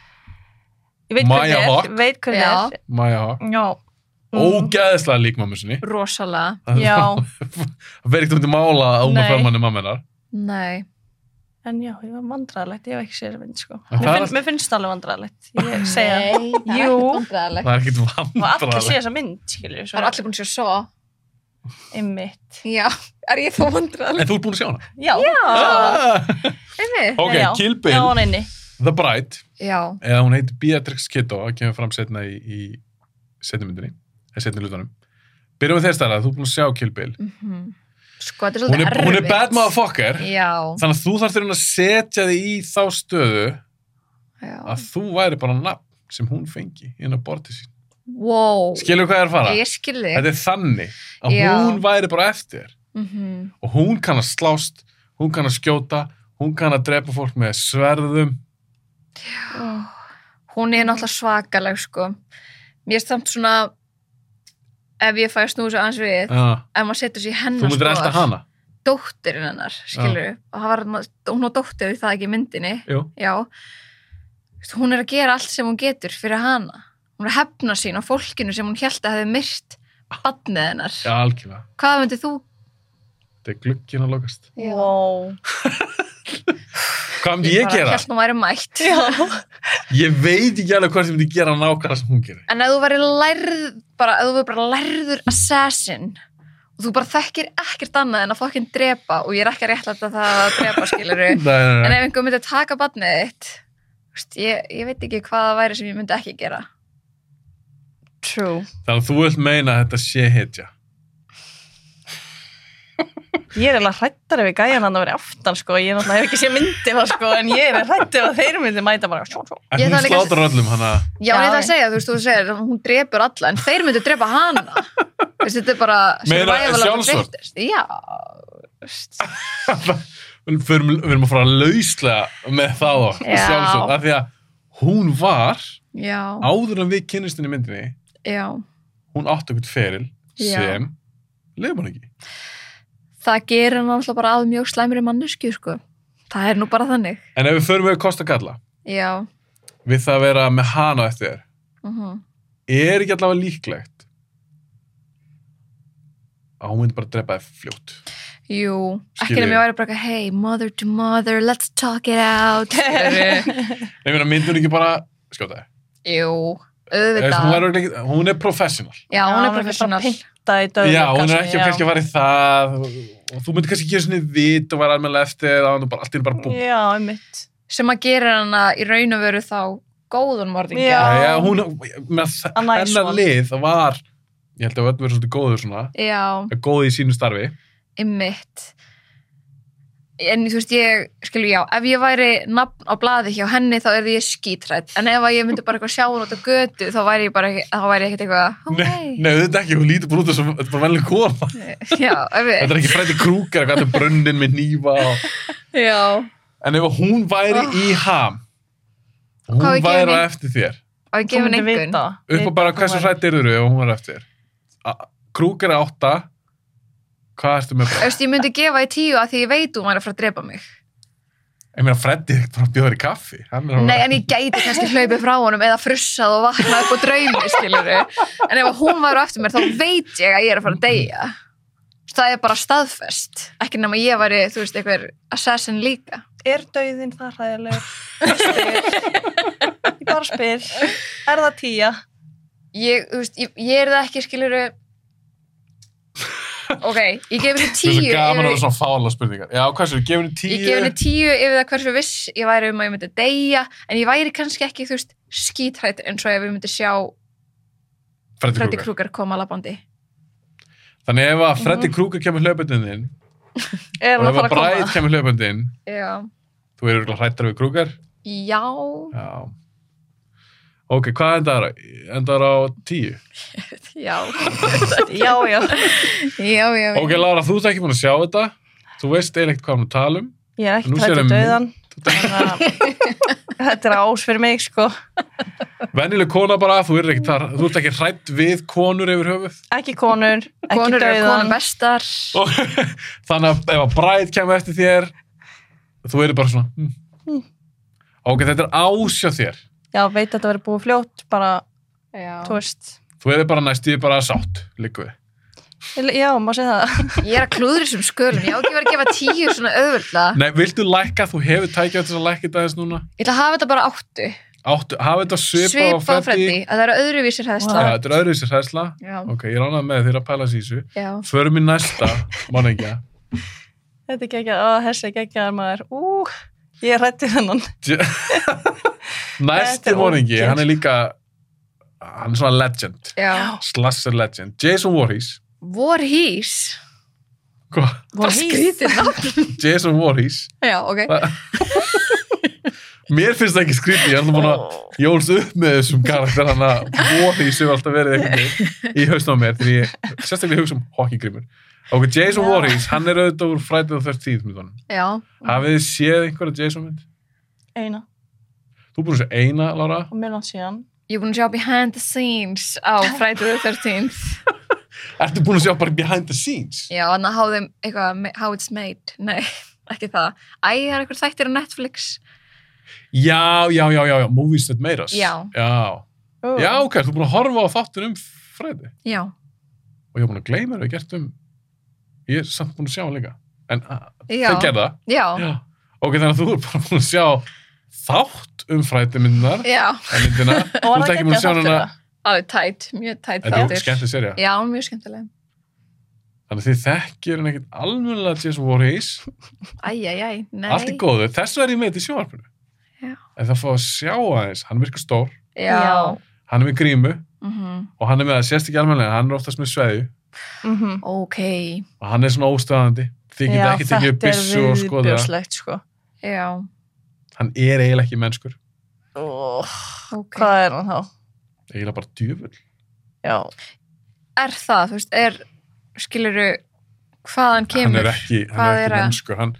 S5: Ég veit hvað
S3: Maya
S5: það
S3: Hawke.
S5: er, veit hvað
S4: Já.
S5: það er
S3: Maja Hawk
S5: Já
S3: ógeðslega lík mamma sinni
S4: rosalega
S5: Mm. Já.
S3: það verður ekkert um til mála að hún
S5: Nei.
S3: að framann er mamma hennar
S4: Nei,
S5: En já, ég var vandræðalegt, ég hef ekki séð þessa mynd sko
S3: En
S5: Mér,
S3: það er
S5: finn,
S3: allt-
S5: mér finnst það alveg vandræðalegt Ég segja það
S4: það
S5: Jú.
S4: vandræðilegt
S3: það er ekkert
S5: Og allir sé
S3: vandræðilegt
S5: þessa mynd, skilju
S4: Það er allir búin að sjá svo
S5: Einmitt
S4: Já, er ég þó vandræðilegt
S3: en þú ert búin að sjá hana
S5: Já, já.
S3: Ah.
S4: Einmitt.
S3: ok,
S5: Já.
S3: Kill
S5: já
S3: Bill,
S5: hún einni
S3: The Bride
S4: Já,
S3: eða hún heitir Beatrix Kiddo að kemur fram setna í, í setni myndinni, eða setni hlutunum byrjum við þér stærlega, þú er búin að sjá Kill Bill
S4: mhm Sko, þetta er
S3: hún
S4: svolítið
S3: er,
S4: erfitt
S3: hún er bad motherfucker
S4: Já,
S3: þannig að þú þarf þurfum að setja þig í þá stöðu
S4: já
S3: að þú væri bara nafn sem hún fengi inn á bortið sín,
S4: Wow
S3: skilur hvað ég er að fara
S4: Ég skil þig
S3: þetta er þannig að
S4: Já.
S3: hún væri bara eftir þér.
S4: Mhm.
S3: og hún kann að slást hún kann að skjóta, hún kann að drepa fólk með sverðum
S4: Hún er náttúrulega svakaleg, sko Mér er samt svona ef ég fæ snúsu aðeins við
S3: ah,
S4: ef maður setur sér í
S3: þú
S4: hennar
S3: myndir elda hana
S4: dóttirinn hennar, skilur og það var, hún var dóttir við það ekki í myndinni
S3: Jú.
S4: já Veistu, hún er að gera allt sem hún getur fyrir hana hún er að hefna sín á fólkinu sem hún held að hefði myrt badnið hennar
S3: já, algjörlega,
S4: hvað myndið þú?
S3: þetta er glugginn að lokast
S5: Wow.
S3: hvað myndi ég, gera?
S4: held hún væri mætt
S3: Ég veit ekki alveg hvað sem myndi gera nákvæmlega sem hún gerir.
S4: en ef þú væri lærð bara, ef þú væri bara lærður assassin og þú bara þekkir ekkert annað en að fokkin drepa og ég er ekki að réttlæta það að drepa skiluru
S3: Nei, nei,
S4: en
S3: nei.
S4: ef einhver myndi taka badnið þitt þú veist, ég, ég veit ekki hvað það væri sem ég myndi ekki gera
S5: True
S3: Þannig að þú vilt meina að þetta sé hetja.
S5: Ég er eiginlega hrættar ef ég gæja hann að vera aftan sko. Ég náttúrulega hef ekki séð myndina sko, en ég er hrættar ef þeir myndi mæta bara sjó, sjó.
S3: En
S4: Ég
S3: hún
S4: þarf líka-
S3: slátar öllum hana.
S4: Já, en
S5: Já,
S4: ég ætla að
S5: já.
S4: segja, þú veist, þú segir að hún drepur alla, en þeir myndu drepa hana Þessi, þetta er bara
S3: Meira
S4: survival of the
S3: sjálfsvörn?
S4: fittest. Já, þú veist.
S3: Við erum, við erum að fara lauslega með það og
S4: Já.
S3: sjálfsögn. Af því að hún var,
S4: já,
S3: áður en við kynnist henni í myndinni,
S4: já
S3: hún átti okkur feril
S4: Já.
S3: sem lefum hann ekki.
S4: Það gerir hann alltaf bara að mjög slæmri mannesku, sko Það er nú bara þannig
S3: En ef við förum við kost að kalla,
S4: Já,
S3: við það að vera með hana eftir þér,
S4: mhm,
S3: er ekki allavega líklegt að hún myndi bara drepa þið fljótt
S4: Jú, ekki
S3: Skilji.
S4: nefnir ég væri bara eitthvað, hey, mother to mother, let's talk it out. skilurðu.
S3: Nei, ég meina, myndur ekki bara skjóta þið
S4: Jú,
S3: Eða, hún,
S4: auðvitað.
S3: er örugglega ekki- hún er professional
S4: Já, hún er
S5: bara
S4: professional.
S5: pinta í döðu
S3: já, hún er ekki að kannski að fara í það og, og þú myndir kannski ekki svona vit og vera almennilega eftir eða hann bara allt er bara búm
S5: Já, einmitt
S4: Sem að gera hana í raun og veru þá góðan morðingja.
S5: Já.
S3: Já, hún, ég meina, þ-
S5: A nice
S3: hennar
S5: one.
S3: lið var ég held að við öll verið svolítið góður svona
S4: Já,
S3: góð í sínu starfi
S4: ymmit. En þú veist, ég, skilu, já, ef ég væri nafn á blaði hjá henni þá er ég skítrætt. En ef að ég myndi bara eitthvað sjá hún út á götu þá væri ég bara, ekki- þá væri ég ekkert eitthvað, oh,
S3: Nei,
S4: hey.
S3: nei, þetta ekki, hún lítur bara út þessum, þetta er bara velið kona.
S4: Já, ef
S3: Þetta
S4: ég,
S3: er ekki fræði krúkar, eitthvað, þetta er brunnin með nýfa og...
S4: já.
S3: En ef hún væri í ham, hún
S4: Hvað við
S3: væri
S4: gefum
S3: á
S4: í-
S3: eftir þér.
S4: Og ég gefa henni einhvern.
S3: Upp á bara hversu hrætt eru þau ef hún væri á eftir þér. A- Krúkar er átta, hvað ertu
S4: Þú
S3: með bara?
S4: veist, ég myndi gefa í tíu að því ég veit hún væri að fara að drepa mig.
S3: Ég meina, Freddi er ekkert bara að bjóða þér í kaffi. Hann er
S4: Nei,
S3: alveg-
S4: en ég gæti kannski hlaupið frá honum eða frussað og vaknað upp á draumi, skilur En ef hún væri á eftir mér, þá veit ég að ég er að fara að deyja. Þú veist, Það er bara staðfest. Ekki nema ég væri, þú veist, einhver assassin líka.
S5: Er döðin það hræðilegur? Ég spyr. Ég bara spyr. Er það tíja?
S4: Ég, þú veist, ég, ég er það ekki, skilur Ok, ég gef henni
S3: Mér
S4: tíu.
S3: finnst það gaman að
S4: yfir-
S3: vera svona fála spurningar. Já, hvað sér, gefur henni tíu?
S4: Ég gef henni tíu yfir það hversu viss ég væri um að ég myndi deyja, en ég væri kannski ekki, þú veist, skítrætt eins og ef ég myndi sjá
S3: Freddi
S4: Freddy
S3: Krúkar.
S4: Krueger koma labbandi.
S3: Þannig ef að Freddi Krúkar kemur hlaupöndin þinn
S5: Er
S3: og
S5: hann
S3: ef
S5: að fara
S3: að
S5: að koma?
S3: Bræð kemur hlaupöndin,
S4: Já.
S3: þú eru hrættar við Krúkar?
S4: Já.
S3: Já. Ok, hvað endar? Endar á tíu?
S4: Já.
S5: Já, já.
S4: Já, já. já.
S3: Ok, Lára, þú ert ekki búin að sjá þetta. Þú veist eiginlega ekkert hvað hann tala um.
S5: Ég er ekki
S3: Nú
S5: hrætt
S3: sérðu
S5: um döðan. Þetta er ás fyrir mig, sko.
S3: Venjuleg kona bara, þú ert ekki, þú ert ekki hrætt við konur yfir höfuð.
S5: Ekki konur, ekki
S4: konur eru konur
S5: döðan.
S4: bestar.
S3: Og, þannig að ef að bræð kemur eftir þér, þú eru bara svona. Hm. Ok, þetta er ásjá þér.
S5: Já, veit að þetta verið búið fljótt, bara,
S4: Já.
S5: þú veist.
S3: Þú eru bara næstu bara sátt, líku við.
S5: Já, má segja það.
S4: Ég er að klúður þessum skölum. Ég á ekki verið að gefa tíu svona auðvölda.
S3: Nei, viltu lækka, þú hefur tækjað þess að lækka þetta aðeins núna.
S4: Ég ætla að hafa þetta bara áttu.
S3: Áttu, hafa þetta svipa
S4: Svipa á Freddy. Að það eru öðruvísir
S3: Já,
S4: hæðsla.
S3: þetta er öðruvísi hræðsla.
S4: Já.
S3: Ok, ég ránaði með þeirra pæla sér í þessu.
S4: Já.
S3: Förum í næsta mannengja.
S5: Þetta er geggjað, ó, þessi er geggjaðar maður. Ú, ég er hrætt í þennan. Þetta
S3: Næsti
S5: er
S3: mannengi,
S5: ógeð.
S3: hann er líka, hann er svona legend.
S4: Já.
S3: Slasher legend. Jason Voorhees.
S4: Vorhís.
S3: Hva?
S4: Bara skrítið nafn.
S3: Jason Voorhees.
S4: Já, ok.
S3: Hva? Mér finnst það ekki skrítið, ég er alltaf búin að jólst upp með þessum karakter hann að Voorhees hefur alltaf verið einhvern veginn í hausnum á mér þegar ég, sérstaklega ég hugsa um hokkigrimur. Ok, Jason
S5: Já.
S3: Voorhees, hann er auðvitað úr Friday the 13th myndunum.
S4: Já.
S3: Hafið þið séð einhverja Jason mynd?
S5: Eina,
S3: Þú búin að segja eina, Lára?
S5: og mér langt síðan.
S4: Ég er búin að sjá behind the scenes á Friday the 13th.
S3: Ertu búin að sjá bara behind the scenes?
S4: Já, en að how, they, eitthvað, how it's made. Nei, ekki það. Æ, það er eitthvað þættir á Netflix.
S3: Já, já, já, já, já, movies that made us.
S4: Já.
S3: Já,
S5: Ú.
S3: já ok, þú er búin að horfa á þáttun um Freddy
S4: Já.
S3: og ég er búin að gleyma þér að gert um, ég er samt búin að sjá hann líka, en ah,
S4: Já.
S3: þau gerða.
S4: Já.
S3: Já. Ok, þannig að þú er bara búin að sjá þátt um Freddy myndunar,
S4: Já.
S3: en myndina,
S5: Og
S3: þú
S5: var
S3: ert
S5: það
S3: ekki búin að
S5: geggjað
S3: sjá hann hana,
S5: þáttur það?
S4: Alveg tætt, mjög tætt
S3: þetta er skemmtið serja.
S4: Já, mjög skemmtileg.
S3: Þannig að þið þekkir hann ekkert alveg Jason Voorhees,
S4: Æj, æj, æj, nei.
S3: allt er góðu, þess vegna er ég með þetta í sjónvarpinu.
S4: Já.
S3: En það fá að sjá aðeins, hann virkar stór,
S4: Já.
S3: hann er með grímu
S4: Mhm.
S3: og hann er með að sérst ekki almennilega, hann er oftast með sveðju
S5: Mhm.
S4: Ok.
S3: og hann er svona óstöðandi þið
S5: Já,
S3: geta ekki tekið upp
S5: þetta er
S3: byssu og skoða
S5: viðbjóðslegt, sko.
S4: Já,
S3: hann er eiginlega ekki mennskur
S5: Ó,
S4: ok.
S5: Hvað er hann þá?
S3: eiginlega bara djöfull
S5: Já,
S4: Er það, þú veist, er, skiluru, hvaðan
S3: hann
S4: kemur?
S3: er ekki, hann
S4: Hvað
S3: er
S4: er
S3: ekki
S4: að-
S3: mennskur hann,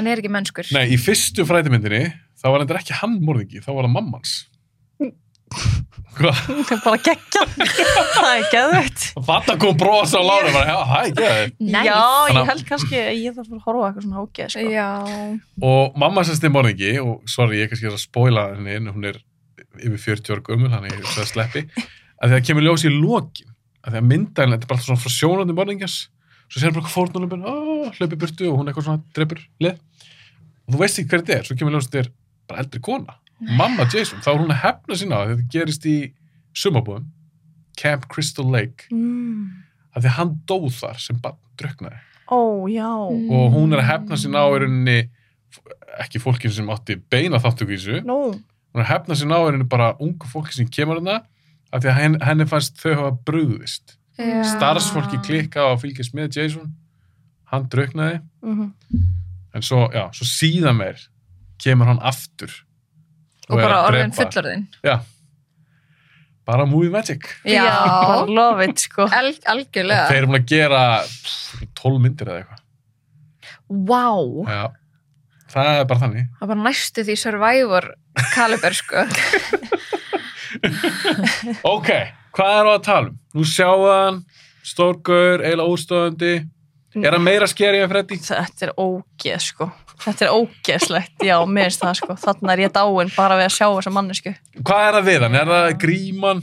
S4: Hann er ekki mennskur.
S3: nei, í fyrstu fræðimyndinni þá var hendur ekki hann morðingi, þá var það mammans hvað,
S5: það er bara geggjað. það er geðveitt.
S3: þetta kom bros á lára bara, já, hæ, ekki
S4: Nice.
S5: Já,
S3: Þannig að-
S5: ég held kannski að ég þarf að horfa á eitthvað svona hókið, sko.
S4: Já.
S3: og mamma sérst er morðingi og sorry, ég er kannski að spóila henni en hún er yfir 40 ára gömul, þannig ég hugsa að sleppi að því það kemur ljós í lokin að því að myndalinn, þetta er bara alltaf svona frá sjónandi morðingjans svo sér bara hvað fórnulöfin hlaupi burtu og hún eitthvað svona dreipur lið og þú veist ekki hver þetta er, svo kemur ljós að þetta er bara eldri kona, mamma Jason þá er hún að hefna sína á því að þetta gerist í sumabúðum, Camp Crystal Lake
S5: Mm.
S3: að því að hann dóð þar sem barn druknaði
S5: Ó, já.
S4: Mm.
S3: og hún er að hefna sína á í rauninni ekki fólkinu sem átti beina þáttöku í þessu
S5: Nú,
S3: hún er að hefna sín á henni bara ungu fólki sem kemur hana af því að henni, henni fannst þau hafa brugðist
S4: Mm. Já.
S3: starfsfólki klikka og fylgjast með Jason hann drauknaði
S5: mm
S3: en svo, já, svo síðan meir kemur hann aftur
S4: og
S3: er
S4: bara
S3: að
S4: orðin
S3: drepa.
S4: fullorðin
S3: bara movie magic
S5: bara
S4: já,
S5: love it, sko.
S4: Al algjörlega
S3: og þeir eru búin að gera pff, 12 myndir eða eitthvað
S5: Vá.
S3: Já. það er bara þannig
S4: það var næstu því Survivor kaliber sko
S3: Ok, hvað er það að tala um? Nú sjáðan, stórgur, eiginlega óstöðandi. Er hann meira skeri en Freddy?
S5: Þetta er ógeð, sko. Þetta er ógeðslegt, já, mér finnst það, sko. Þarna er ég dáin bara við að sjá þessa mannesku.
S3: Hvað er það við hann? Er það gríman?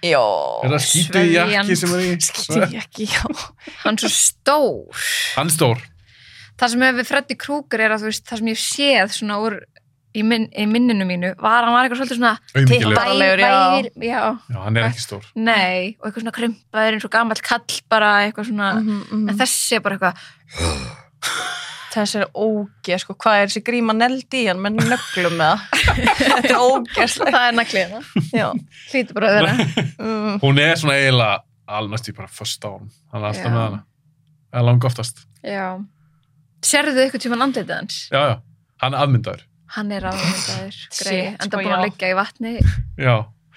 S5: Já.
S3: Er það skítið
S4: sveigjan.
S3: jakki sem er í?
S5: Skítið ekki, já.
S4: hann er svo stór
S3: Hann er stór.
S4: það sem hefur við Freddy Krueger er að þú veist það sem ég hef séð svona úr í, minn, í minninu mínu var hann var eitthvað svolítið svona
S3: Auðmyggilega.
S4: bæ-
S5: Baralegur, já.
S4: bæ- já,
S3: Já, hann er ekki stór.
S4: nei og eitthvað svona krympaður eins og gamall kall bara eitthvað svona
S5: Mhm,
S4: en þessi er bara eitthvað
S5: Þessi er ógeð, sko. Hvað er þessi gríma neld í hann með nöglum með það? Þetta er ógeðslegt.
S4: það er naglið það
S5: Já.
S4: hlýtur bara að vera
S5: Mm.
S3: Hún er svona eiginlega alnast í bara först á hann. Hann er alltaf
S4: Já.
S3: með hana. Það er langa oftast.
S4: já Serðu ykkur tíman andlitið hans?
S3: Já, já. Hann er afmyndaður.
S4: Hann er aðmyndaður,
S5: Shit,
S4: greið, enda
S5: sko,
S4: búin að
S5: já.
S4: liggja í vatni.
S3: Já.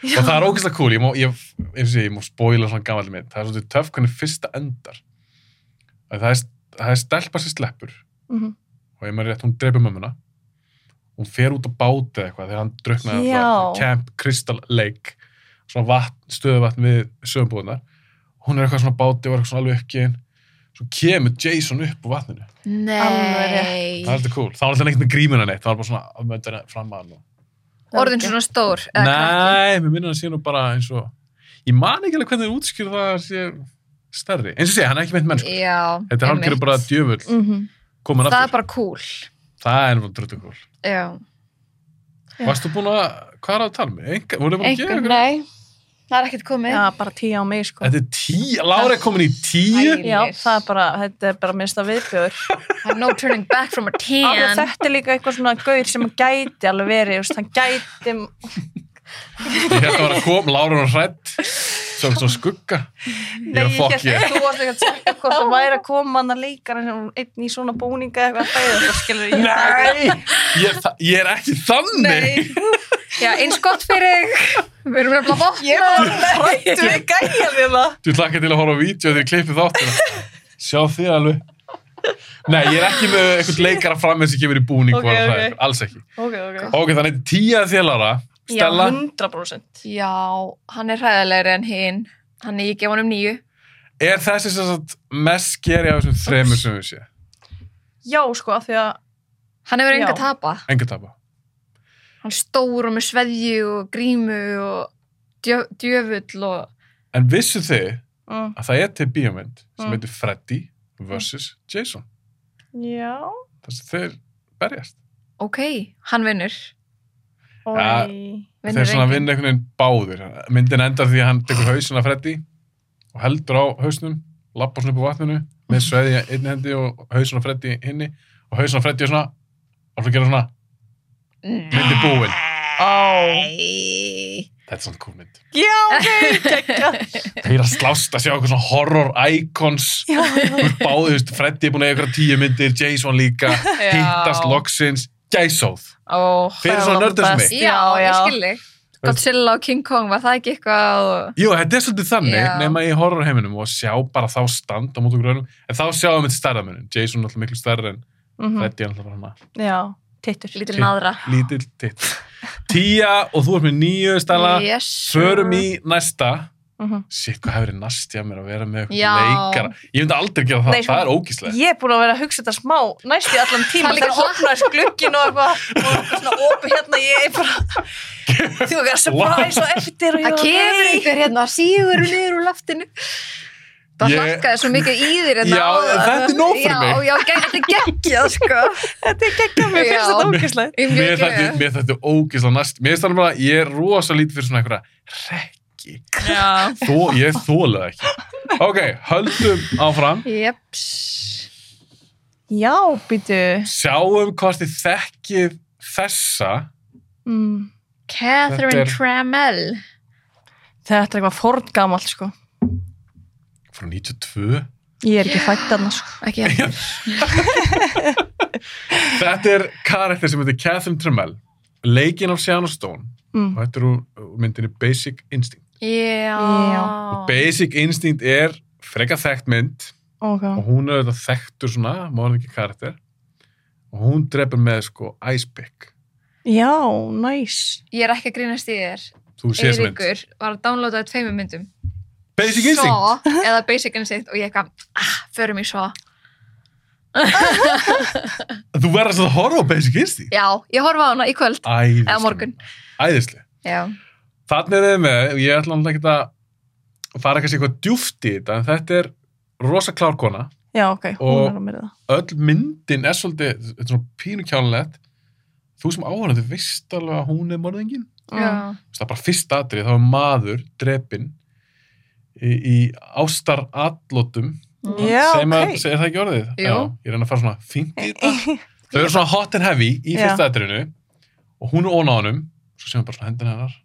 S3: Og það er ógeðslega cool. Ég má, ég, eins og ég, ég má spóila svona gamall mynd. Það er svona töff hvernig fyrsta endar. Það er, það er stelpa sem sleppur.
S5: Mhm.
S3: og ég maður rétt, hún dreipur mömmuna hún fer út á báti eða eitthvað þegar hann druknaði
S5: Já.
S3: náttúrulega í Camp Crystal Lake svona vatn, stöðuvatn við sögumbúðunar hún er eitthvað svona á báti og er eitthvað svona alveg uppginn svo kemur Jason upp úr vatninu
S4: Nei.
S5: Alveg
S3: það er alltaf cool, þá var alltaf neitt með grímuna neitt það var bara svona að möndina fram að hann og...
S4: Orðin svona stór. eða krakki.
S3: nei, mér minnir hann síðan og bara eins og ég man ekki alveg hvernig hann útskýr það sé stærri, eins og sé, hann er ekki meint mennsku
S4: Já,
S3: sko. þetta er hann
S4: einmitt.
S3: bara djöfull
S5: Mhm.
S3: komin
S4: Það er
S3: aftur,
S4: bara cool.
S3: það er bara dröttukúl
S4: Já.
S5: Já.
S3: Varstu búin að, hvað er að tala með? Enga, voru búin að gera
S4: Einhvern,
S3: eitthvað?
S4: nei. Það er ekkert komið.
S5: Já, bara tíu á mig, sko.
S3: Þetta er tíu, Lára er komin í tíu.
S4: Æ.
S5: Já, það er bara, þetta er bara minnst að viðbjör.
S4: I have no turning back from a
S5: Alveg,
S4: tan.
S5: þetta er líka eitthvað svona gaur sem gæti alveg verið, þú veist, hann gæti
S3: Ég held að vera að koma, Lára var hrætt. Svo er þetta skugga. Ég er að fokk ég.
S5: þú varst ekki að segja hvort það væri að koma hann að leika hann einn í svona búninga eitthvað að fæða það skilur ég
S3: Nei, ég, þa- ég er ekki þannig.
S4: Já, eins gott fyrir þig. Við erum hérna nefnilega bótt.
S5: ég var hrættu við gæja við það
S3: Þú hlakka til að horfa á vídeo þegar ég klippi þáttina. Sjá þig alveg. Nei, ég er ekki með eitthvað leikara fram með sem kemur í búning
S5: Ok,
S3: og okay,
S5: ok.
S3: okay. alls ekki.
S5: ok, ok
S3: Ok, þannig þetta er tíu að þér, Lára.
S5: já,
S3: Stella,
S5: 100%
S4: Já, hann er hræðilegri en hinn. Hann er ég gefa honum nýju.
S3: er þessi sem sagt mest skeri af þessum þremur sem við séð?
S5: já, sko, af því að
S4: Hann hefur enga
S5: Já.
S4: tapa.
S3: Enga tapa.
S4: Hann er stór og með sveðju og grímu og djö, djöfull og...
S3: En vissu þið
S5: mm,
S3: að það er til bíómynd sem
S5: Mm.
S3: heitir Freddy vs. Jason
S5: já,
S3: þar sem þeir berjast
S4: Ok, hann vinnur.
S5: og
S3: Ja,
S4: Vinnur
S3: þeir svona
S4: enginn.
S3: vinn einhvern veginn báðir myndin endar því að hann tekur hausin af Freddy og heldur á hausnum lappar svona upp á vatninu með sveði í einni hendi og hausin af Freddy hinni og hausin af Freddy er svona og svo gera svona myndi búin
S4: Nei.
S3: þetta er svona cool mynd
S5: já, ok, geggja
S3: þeir eru að slást að sjá eitthvað svona horror icons Þú veist, báðir, þú veist, Freddy er búin að eiga eitthvað tíu myndir Jason líka, hittast loksins gæsóð
S5: Ó,
S3: Fyrir
S5: það
S3: svona
S5: var
S3: nördar sem
S5: best.
S3: mig.
S4: Já, ég skil þig.
S3: Þú veist-
S4: Godzilla og King Kong, var það ekki eitthvað? og-
S3: Jú, þetta er svolítið þannig,
S4: Já.
S3: nema í horrorheiminum og sjá bara þá stand á mót okkur öðrum en þá sjáum við þetta stærðamennin, Jason er alltaf miklu stærri en
S5: Mhm,
S3: Freddy er alltaf bara hana
S5: já, tittur
S4: Lítil
S3: Shit.
S4: naðra.
S3: lítill titt Tía og þú ert með nýju stæla
S4: Yes, sir.
S3: förum í næsta
S5: Mhm.
S3: Sitt, hvað hefur þið nastið að mér að vera með
S4: Já.
S3: eitthvað leikara. Ég myndi aldrei gera það,
S5: Nei, sko-
S3: það er ógíslega.
S5: Ég er búin að vera að hugsa þetta smá næstu allan tíma
S4: Það er líka
S5: þegar opnaðist glugginn og eitthvað og eitthvað svona opi hérna ég er bara þú vegar surprise og eftir og ég
S4: Það kemur
S5: "Nei."
S4: einhver hérna, sígur niður úr loftinu. Það ég...
S3: Ég-
S4: svo mikið í þér hérna.
S3: Já,
S4: áðan.
S3: þetta er nóg fyrir
S4: já,
S3: mig.
S4: Já, ge- þetta er geggjað, sko.
S5: Þetta er geggjað, mér
S4: Já.
S5: finnst þetta ógæslegt
S4: Ég er
S3: Mér
S4: mjög
S3: þætti,
S4: glöð.
S3: mér þætti ógíslega nast. Mér þarf bara, ég er rosa lítið fyrir svona einhverja rekki.
S5: Já,
S3: Þó, ég þóla það ekki. Ok, höldum áfram.
S4: Jeps.
S5: já býtu
S3: Sjáum hvort þið þekkið þessa.
S5: mm.
S3: Þetta
S4: Catherine
S3: er-
S4: Trammell.
S5: Þetta er eitthvað forngamalt sko
S3: Frá 92.
S5: Ég er ekki fætt annars sko
S4: Ekki hérna.
S3: Þetta er karakter sem heitir Catherine Tremell. Leikin af Sjana Stone.
S5: mm.
S3: Og þetta er úr- úr myndinni Basic Instinct.
S4: Já.
S5: Já.
S3: Basic Instinct er frekar þekkt mynd og
S5: okay.
S3: hún er auðvitað þekktur svona, maður ekki karakter og hún drefur með sko Ice Pick,
S5: Já, næs
S4: Ég er ekki að grínast í þér.
S3: þú sést mynd
S4: Eiríkur var að downloadaði tveimur myndum.
S3: Basic Instinct,
S4: Svo, eða Basic Instinct og ég eitthvað, ah, förum í svo.
S3: þú verður að horfa á Basic Instinct
S4: Já, ég horfa á hana í kvöld.
S3: Æðislega.
S4: Eða morgun.
S3: Æðislega.
S4: Já.
S3: Þannig er þið með, og ég ætla náttúrulega ekki að fara kannski eitthvað djúft í þetta en þetta er rosa klárkona
S5: Já, ok,
S3: Og-
S5: hún er að mér það
S3: öll myndin er svolítið, þetta er svona pínu kjánlegt þú sem áhörðu, þú veist alveg að hún er morðingin
S5: Mm.
S4: Já.
S3: það er bara fyrst atrið, þá er maður drepinn í, í ástar allotum
S5: Já,
S3: sem að,
S5: ok.
S3: er það ekki orðið?
S4: Jú.
S3: Já, ég reyna að fara svona fínt í þetta þau eru svona hot and heavy í
S5: Já.
S3: fyrsta atriðinu og hún er ón á honum svo sem bara svona hendina hennar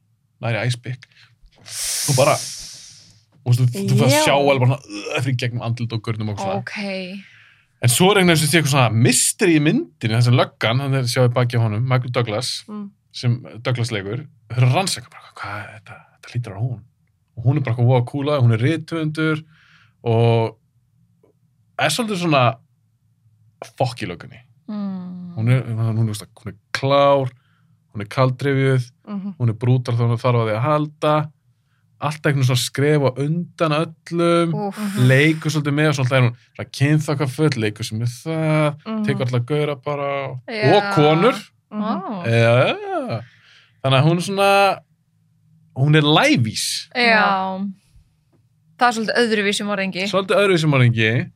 S3: næri æsbygg og bara og þú, þú fyrir
S5: Já.
S3: að sjá alveg bara svona öfri gegnum andlut og gurnum og svona
S4: Ok.
S3: en svo er einhvern veginn sem sé eitthvað svona mystery í myndinu þessi löggan, hann er sjáði baki á honum Michael Douglas
S5: Mm.
S3: sem Douglas leikur þau eru að rannsaka bara hvað er þetta, þetta lítur á hún og hún er bara eitthvað voða kúla, hún er rithöfundur og er svolítið svona fokk í löggunni
S4: Mm.
S3: hún er, hún, er, veist, hún er klár hún er kaldrefjuð
S5: Mhm.
S3: hún er brútal þegar hún þarf að því að halda alltaf einhvern svona skref á undan öllum
S4: Úff.
S5: Mm.
S3: leikur svolítið með og svolítið er hún svona kynþakka full, leikur sem er það
S5: Mhm.
S3: tekur alltaf gauðra bara
S4: Já. Mm.
S3: og konur
S5: Mhm.
S4: Ó.
S3: Já. Þannig að hún er svona hún er lævís
S4: Já. Það er svolítið öðruvísi morðingi.
S3: svolítið öðruvísi morðingi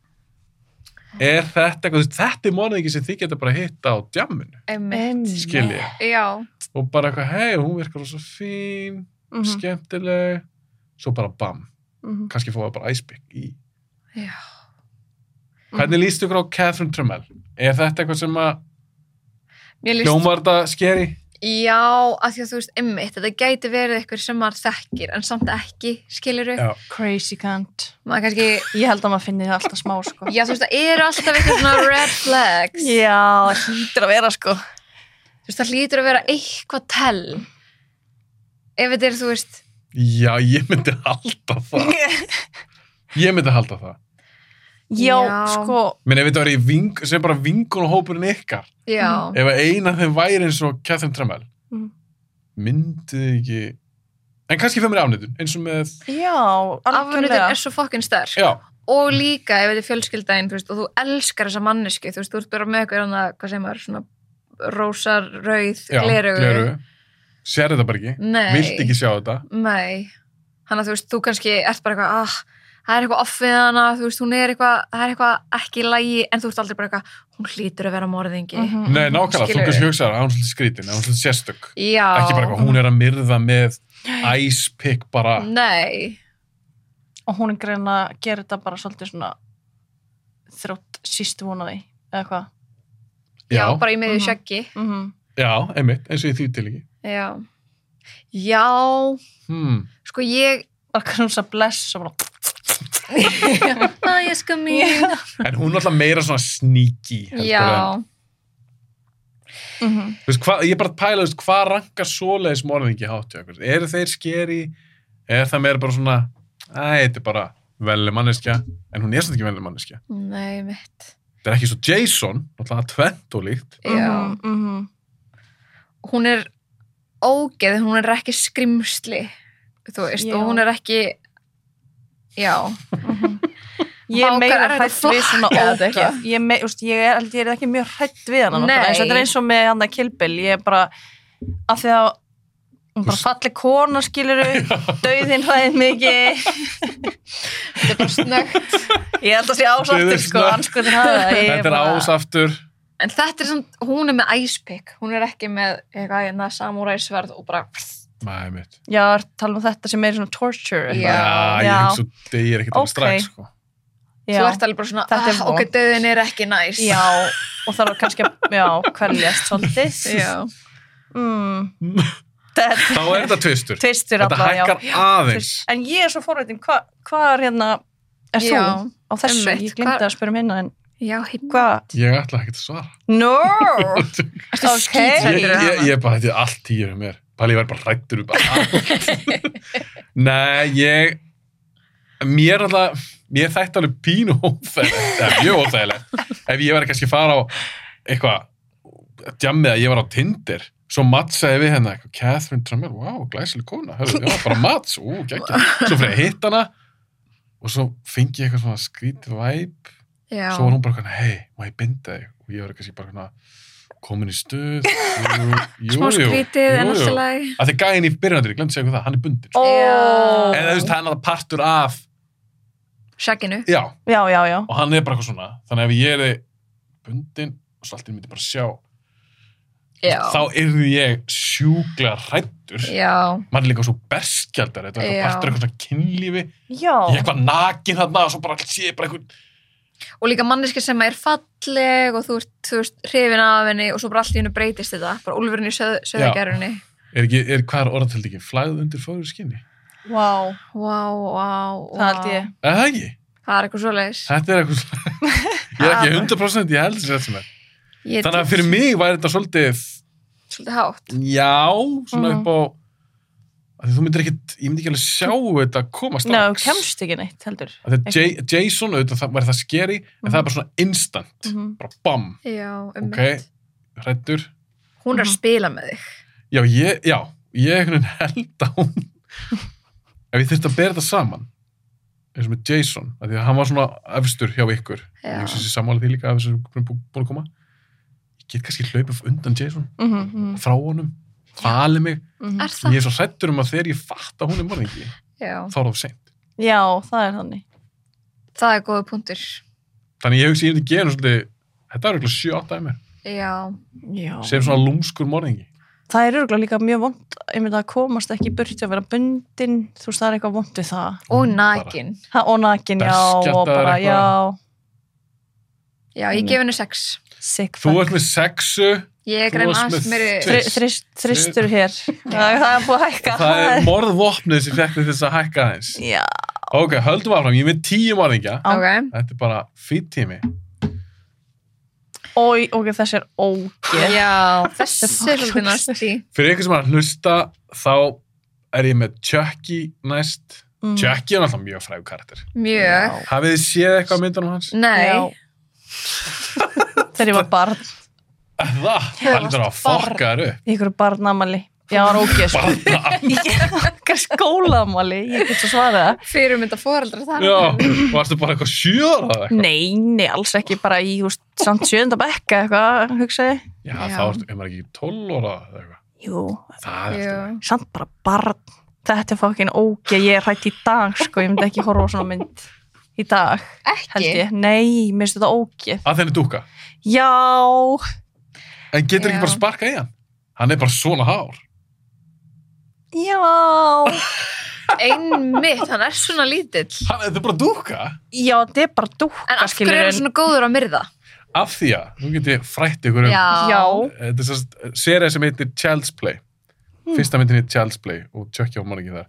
S3: er þetta eitthvað, þetta er morðingi sem þið geta bara hitta á djamminu
S4: Einmitt.
S5: Einmitt.
S3: skilji,
S4: Já.
S3: og bara eitthvað hei, hún virkar svo fín,
S5: Mhm.
S3: skemmtileg svo bara bam,
S5: Mhm.
S3: kannski fóða bara æsbygg í
S4: Já.
S3: Hvernig líst ykkur á Catherine Tremell? Er þetta eitthvað sem að
S4: Mér líst
S3: hljómar þetta skeri?
S4: Já, af því að þú veist, einmitt, þetta gæti verið eitthvað sem maður þekkir, en samt ekki, skilur
S3: Já.
S5: Crazy cunt
S4: Maður kannski,
S5: Ég held að maður finni það alltaf smá sko
S4: já, þú veist, það eru alltaf eitthvað svona red flags.
S5: Já, það hlýtur að vera sko
S4: Þú veist, það hlýtur að vera eitthvað tell. Ef þetta er, þú veist,
S3: Já, ég myndi halda það. Ég myndi halda það.
S5: Já,
S4: Já.
S5: sko
S3: Menn ef þetta var í ving, sem bara vingun og hópurinn ykkar,
S4: já,
S3: ef að eina þeim væri eins og Catherine Tremell,
S5: Mhm.
S3: myndi þið ekki... En kannski fyrir mér afnýttun, eins og með...
S5: Já,
S4: afnöðin
S5: algjörlega
S4: er svo fokkin sterk.
S3: Já,
S4: og líka ef þetta er fjölskyldaðin þú veist, og þú elskar þessa mannesku þú veist, þú ert bara með eitthvað hana, hvað sem er svona rósar, rauð,
S3: já,
S4: glerugu
S3: Sér þetta bara ekki.
S4: nei,
S3: Vilt ekki sjá þetta.
S4: nei þannig að þú veist, þú kannski ert bara eitthvað ah, það er eitthvað off við hana, þú veist, hún er eitthvað það er eitthvað ekki í lagi, en þú ert aldrei bara eitthvað hún hlýtur að vera morðingi
S5: Mhm.
S3: Nei, nákvæmlega, þú
S4: Skilurðu?
S3: kannski hugsaður að hún er svolítið skrítin, að hún er svolítið sérstök.
S4: já,
S3: Ekki bara eitthvað, hún er að myrða með ice pick bara.
S4: Mm, nei,
S5: Og hún er grein að gera þetta bara svolítið svona þrótt sístu vonaði eða hvað
S4: já, bara í miðju
S5: Mhm.
S4: sjaggi
S5: mm -hmm.
S3: já, einmitt, eins og í því til ekki.
S4: já, já
S3: Hmm.
S4: sko ég
S5: Bara knúsa bless og bara
S4: það ég sko mín
S3: En hún er alltaf meira svona sneaky. heldur en-
S4: já,
S5: mm -hmm.
S3: Þú veist, hva, ég er bara að pæla, þú veist, hvað rankar svoleiðis morðingi hátt hjá okkur? Eru þeir skeri? Er það meira bara svona, æ, þetta er bara velið manneskja, en hún er samt ekki velið manneskja.
S4: nei, mitt
S3: Það er ekki svo Jason, náttúrulega tvent og líkt.
S4: já
S5: mm -hmm.
S4: hún er ógeð, hún er ekki skrimsli þú veist,
S5: Já.
S4: og hún er ekki já,
S5: Ég
S4: Vá,
S5: er meira
S4: hvað er þetta
S5: hrætt við svona
S4: flakkaði
S5: ógeð.
S4: eitthvað?
S5: Ég, er mei, úst, ég er, held ég er ekki mjög hrætt við hann.
S4: Nei.
S5: Þetta er eins og með hann að kilpil. Ég er bara, að því að hún bara falli kona skiluru, dauðin hræðið mikið.
S4: þetta er bara snöggt
S5: Ég held að sé
S3: Dauðinn
S5: ásáttir sko,
S3: snögg.
S5: anskotin hafa.
S3: Þetta er ásaftur.
S4: en þetta er samt, hún er með æspik hún er ekki með eitthvað hérna samúræðsverð og bara
S3: Nei, mitt.
S5: Já, tala um þetta sem er svona torture.
S4: Já.
S3: Já, ég
S5: já.
S3: hugsa að degir ekkert
S5: Ok.
S3: alveg strax, sko.
S4: þú
S5: Já,
S4: ert alveg bara svona,
S5: Þetta er
S4: ah, ok,
S5: vont."
S4: döðin er ekki næs
S5: já og þarf kannski að, já, kvæljast svolítið.
S4: já,
S5: Mm. Þetta
S3: Þá er þetta tvistur.
S5: tvistur
S3: Þetta
S5: allavega, já.
S3: hækkar aðeins.
S5: Fyrst- En ég er svo forveitin, hva- hvað er hérna, er
S4: Já,
S5: þú á þessu?
S4: einmitt,
S5: ég glimti
S4: hvar-
S5: að spyrja um hérna, en
S4: já hérna
S5: hvað?
S3: Ég ætla ekki að svara.
S5: No!
S4: ertu
S5: Ok.
S3: Ég,
S4: skíthræddur við
S3: ég,
S4: hana?
S3: ég er bara, þetta er allt tíu um mér. Pæli, ég verð bara hrættur upp allt. Nei, ég, mér alltaf, mér þætti alveg pínu óþægilegt, eða mjög óþægilegt. Ef ég verði kannski að fara á eitthvað, djammið að ég var á Tinder, svo matsaði við hérna eitthvað, Catherine Trammell, wow, glæsileg kona, hörðu, já, bara mats, ú, geggja. Svo fyrir að hitta hana og svo fengi ég eitthvað svona skrítið væp
S4: já,
S3: svo var hún bara hérna, hei, má ég binda þig og ég var kannski bara hérna komin í stuð jú, jú,
S4: smá skrítið en alltaf
S3: að
S4: læg
S3: það gæðin í byrjunandri, ég glemt að segja hvað það, hann er bundin
S5: Ó.
S4: Já.
S3: en þú veist, hann er partur af
S4: sjagginu,
S3: já,
S5: Já, já, já.
S3: og hann er bara eitthvað svona þannig að ef ég er bundin og svo allt í einu myndi ég bara sjá
S4: já
S3: þá yrði ég sjúkla hrættur
S4: já,
S3: maður er líka svo berskjaldar þetta er
S4: Já.
S3: eitthvað partur af eitthvað svona kynlífi
S5: Já.
S3: ég er eitthvað nakin hann og svo bara sé ég bara eitthvað
S4: og líka manneski sem er falleg og þú ert, þú veist, hrifin af henni og svo bara allt í hennu breytist þetta, bara úlfurinn í söð, söðagerunni
S3: er ekki, er, hvað er orðatöld ekki, flæð undir fóður skinni
S5: Vá, wow,
S4: vá, vá, vá
S5: það held ég.
S3: er það ekki?
S4: það er eitthvað svoleiðis
S3: Þetta er eitthvað Ég er ekki 100% ég held þessi þetta sem er
S4: Ég
S3: Þannig að fyrir mig væri þetta svolítið
S4: svolítið hátt
S3: Já, svona
S5: Mhm.
S3: upp á af því Þú myndir ekkit, ég myndi ekki alveg sjá þetta koma
S5: Nei, þú
S3: strax
S5: kemst ekki Mm. neitt, heldur.
S3: Af því að J- Jason, auðvitað, það væri það skeri en það er bara svona instant
S5: Mhm.
S3: bara bam,
S4: já, um
S3: ok, hrættur
S4: hún er að spila með þig
S3: Já, ég, já, ég einhvern veginn held að hún ef ég þyrfti að bera þetta saman eins og með Jason, af því að hann var svona efstur hjá ykkur,
S4: Já.
S3: ég syns ég sammála því líka af þessu búin búin að koma ég get kannski hlaupið undan Jason
S5: Mm -hmm.
S3: frá honum, fali mig
S5: mhm.
S4: er það?
S3: ég er svo hrættur um að þegar ég fatt að hún er morðingi
S4: já,
S3: þá er það of seint
S5: Já, það er þannig.
S4: það er góða punktur
S3: þannig ég hugsi ég myndi gefa henni svolítið þetta er eitthvað 7-8 af mér,
S4: já,
S3: Mm,
S5: Já.
S3: sem svona lúmskur morðingi
S5: Það er örgulega líka mjög vond, ég myndi að komast ekki í burti að vera bundin, þú veist, það er eitthvað vond við það.
S4: og
S3: Hún bara-
S4: nakin
S5: Ha, og nakin, já, og
S3: Berskjaldaður
S5: bara,
S3: eitthvað.
S5: já,
S4: já, ég gef henni sex
S5: sick
S3: þú
S5: fuck.
S3: ert með sexu,
S4: ég er
S3: Þú
S4: grein
S3: varst
S4: aðeins
S3: með
S4: meiri
S3: tvö-
S5: Þri- þrist- Þristur hér. Það það er búið að hækka.
S3: það er morðvopnið sem fekk þess að hækka aðeins
S5: Já.
S3: ok, höldum áfram, ég er með 10 morðingja
S4: ok,
S3: Þetta er bara fýtt tími.
S5: Ói, ok, þessi er ógeð.
S4: já, þessi er
S5: Fuck.
S4: svolítið næsti
S3: Fyrir ykkur sem er að hlusta, þá er ég með Chucky næst.
S5: Mm.
S3: Chucky er alltaf mjög frægur karakter.
S4: mjög,
S3: Hafið þið séð eitthvað af myndunum hans?
S4: nei
S5: Já. Þegar ég var barn,
S3: Það, hann er að fokka þér upp.
S5: í ykkur barnamali. Já, það var ógeð, sko.
S3: Bara,
S5: okkar skólamali, ég get svo svarað það.
S4: fyrirmynda foreldra þar
S3: já, varstu bara eitthvað sjöra eða eitthvað?
S5: Nei, nei, alls ekki bara í húst samt sjönda bekka eitthvað, hugsaði.
S3: Já,
S4: Já.
S3: þá ertu, er maður ekki 12 óra eða eitthvað.
S5: Jú,
S3: Það er
S4: Jú.
S3: eftir.
S5: samt bara barn. Þetta er fokkin ógeð, ég er hrætt í dag, sko, ég myndi ekki horfa á svona mynd í dag, held
S4: ekki,
S5: ég. Nei, mér finnst þetta ógeð.
S3: Að þenni dúka.
S5: Já,
S3: En getur
S4: Já.
S3: ekki bara sparka í hann? Hann er bara svona hár.
S5: já,
S4: einmitt, hann er svona lítill
S3: Hann, þetta er bara dúka.
S5: já, þetta er bara
S4: En
S5: dúkka,
S4: af hverju er hann svona góður á myrða?
S3: Af því að, nú get ég frætt ykkur um
S5: Já,
S3: þetta er sérst serið sem heitir Child's Play
S5: Hmm.
S3: fyrsta myndin heitir Child's Play og tjökkja á manningi þar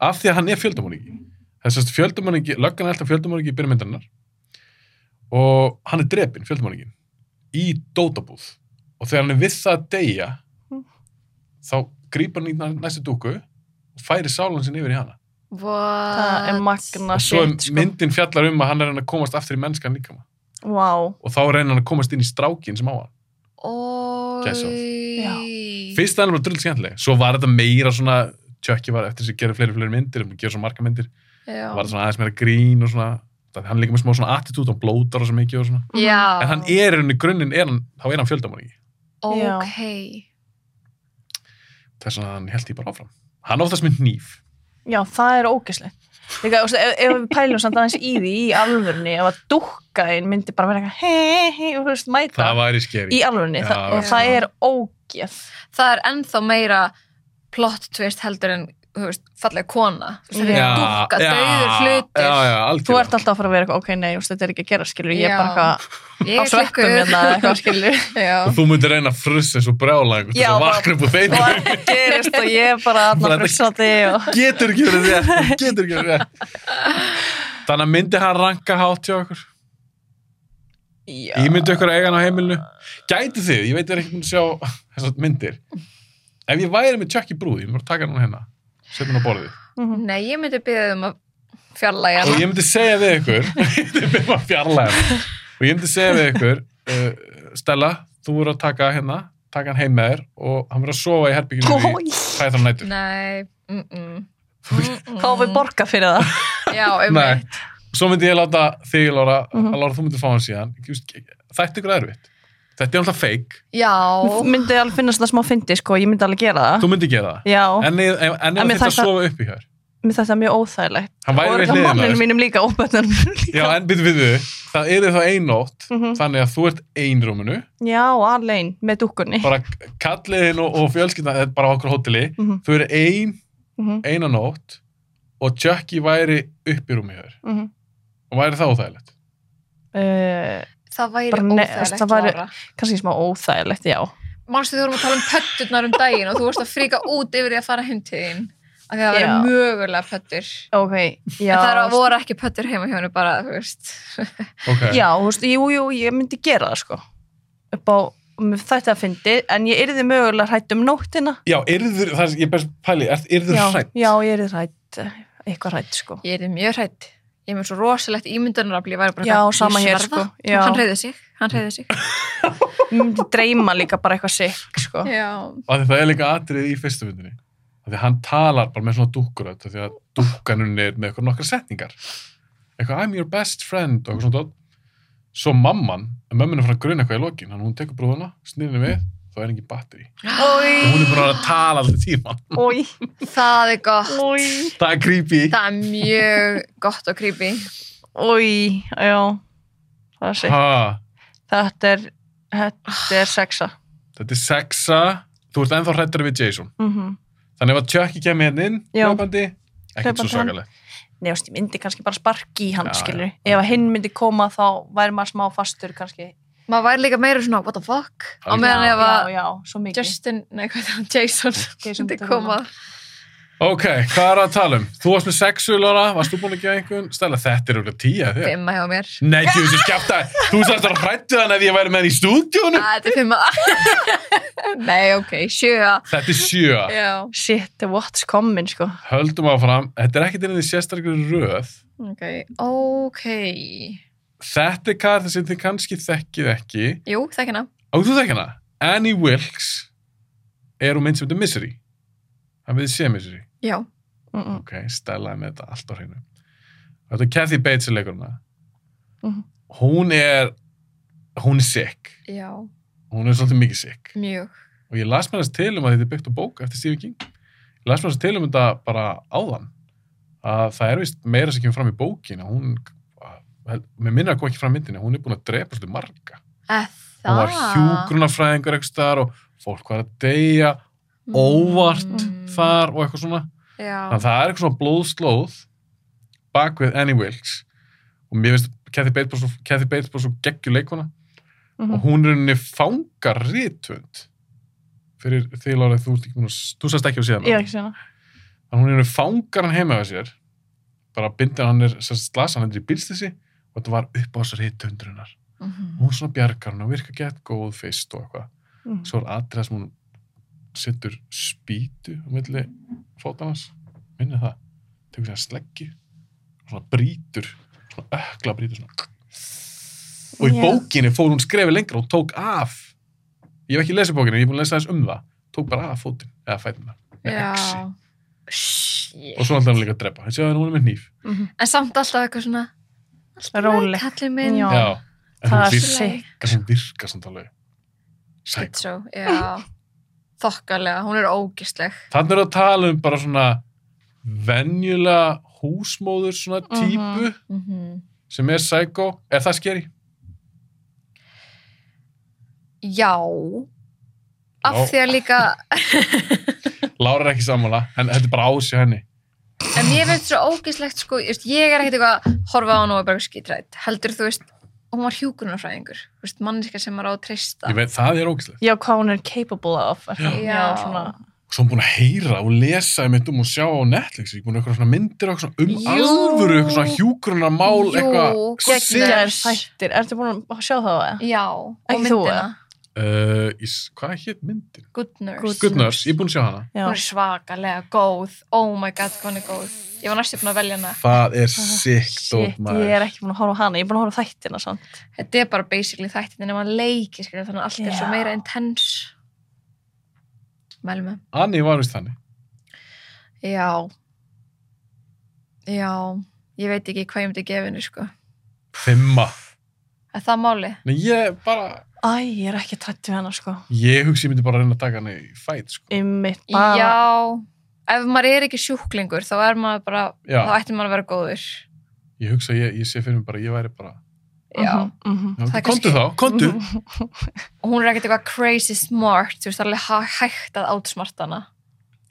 S3: af því að hann er fjöldamanningi það er sérst fjöldamanningi, löggan er alltaf fjöldamanningi í byrjum myndarinnar og hann er drepin, fjöldamanningi í dótabúð og þegar hann er við það að deyja
S5: Hmm.
S3: þá grýpar hann í næ- næstu dúku og færi sálan sinni yfir í hana
S4: What?
S5: það er magna
S3: og svo er
S5: shit, sko.
S3: myndin fjallar um að hann er hann að komast aftur í mennskan líkama
S5: Vá,
S3: og þá reynir hann að komast inn í strákin sem á hann Gæsa.
S4: Ói.
S3: Fyrst aðeins var drull skemmtileg, svo var þetta meira svona, Chucky var eftir þess að gera fleiri fleiri myndir, hann gera svo marga myndir,
S4: já.
S3: var svona aðeins meira grín og svona það- hann er líka með smá svona attitút, hann blótar og svo mikið og svona
S4: Já.
S3: en hann er henni grunninn, er hann, þá er hann fjöldamorðingi
S4: ok
S3: þess að hann held ég bara áfram hann er oftast með nýf
S5: Mm. Já, það er ógeslegt. Líka, þú veist, ef, ef við pælum samt aðeins í því í alvörunni, ef að dúkkaðin myndi bara vera eitthvað hei, hei, og þú veist, mæta
S3: það væri skeri
S5: í alvörunni
S3: Já,
S5: það, og
S4: já.
S5: það er ógeð.
S4: það er ennþá meira plott twist heldur en þú veist, fallega kona Þú veist, það
S5: Já,
S4: er dúkka, dauður hlutir
S3: já, já,
S5: Þú
S3: algjörlega
S5: ert alltaf að fara að vera eitthvað, ok, nei, þú veist, þetta er ekki að gera, skilur, ég er
S4: Já.
S5: bara eitthvað á
S4: ég er
S5: sveppum
S4: klikkuð.
S5: hérna, eða eitthvað, skilur.
S4: já.
S3: og þú myndir reyna að frussa eins og brjála einhvern
S5: Já,
S3: veginn
S5: bara-
S3: vakna upp og þeim
S5: og það gerist og ég er bara
S3: Bara
S5: aðna
S3: þetta-
S5: brúksandi og
S3: getur ekki verið rétt hún getur ekki verið rétt þannig að myndi hann ranka hátt hjá okkur
S5: Já.
S3: ég myndi okkur eigan á heimilinu gæti þið, ég veit þið er ekki búin að sjá þessar myndir ef ég væri með Chucky brúð, ég myndi bara taka hann hérna setja hann á borðið
S4: nei, ég myndi byrja um að fjarlæga
S3: og
S4: hana.
S3: ég myndi segja við ykkur Þetta er bara fjarlægir. og ég myndi segja við ykkur uh, Stella, þú verður að taka hérna taka hann heim með þér og hann verður að sofa í herbygginu í
S5: Oj.
S3: hæðar nættur
S4: nei mm -mm.
S5: þá við borga fyrir það
S4: já, um
S3: Nei. svo myndi ég láta þig Lára,
S5: Mhm.
S3: að Lára þú myndi fá hann síðan þetta ykkur erfitt þetta er alltaf fake,
S4: já,
S5: myndi alveg finnast það smá fyndi sko, ég myndi alveg gera það
S3: þú myndi gera það
S5: já,
S3: en ef- en- en
S5: En
S3: ef
S5: mér
S3: þetta
S5: þætti það-
S3: sofa upp í hér
S5: mér þetta er mjög óþægilegt
S3: hann væri
S5: og
S3: við
S5: það
S3: hliðina á
S5: manninu
S3: þér.
S5: mínum líka og bönnunum mínum líka
S3: já, en byrju við þau, það eru þá ein nótt
S5: Mhm.
S3: þannig að þú ert einrúminu
S5: já, alveg, með dúkkunni
S3: bara kalliðin og, og fjölskyldan eða bara á okkur hóteli,
S5: Mhm.
S3: þú eru ein
S5: Mhm,
S3: eina nótt og Chucky væri upp í rúmi hér
S5: mhm.
S3: og væri það óþægilegt
S5: Eh,
S4: það væri
S5: Bara nei,
S4: óþægilegt
S5: það væri-
S4: Lára.
S5: kannski smá óþægilegt, já
S4: Manstu þú vorum að tala um pötturnar um daginn og þú vorst að fríka út yfir því að fara heim til þín af því að það
S5: Já.
S4: verið mögulega pöttur
S5: ok, já sko.
S4: en það eru að voru ekki pöttur heima hjá henni bara, þú veist
S3: okay.
S5: já, þú veist, jú, jú, ég myndi gera það sko upp á mér þetta að fyndi, en ég yrði mögulega hrætt um nóttina
S3: já yrður, það er, ég best pæli er, yrður
S5: já,
S3: hrætt
S5: já, ég yrði hrætt eitthvað hrætt sko
S4: Ég er mjög hrætt. Ég er með svo rosalegt ímyndunarafl, ég væri bara
S5: Já,
S4: eitthvað, ég
S5: sama hér,
S4: sverða.
S5: sko. Já.
S4: Hann reyði sig, hann reyði sig.
S5: Mér myndi dreyma líka bara eitthvað sikk sko.
S4: Já.
S3: og það er líka atrið í fyrstu myndinni af því að hann talar bara með svona dúkkur af því að dúkkanun er með eitthvað nokkra setningar eitthvað I'm your best friend og eitthvað svona dót. svo mamman, en mömmin er frá að gruna eitthvað í lokin hann hún tekur brúðuna, snýrinu við þá er engin batteri og hún er bara að tala alltaf tíman
S5: Ói,
S4: Það er gott.
S5: ói
S3: það er creepy
S4: Það er mjög gott og creepy.
S5: Ói, já Það er sikk
S3: ha,
S5: Þetta er, þetta er sexa
S3: þetta er sexa þú ert ennþá hrættur við Jason
S5: mm
S3: Þannig ef að Chucky kemur hérna inn,
S5: Já.
S3: hlaupandi, ekkert svo
S5: Hlaupandi hann.
S3: svakalegt.
S5: Nei, þú veist, ég myndi kannski bara sparki í hann
S3: Já,
S5: skilur
S3: já.
S5: Ef að hinn myndi koma þá væri maður smá fastur kannski
S4: Maður væri líka meira svona, what the fuck? Á meðan
S3: Já.
S4: ef
S5: Já,
S4: að
S5: já, svo mikið
S4: Justin, nei hvað er það, Jason,
S5: Jason
S4: myndi
S5: Derulo.
S4: koma.
S3: Ok, hvað er að tala um? Þú varst með sexu, Laura, varst þú búin að gefa einhvern? Stella, þetta er auðvitað tíja þig.
S4: Fimma hjá mér.
S3: Nei, þú veist, ég skjáta, þú sagðist að hrættu hann ef ég væri með hann í stúdíónu.
S4: Að, þetta er fimma. nei, ok, sjöa.
S3: Þetta er sjö.
S4: Já.
S5: Shit, what's coming sko
S3: Höldum áfram, þetta er ekkert einnig sérstaklega röð.
S4: Ok, ok.
S3: Þetta er karta sem þið kannski þekkið ekki.
S4: Jú, þekk hérna.
S3: Á, þú þekk hana? Annie Wilkes er úr mynd sem þetta Misery. Það við sé Misery.
S4: Já.
S5: mm -mm.
S3: ok, Stella er með þetta allt á hreinu þetta er Kathy Bates sem leikur hana
S5: Mhm.
S3: hún er hún er sick,
S4: Já,
S3: hún er svolítið mikið sick
S4: mjög.
S3: og ég las mér þess til um að þetta er byggt á bók eftir Stephen King ég las mér þess til um þetta bara áðan að það er vist meira sem kemur fram í bókina hún, að- með minna að koma ekki fram í myndinni hún er búin að drepa svolítið marga
S4: Eða það.
S3: hún var hjúgrunafræðingur eitthvað staðar og fólk var að deyja óvart
S4: Mm.
S3: þar og eitthvað svona
S4: Já.
S3: Þannig að það er eitthvað svona blóðslóð bak við Annie Wilkes og mér finnst Kathy Bates bara svo- Kathy Bates bara svo geggju leikona og hún er henni fangar rítvönd fyrir því Lára þú, ert ekki búin að s- þú sast ekki á síðan
S5: Ég er ekki sérna
S3: að hún er henni fangar hann heima á sér bara bindið hann er sem slasa hann hendur í bílstissi og þetta var upp á þessar rítvöndrunar og hún svona bjargar hann og virka gett góð fyrst og eitthvað
S5: Mhm.
S3: svo er atrið það sem hún setur spýtu á milli fótarnas minni það, tekur sér sleggju og svona brýtur svona ökla brýtur svona og í
S5: Já.
S3: bókinni fór hún skrefi lengra og tók af ég hef ekki lesið bókinni, ég er búin að lesa þess um það tók bara af fótinn, eða fætina með exi.
S4: Shhh,
S5: shit.
S3: og svo alltaf hann líka að drepa hann séu að hún er með hníf
S5: Mhm.
S4: en samt alltaf eitthvað svona
S5: Róleg.
S4: kallið minn
S5: Já.
S3: já, en
S5: Það
S3: hún
S5: er
S4: Allt í
S3: virkar-
S5: svo-
S4: lagi.
S3: en hún virkar samt alveg Sæk.
S4: skitsó, já þokkalega, hún er ógistleg
S3: Þannig er að tala um bara svona venjulega húsmóður svona típu
S4: mm
S3: sem er psycho. Er það skeri?
S4: já af
S3: Já.
S4: því að líka
S3: Lára er ekki sammála, en þetta er bara ás í henni.
S4: en mér finnst svo ógíslegt sko, ég veist, ég er ekkert eitthvað að horfa á hann og er bara skitrætt heldur þú veist, hún var hjúkunarfræðingur þú veist, manniska sem maður á að treysta
S3: Ég veit, það er ógæslega.
S5: Já, hvað hún er capable of. Já.
S4: Já.
S5: Já, svona.
S3: Svo hún búin að heyra og lesa um þetta um og sjá á Netflix. Ég búin að eitthvað svona myndir og eitthvað svona um
S4: Jú.
S3: alvöru, eitthvað svona hjúgrunar mál,
S4: Jú,
S3: eitthvað
S4: geggjað.
S5: Það
S3: sick.
S5: er þættir. Ertu búin að sjá það á það?
S4: já, og
S5: Ekki þú,
S4: myndina
S3: Uh, ég s- Hvað hétt myndin?
S4: Good Nurse,
S5: Good
S3: Good Nurse, ég er búin að sjá hana.
S5: Já.
S4: hún er svakalega góð oh my god, hvað hún er góð ég var næstu búin að velja hana
S3: Það er sick, dót
S5: Shit, ég
S3: maður.
S5: er ekki búin að horfa á hana. Ég er búin að horfa á þættina samt.
S4: þetta er bara basically þættin en ef hann leikir skilur, þannig að allt er svo
S5: Já.
S4: meira intense mælum með
S3: Anni var vist þannig.
S4: já já, ég veit ekki hvað ég myndi gefa henni sko,
S3: Fimma.
S4: er það máli?
S3: Nei, ég bara,
S5: Æ, ég er ekki trætt við hana, sko.
S3: ég hugsi ég myndi bara að reyna að taka hana í fæt, sko.
S5: Ymmið, bara.
S4: já, ef maður er ekki sjúklingur þá er maður bara,
S3: Já.
S4: þá ætti maður að vera góður
S3: Ég hugsa, ég, ég sé fyrir mig bara, ég væri bara
S4: já,
S5: Mm -hmm.
S3: já,
S4: Það er
S3: Komdu
S4: kannski- Mhm.
S3: þá, komdu
S4: og hún er ekkert eitthvað crazy smart þú veist, það er alveg hæ- hægt að outsmart hana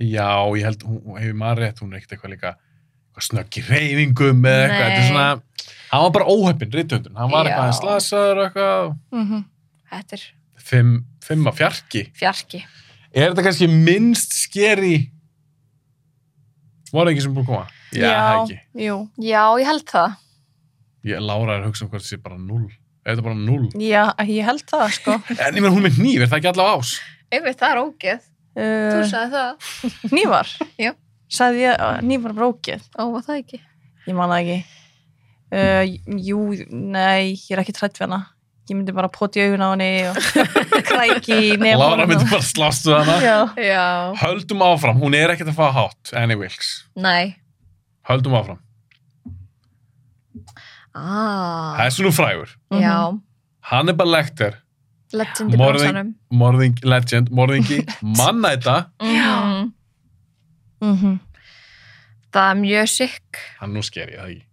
S3: Já, ég held, hún, hún- ef ég maður rétt hún er ekkert eitthvað líka eitthvað snögg í reyfingum eða eitthvað, þetta er
S4: Nei.
S3: svona hann var bara óheppin, rithöndun, hann var
S4: Já.
S3: eitthvað slasaður og eitthvað,
S5: Mm -hmm.
S4: þetta er
S3: fimm, fimm af fjarki
S4: fjarki
S3: Er þetta kannski minnst skeri Var það ekki sem búið að koma? Já, það ekki
S5: Jú.
S4: já, ég held það
S3: Ég, Lára er að hugsa um hvort það sé bara null Er þetta bara null?
S5: Já, ég held það, sko.
S3: En ég meina hún er með hníf, er það ekki allavega ás?
S4: einmitt, það er ógeð, þú
S5: Uh,
S4: sagði það
S5: nývar?
S4: Já.
S5: Sæði ég að nývar var ógeð?
S4: ó, var það ekki?
S5: Ég man það ekki. Uh, jú, nei, ég er ekki trætt við hana. Ég myndi bara poti augun á henni og kræki í nefnum.
S3: Lára myndi bara slást við hana
S5: Já.
S4: já,
S3: Höldum áfram, hún er ekkert að fá hátt Annie Wilkes,
S4: nei
S3: höldum áfram
S4: Ah,
S3: Það er svona frægur,
S4: já,
S3: hann er bara lektir
S4: legendi
S3: Morðing-
S4: bransanum.
S3: morðing, legend, morðingi mannæta,
S4: Mm,
S5: Mm -hmm.
S4: það er mjög sikk,
S3: hann nú sker ég það ekki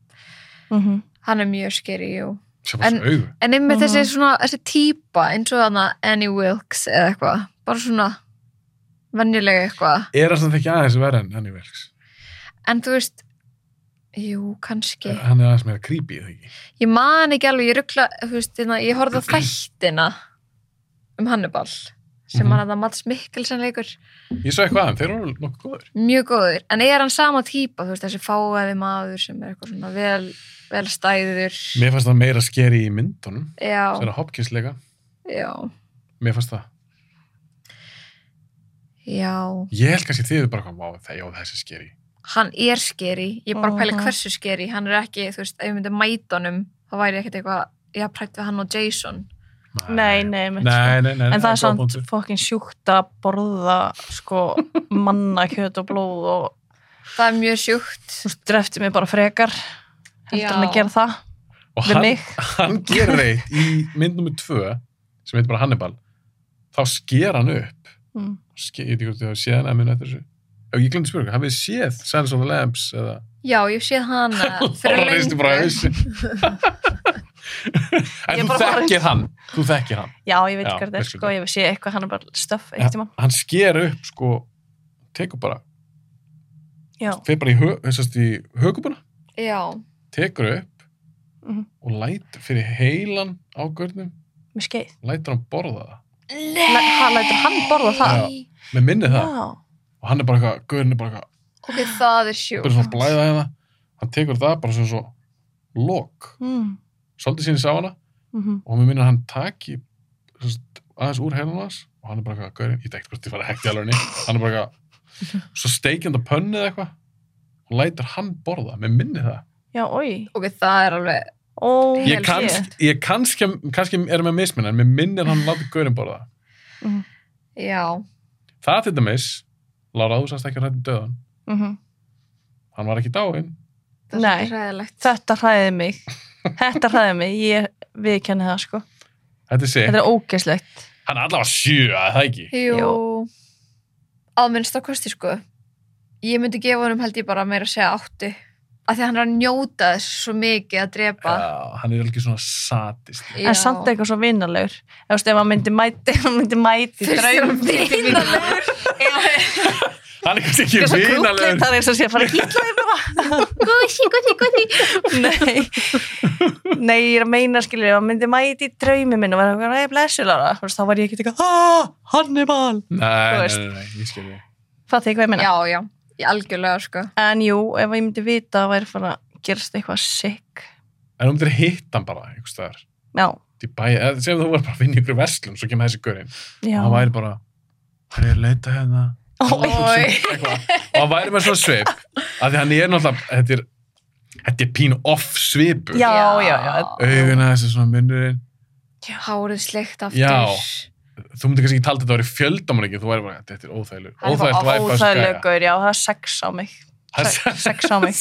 S5: Mm -hmm.
S4: hann er mjög skeri, jú.
S3: sem bara
S4: En-
S3: svona augu
S4: En einmitt
S5: Mhm.
S4: þessi svona, þessi típa eins og þarna Annie Wilkes eða eitthvað, bara svona venjulega eitthvað.
S3: er hann samt ekki aðeins verið en Annie Wilkes
S4: En þú veist, jú, kannski.
S3: Eh, hann er aðeins meira creepy er það ekki
S4: Ég man ekki alveg, ég rugla, þú veist, hérna, ég horfði á þættina um Hannibal, sem
S3: Mhm.
S4: hann að það Mats Mikkelsen leikur.
S3: ég svo eitthvað aðeins, þeir eru nokkuð góður
S4: Mjög góður, en er hann sama típa, þú veist, þessi fáaði maður sem er eitthvað svona vel, vel stæður.
S3: mér fannst það meira skeri í myndunum
S4: Já,
S3: sem er að Hopkins leika,
S4: já,
S3: mér fannst það
S4: já.
S3: ég held kannski þið eru bara hvað, "Vá, það, já þessi skeri
S4: Hann er skeri, ég er bara að pæla
S5: Mhm.
S4: hversu skeri, hann er ekki, þú veist, ef ég myndi mæta honum, þá væri ekkert eitthvað, ég hafði prætt við hann og Jason.
S5: Nei, nei, mitt, sko.
S3: nei, nei, nei,
S5: En það er
S3: góð
S5: samt
S3: punktur.
S5: fokkin sjúkt að borða sko, manna kjöt og blóð og
S4: Það er mjög sjúkt.
S5: þú veist, drefti mig bara frekar heldur
S4: Já.
S5: hann að gera það
S3: og
S5: við
S3: hann,
S5: mig
S3: hann gerir eitt í mynd nummer tvö sem heitir bara Hannibal þá sker hann upp
S5: mm.
S3: sker, ég veit ekki hvort þið hafa séð hann að minna eftir þessu já, ég glemdi að spyrja, hafið þið séð Sands of the Lambs eða
S4: Já, ég sé hana fyrir
S3: Lára reisti bara
S4: löngu.
S3: hausinn.
S5: Ég
S3: en þú
S5: bara horfði.
S3: þekkir hann þú þekkir hann
S5: Já, ég veit
S3: Já,
S5: ekki hvað það er
S3: veist
S5: sko,
S3: hvað.
S5: ég sé eitthvað hann er bara stöff eitt tíma
S3: hann sker upp sko tekur bara,
S5: Já,
S3: fer bara í, hö, þessast í högubuna,
S4: Já,
S3: tekur upp
S5: Mhm.
S3: og lætur fyrir heilan á görnum,
S5: með skeið
S3: lætur hann borða það
S5: Læ- hann lætur hann borða það
S3: Já. með minni það
S5: Já.
S3: og hann er bara eitthvað, görn er bara eitthvað
S4: ok, það er
S3: byrja svona að
S4: sjúkt.
S3: blæða hérna hann tekur það bara sem svo lok,
S5: Mm.
S3: svolítið síðan sá hana
S5: mhm.
S3: og mér minnir að hann taki sem sagt, aðeins úr heilunas og hann er bara eitthvað gaurinn, ég dækt hvort ég var að hekti alveg henni hann er bara eitthvað svo steikjandi á pönnu eða eitthvað og lætur hann borða, mér minni það
S5: Já, oi
S4: Ok, það er alveg,
S5: Ó,
S4: Ég
S3: ég,
S4: Held
S3: kannski, ég kannski, kannski er með misminna en mér minnir að hann láti gaurinn borða
S4: já,
S3: það til dæmis, Lára þú sast ekki að rætti döðan
S5: Mhm.
S3: um hann var ekki dáinn
S4: það
S5: Nei.
S4: er ræðilegt
S5: Þetta hræði mig. Þetta hræði mig. Ég viðkenni það, sko.
S3: Þetta er sig,
S5: Þetta er ógeðslegt.
S3: hann er allavega sjö að það ekki
S4: Jú, að minnst á kosti sko ég myndi gefa honum held ég bara meira að segja áttu af því að hann er að njóta þess svo mikið að drepa
S3: Já, hann er alveg svona sadist
S5: En samt eitthvað svo vinalegur. Ef þú veist, ef hann myndi mæti, ef hann myndi mæti
S4: Fyrst er hann
S5: vinalegur.
S3: hann er kannski ekki
S5: Svo krútlið,
S3: vinalegur
S5: það er eins og sé að fara að kýtla þig bara.
S4: góði, góði, góði
S5: Nei. Nei, ég er að meina, skilur, ef hann myndi mæti í draumi minn og vera eitthvað, nei, blessulara. Þú veist, þá var ég ekkert eitthvað, "Ah, aah, Hannibal.
S3: Nei, nei,
S5: veist.
S3: nei, nei, ég skil þig
S5: Fattu þig hvað ég meina?
S4: já, já, ég algjörlega sko
S5: En jú, ef ég myndi vita að væri fara að gerast eitthvað sick.
S3: En hún myndir hitta hann bara einhvers staðar
S5: Já.
S3: út í bæ, eða segjum þú var bara að vinna ykkur verslun svo kemur þessi görinn
S5: Já.
S3: og hann væri bara hann er að leita hérna
S5: Ó,
S4: Oj.
S3: Eitthvað. og hann væri með svona svip af því hann er náttúrulega þetta er, þetta er pínu off svipur
S5: Já, já, já.
S3: auguna þessi svona munnurinn
S4: hárið sleikt aftur
S3: Já. þú myndir kannski ekki talda þetta að vera fjöldamanningi þú væri bara, þetta er óþægileg
S4: Hann er bara
S3: óþægilegt væp á þessu
S5: Óþægilegur,
S3: gæja.
S5: gaur, já, það er sex á mig.
S3: Það er
S5: Se- Sex á mig.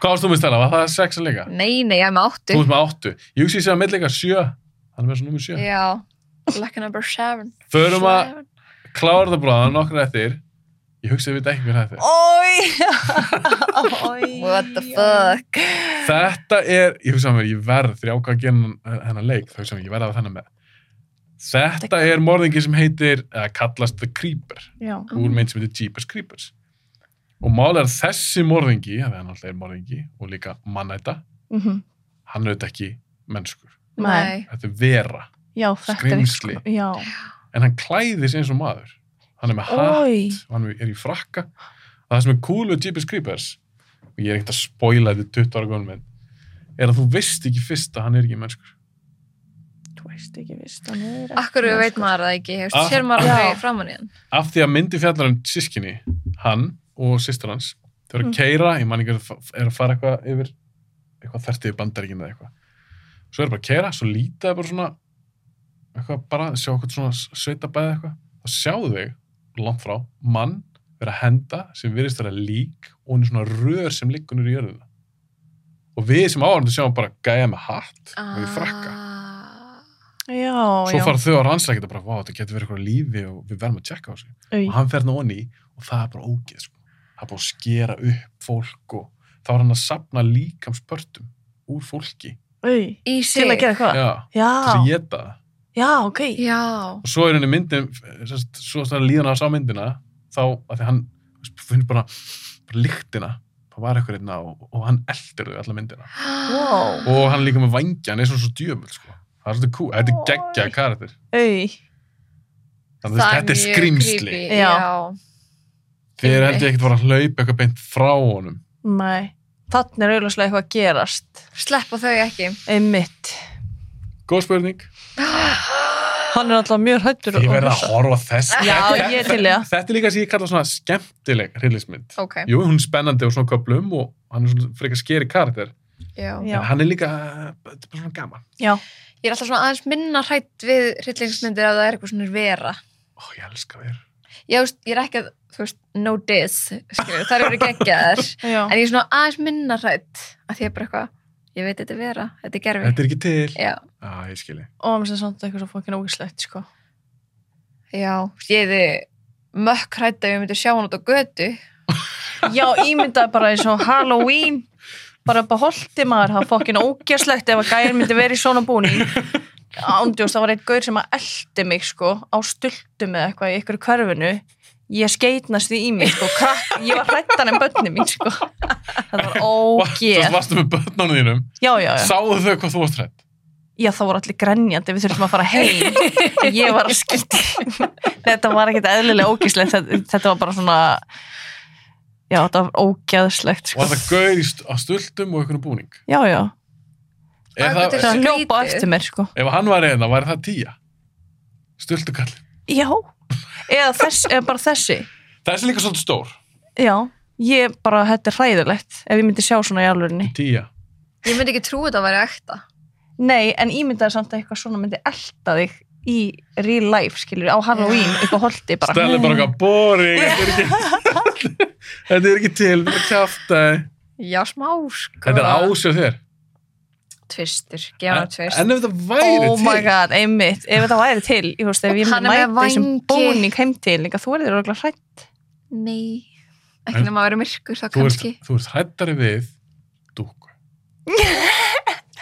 S3: hvað varst þú með stæla, var það sex að leika?
S4: nei, nei, ég er með
S3: þú
S4: áttu
S3: ert með áttu, ég hugsi ég sé að millega sjö hann er með svona nummer sjö
S4: já, lucky number seven
S3: förum að klára þetta bara nokkur eftir ég hugsi að við ekki hver
S5: Oh.
S3: þetta er
S5: Ói!
S4: what the fuck
S3: Þetta er, ég hugsa að mér, ég verð þegar ég ákvað að gera þennan- þennan leik, þá hugsa að mér, ég verð að hafa þennan með. Þetta er morðingi sem heitir, eða kallast The Creeper,
S5: Já,
S3: úr mynd sem heitir Jeepers Creepers. Og mál er að þessi morðingi, að hann alltaf er morðingi og líka mannæta,
S5: mhm.
S3: hann er auðvitað ekki mennskur.
S5: Nei.
S4: nei,
S3: Þetta er vera,
S5: já þetta
S3: Skrimsli.
S5: er eitthvað. Já.
S3: en hann klæðir sig eins og maður. Hann er með hatt
S5: Ói!
S3: og hann er í frakka. Og það sem er cool við Jeepers Creepers, og ég er ekkert að spoila þetta er 20 ára góðum minn, er að þú veist ekki fyrst að hann er ekki mennskur.
S5: Þú veist ekki, vist, hann er ekki.
S4: akkur veit maður það ekki hefst,
S3: Ah.
S4: sér maður
S5: Já.
S4: aldrei framan í hann
S3: af því að myndi fjallar um sískinni hann og sýstur hans þau eru að
S5: Mm.
S3: keira, ég man ekki að það er að fara eitthvað yfir eitthvað þertið í bandaríkinu eða eitthvað svo eru bara að keira, svo líta þau bara svona eitthvað bara, sjá eitthvað svona sveitabæði eitthvað, þá sjáðu þau langt frá, mann vera að henda sem virðist vera lík og hún er svona rör sem liggunur í jörðina og við sem áhverjum sjáum bara gæja með hatt
S4: Ah.
S3: og við frakka
S5: Já,
S3: svo
S5: Ah, já.
S3: fara þau að rannsækja þetta bara, vá, þetta getur verið eitthvað á lífi og við verðum að tjekka á þessu
S5: Oj.
S3: og hann fer hann onni og það er bara ógeð sko. það er bara að skera upp fólk og þá er hann að sapna líkamspörtum úr fólki
S5: Oj.
S4: í
S5: Til að
S4: sig
S5: gera hvað?
S3: já, þess að
S5: Já.
S3: geta það
S5: Já, ok.
S4: já,
S3: og svo er henni myndin sest, svo er líðan að sá myndina þá að því hann finnur bara, bara lyktina það var eitthvað hérna og, og hann eldir þau alla myndina
S5: Wow.
S3: og hann er líka með vangja, hann er svona svo djöful sko. það er svolítið kú, þetta er geggja karakter
S5: Oj.
S3: þannig að þetta er
S4: mjög
S3: skrimsli
S4: creepy,
S5: Já.
S4: já.
S3: þeir held ég ekkert var að hlaupa eitthvað beint frá honum
S5: Nei. Þannig er auðvitað eitthvað að gerast.
S4: sleppa þau ekki
S5: Einmitt.
S3: góð spurning
S5: Hann er alltaf mjög hættur.
S3: Ég verði að horfa á þess
S5: Já,
S3: Þetta-
S5: ég er til í það.
S3: Þetta er líka sem ég kalla svona skemmtileg hryllismynd
S4: ok,
S3: Jú, hún er spennandi og svona köplum og hann er svona frekar skeri karakter
S4: já.
S5: Já.
S3: en hann er líka, uh, þetta er bara svona gaman
S5: Já.
S4: ég er alltaf svona aðeins minna hrætt við hryllingsmyndir ef það er eitthvað svona vera
S3: Ó, ég elska þér
S4: ég, veist, ég er ekki að, þú veist, no dis skilur, þar eru geggjaðar
S5: Já.
S4: en ég er svona aðeins minna hrætt að því ég er bara eitthvað, ég veit þetta er vera þetta er gerfi
S3: Þetta er ekki til
S4: já,
S3: Á, ég skilji
S5: Og hann sem samt eitthvað svo fokkin ógislegt, sko.
S4: já, ég er mökk hrætt að ég myndi sjá hann út á götu
S5: Já, ímyndaði bara eins og Halloween bara upp á holdi maður, það var fokkin ógjarslegt ef að gæðin myndi verið í svona búni ándjóðst, það var eitt gaur sem að eldi mig sko, á stultu með eitthvað í ykkur hverfinu, ég skeitnast því í mig sko, krakk, ég var hrættan en bönni mín sko, það var
S3: Svo
S5: ógjör,
S3: varstu með börnunum þínum
S5: já, já, já
S3: Sáðu þau hvað þú varst hrætt
S5: já, þá voru allir grenjandi, við þurftum að fara heim ég var að skýti þetta var ekkert eðlilega ógjarslegt þetta, þetta var bara svona já, þetta var ógjarslegt
S3: og
S5: sko.
S3: það gaur í st á stöldum og einhvern búning
S5: já, já
S3: Ef,
S4: Æ,
S3: það,
S4: þetta er
S5: Það
S4: svo-
S3: ef,
S5: er hljópa á
S4: Skrítið.
S5: eftir mér, sko.
S3: ef hann var eða, væri það tíja Stöldukall
S5: Já. Eða, þess, eða bara þessi.
S3: Þessi er líka svolítið stór
S5: Já. Ég bara, þetta er hræðilegt ef ég myndi sjá svona í alvörinni.
S3: Tíja
S4: ég myndi ekki trúi þetta að vera ekta
S5: Nei, en ímyndaði samt að eitthvað svona myndi elta þig í real life, skilur, á Halloween, upp á holdi bara.
S3: Stella er bara eitthvað boring þetta er ekki- Þetta er ekki til, þetta er kjáft
S4: Já, smá sko.
S3: Þetta er ásjóð þér
S4: Tvistur,
S3: En
S4: gefa hann tvist.
S3: en ef þetta væri
S5: Oh my
S3: til
S5: god, einmitt, ef þetta væri til ég veist, ef ég
S4: Hann er
S5: myndi
S4: með
S5: mæta þessum
S4: vængi.
S5: bóning heim til líka þú er þér orðlega hrætt
S4: Nei, ekki
S3: En-
S4: nema að vera myrkur þá
S3: Þú ert,
S4: kannski.
S3: þú ert hrættari við dúku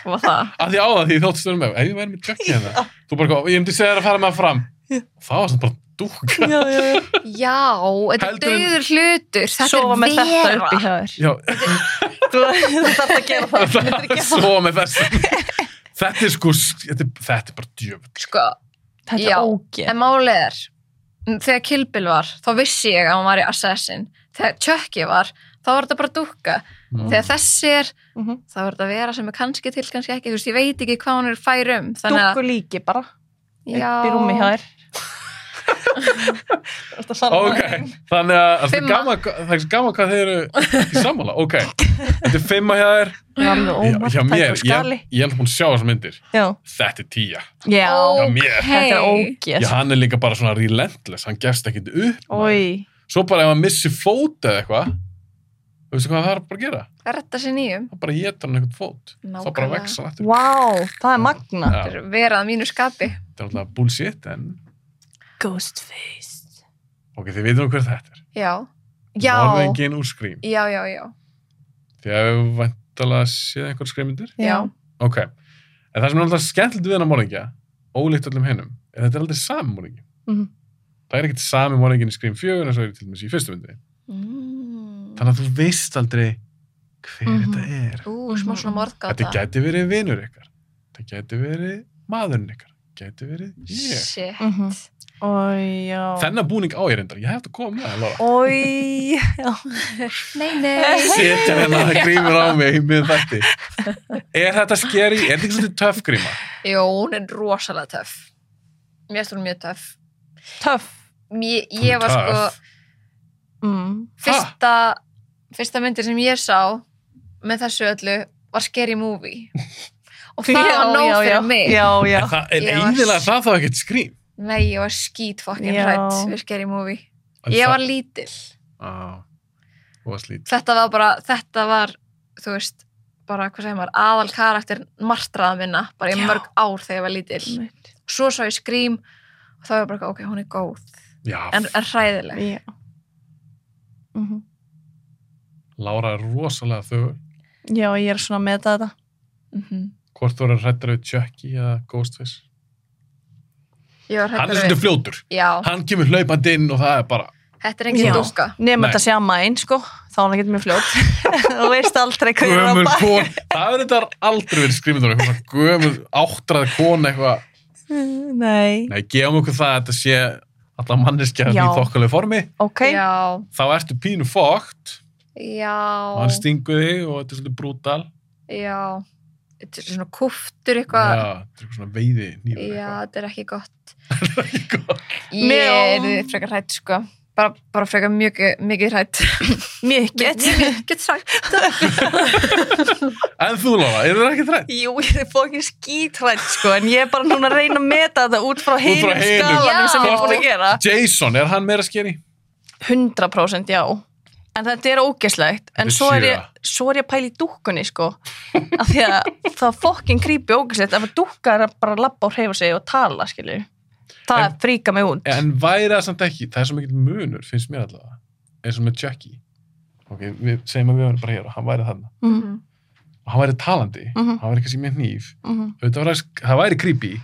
S5: og það,
S3: að því á það því þáttu stöðum með ef ég væri með tjökki hérna þú bara kom, ég myndi segja þér að fara með hann fram það var svona bara dúka
S5: já, já, já.
S4: Já, þetta er
S3: Heldur en-
S4: döður hlutur. Þetta
S5: sofa
S4: er
S5: með þetta
S4: vera.
S5: upp í höður
S3: já,
S5: þú þú þarf að gera það Þú myndir ekki
S3: svo með þess þetta er sko þetta er, þetta er bara djöfull
S4: Sko,
S5: þetta
S4: Já.
S5: er ógeð
S4: en málið er, m, þegar Kill Bill var, þá vissi ég að hann var í Assassin. Þegar Chucky var, þá var þetta bara dúkka.
S3: Mm.
S4: Þegar þessi er,
S5: Mhm.
S4: þá var þetta vera sem er kannski til, kannski ekki. Þú veist, ég veit ekki hvað hann er fær um. Þannig að,
S5: dúkku líki bara upp í rúmi hjá
S4: já,
S5: þér Þetta sanna
S3: ok,
S5: það.
S3: þannig að það er
S4: Fimma.
S3: gaman það er gaman hvað þeir eru í sammála ok, þetta er fimma hjá þér
S5: Það er alveg
S3: Já, hjá
S5: ómarktækur
S3: mér, ég,
S5: skali.
S3: ég held að hún sjá þessar myndir
S5: Já.
S3: þetta er tíja,
S5: Já.
S3: hjá
S4: Ó.
S3: mér
S5: Þetta er
S4: Hey.
S3: Já,
S5: ógeð.
S3: hann er líka bara svona relentless, hann gefst ekkit upp
S5: Ói.
S3: svo bara ef hann missi fót eða eitthvað þú veistu hvað það er bara að gera
S4: það retta sér nýjum.
S3: þá bara getur hann einhvern fót þá bara
S4: Nákvæmlega.
S3: vex hann aftur
S5: Vá, það er magna.
S3: Já,
S4: Þetta er verað að mínu skapi.
S3: þetta er alltaf bullshit en
S5: Ghostface.
S3: ok, þið veitum hver þetta er
S4: Já. Já,
S3: morðingin úr skrím
S4: já, já, já.
S3: því að við vantalega séð einhver skrímyndir
S5: Já.
S4: Já.
S3: ok, en það sem er alltaf skemmtilegt við hennar morðingja ólíkt öllum hinnum, en þetta er aldrei sami morðingi
S5: Mhm.
S3: það er ekkert sami morðingin í skrím 4 eins og er til dæmis í fyrstu myndinni
S4: Mm.
S3: þannig að þú veist aldrei hver
S5: Mhm.
S3: þetta er
S4: Ú, smá svona morðgáta.
S3: þetta gæti verið vinur ykkar þetta gæti verið maðurinn ykkar gæti verið ég
S4: Shit.
S5: Mhm. Ói, já.
S3: þennan búning á ég reyndar, ég hef þetta komið með það, Lára.
S5: Ói.
S4: Nei, nei.
S3: setja hérna það grímur á mig með þætti er þetta skeri, er þetta ekki svolítið töff gríma
S4: Jó, hún er rosalega töff. Mér finnst hún mjög töff.
S5: Töff.
S4: Mér,
S3: Hún er
S4: ég var sko,
S3: töff.
S5: Mm.
S4: fyrsta, fyrsta myndir sem ég sá með þessu öllu var Scary Movie. Og það
S5: Já,
S4: var nóg
S5: já,
S4: fyrir
S5: já.
S4: mig.
S5: Já, já.
S3: en það er
S4: Ég var-
S3: eiginlega það þá ekkert skrím
S4: Nei, ég var skít fokkin
S5: Já.
S4: hrætt við Scary Movie.
S3: En
S4: Ég
S3: það-
S4: var lítill.
S3: Á, þú varst lít
S4: Þetta var bara, þetta var, þú veist, bara, hvað segir maður, aðal karakter martraða minna, bara í
S5: Já. Mm.
S4: mörg ár þegar ég var lítill. svo svo ég skrím og þá er ég bara, ok, hún er góð
S3: já,
S4: en, en hræðileg
S5: Já. Mhm.
S3: Lára er rosalega þau
S5: Já, ég er svona að meta þetta.
S4: mm -hmm.
S5: Mhm.
S3: hvort þú eru hrættar við Chucky eða Ghostface
S4: ég var
S3: hann er
S4: hræðileg
S3: svolítið fljótur,
S4: já,
S3: hann kemur hlaupandi inn og það er bara
S4: þetta er engin
S5: Já.
S4: dúska
S5: Nefnum
S3: Nei.
S5: þetta sé að mæn, sko. Þá er hann ekkert mjög fljótt. Þú veist aldrei hvað ég er
S3: gömur
S5: að bæ.
S3: kon það er þetta aldrei verið skrímyndur eitthvað svona gömur áttrað kon eitthvað
S5: Nei.
S3: nei, gefum okkur það að þetta sé alla manneskja í
S5: Já.
S3: þokkalegu formi
S5: Ok.
S4: já,
S3: þá ertu pínu fókt og hann
S4: já,
S3: stingur þig og þetta er svolítið brútal
S4: já þetta er svona kúftur
S3: Já,
S4: eitthvað
S3: þetta er eitthvað svona veiði nýður
S4: já, þetta er ekki gott
S3: eitthvað
S4: ég
S5: Nei,
S4: er
S5: já.
S4: frekar hrætt sko bara, bara frekar mjög, mikið hrætt
S5: Mikið.
S4: mikið hrætt
S3: En þú Lára, eru það ekki þrætt?
S5: Jú, ég er fókin skítrætt sko en ég er bara núna að reyna að meta þetta út frá hinum
S3: hinum.
S5: skalanum sem ég er búin að gera
S3: Jason, er hann meira skeri?
S5: 100% já en þetta er ógeslegt en
S3: Þetta er
S5: svo er, ég,
S3: sjö.
S5: svo er ég að pæla í dúkkunni sko af því að það fókin grípi ógeslegt ef að dúkka er að bara labba og hreyfa sig og tala skilju það
S3: En-
S5: fríka mig út
S3: En væri það samt ekki, það er svo mikill munur finnst mér allavega, eins og með Jackie Ok, við segjum að við varum bara hér og hann væri þarna
S5: Mhm,
S3: og hann væri talandi,
S5: Mhm.
S3: hann væri kannski með hníf
S5: mhm.
S3: auðvitað væri, það væri creepy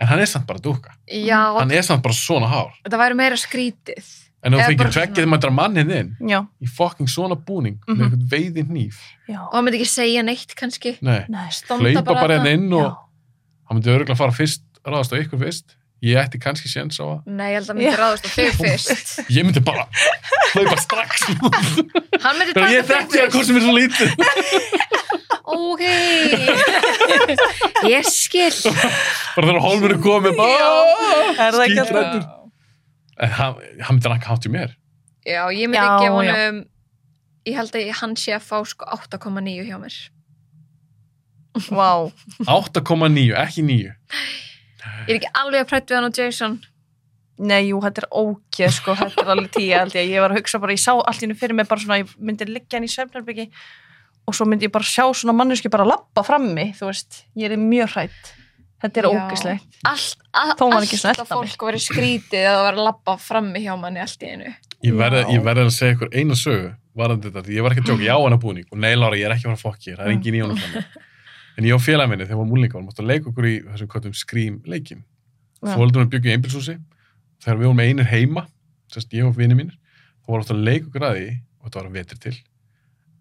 S3: en hann er samt bara dúkka,
S4: já,
S3: hann er samt bara svona hár
S4: þetta væri meira skrítið
S3: en ef þú
S4: Eða
S3: fengir
S4: bara
S3: tveggja
S4: svona.
S3: þegar maður manninn inn
S5: já,
S3: í fucking svona búning með
S5: Mhm.
S3: eitthvað veiði hníf
S5: já
S4: og hann myndi ekki segja neitt kannski
S3: Nei,
S5: næst
S4: Standa
S3: hleypa bara hérna inn
S5: já,
S3: og hann myndi örgulega fara fyrst, ráðast á ykkur fyrst ég ætti kannski séns á að
S4: nei, ég held að hann myndi
S5: Já.
S4: ráðast á þau fyrst
S3: ég myndi bara hlaupa strax út.
S4: hann myndi
S3: Bara,
S4: taka
S3: ég þekki að hvort sem er svo lítið
S4: ok ég skil
S3: bara þegar holmur er komið bara,
S5: er það ekki
S3: Skítrætt.
S5: alltaf
S3: Skítrættur. en hann, hann myndi ranka hátt í mér
S4: já, ég myndi
S5: Já,
S4: gefa honum ég held að hann sé að fá sko 8,9 hjá mér
S5: wow.
S3: 8,9, ekki 9
S4: ég er ekki alveg að prættu hann og Jason
S5: Nei, jú, þetta er ógeð, sko, þetta er alveg tíu held ég, ég var að hugsa bara, ég sá allt í hennu fyrir mig bara svona, ég myndi liggja hann í svefnarbyggi og svo myndi ég bara sjá svona manneski bara lappa frammi, þú veist, ég er mjög hrætt, þetta er
S4: Já.
S5: ógeðslegt.
S4: allt, all,
S5: Þó var ekki svona
S4: allt
S5: elta
S4: að fólk verið skrítið að það var að labba frammi hjá manni allt í einu
S3: Ég verði,
S5: Já.
S3: ég verði að segja ykkur eina sögu varðandi þetta, því ég var ekki að djóka, ég á hana búning og nei Lára, ég er ekki að fara að fokki, þér, það er engin í honum þannig en ég og félagi minni, þegar við varum múlingar við máttum að leika okkur í þessum kvöldum skrím leikim
S5: Já.
S3: fóldunum byggjum í einbilshúsi þegar við vorum einir heima sérst ég og vini mínir, þá var ofta að leika okkur að því og þetta var að vetri til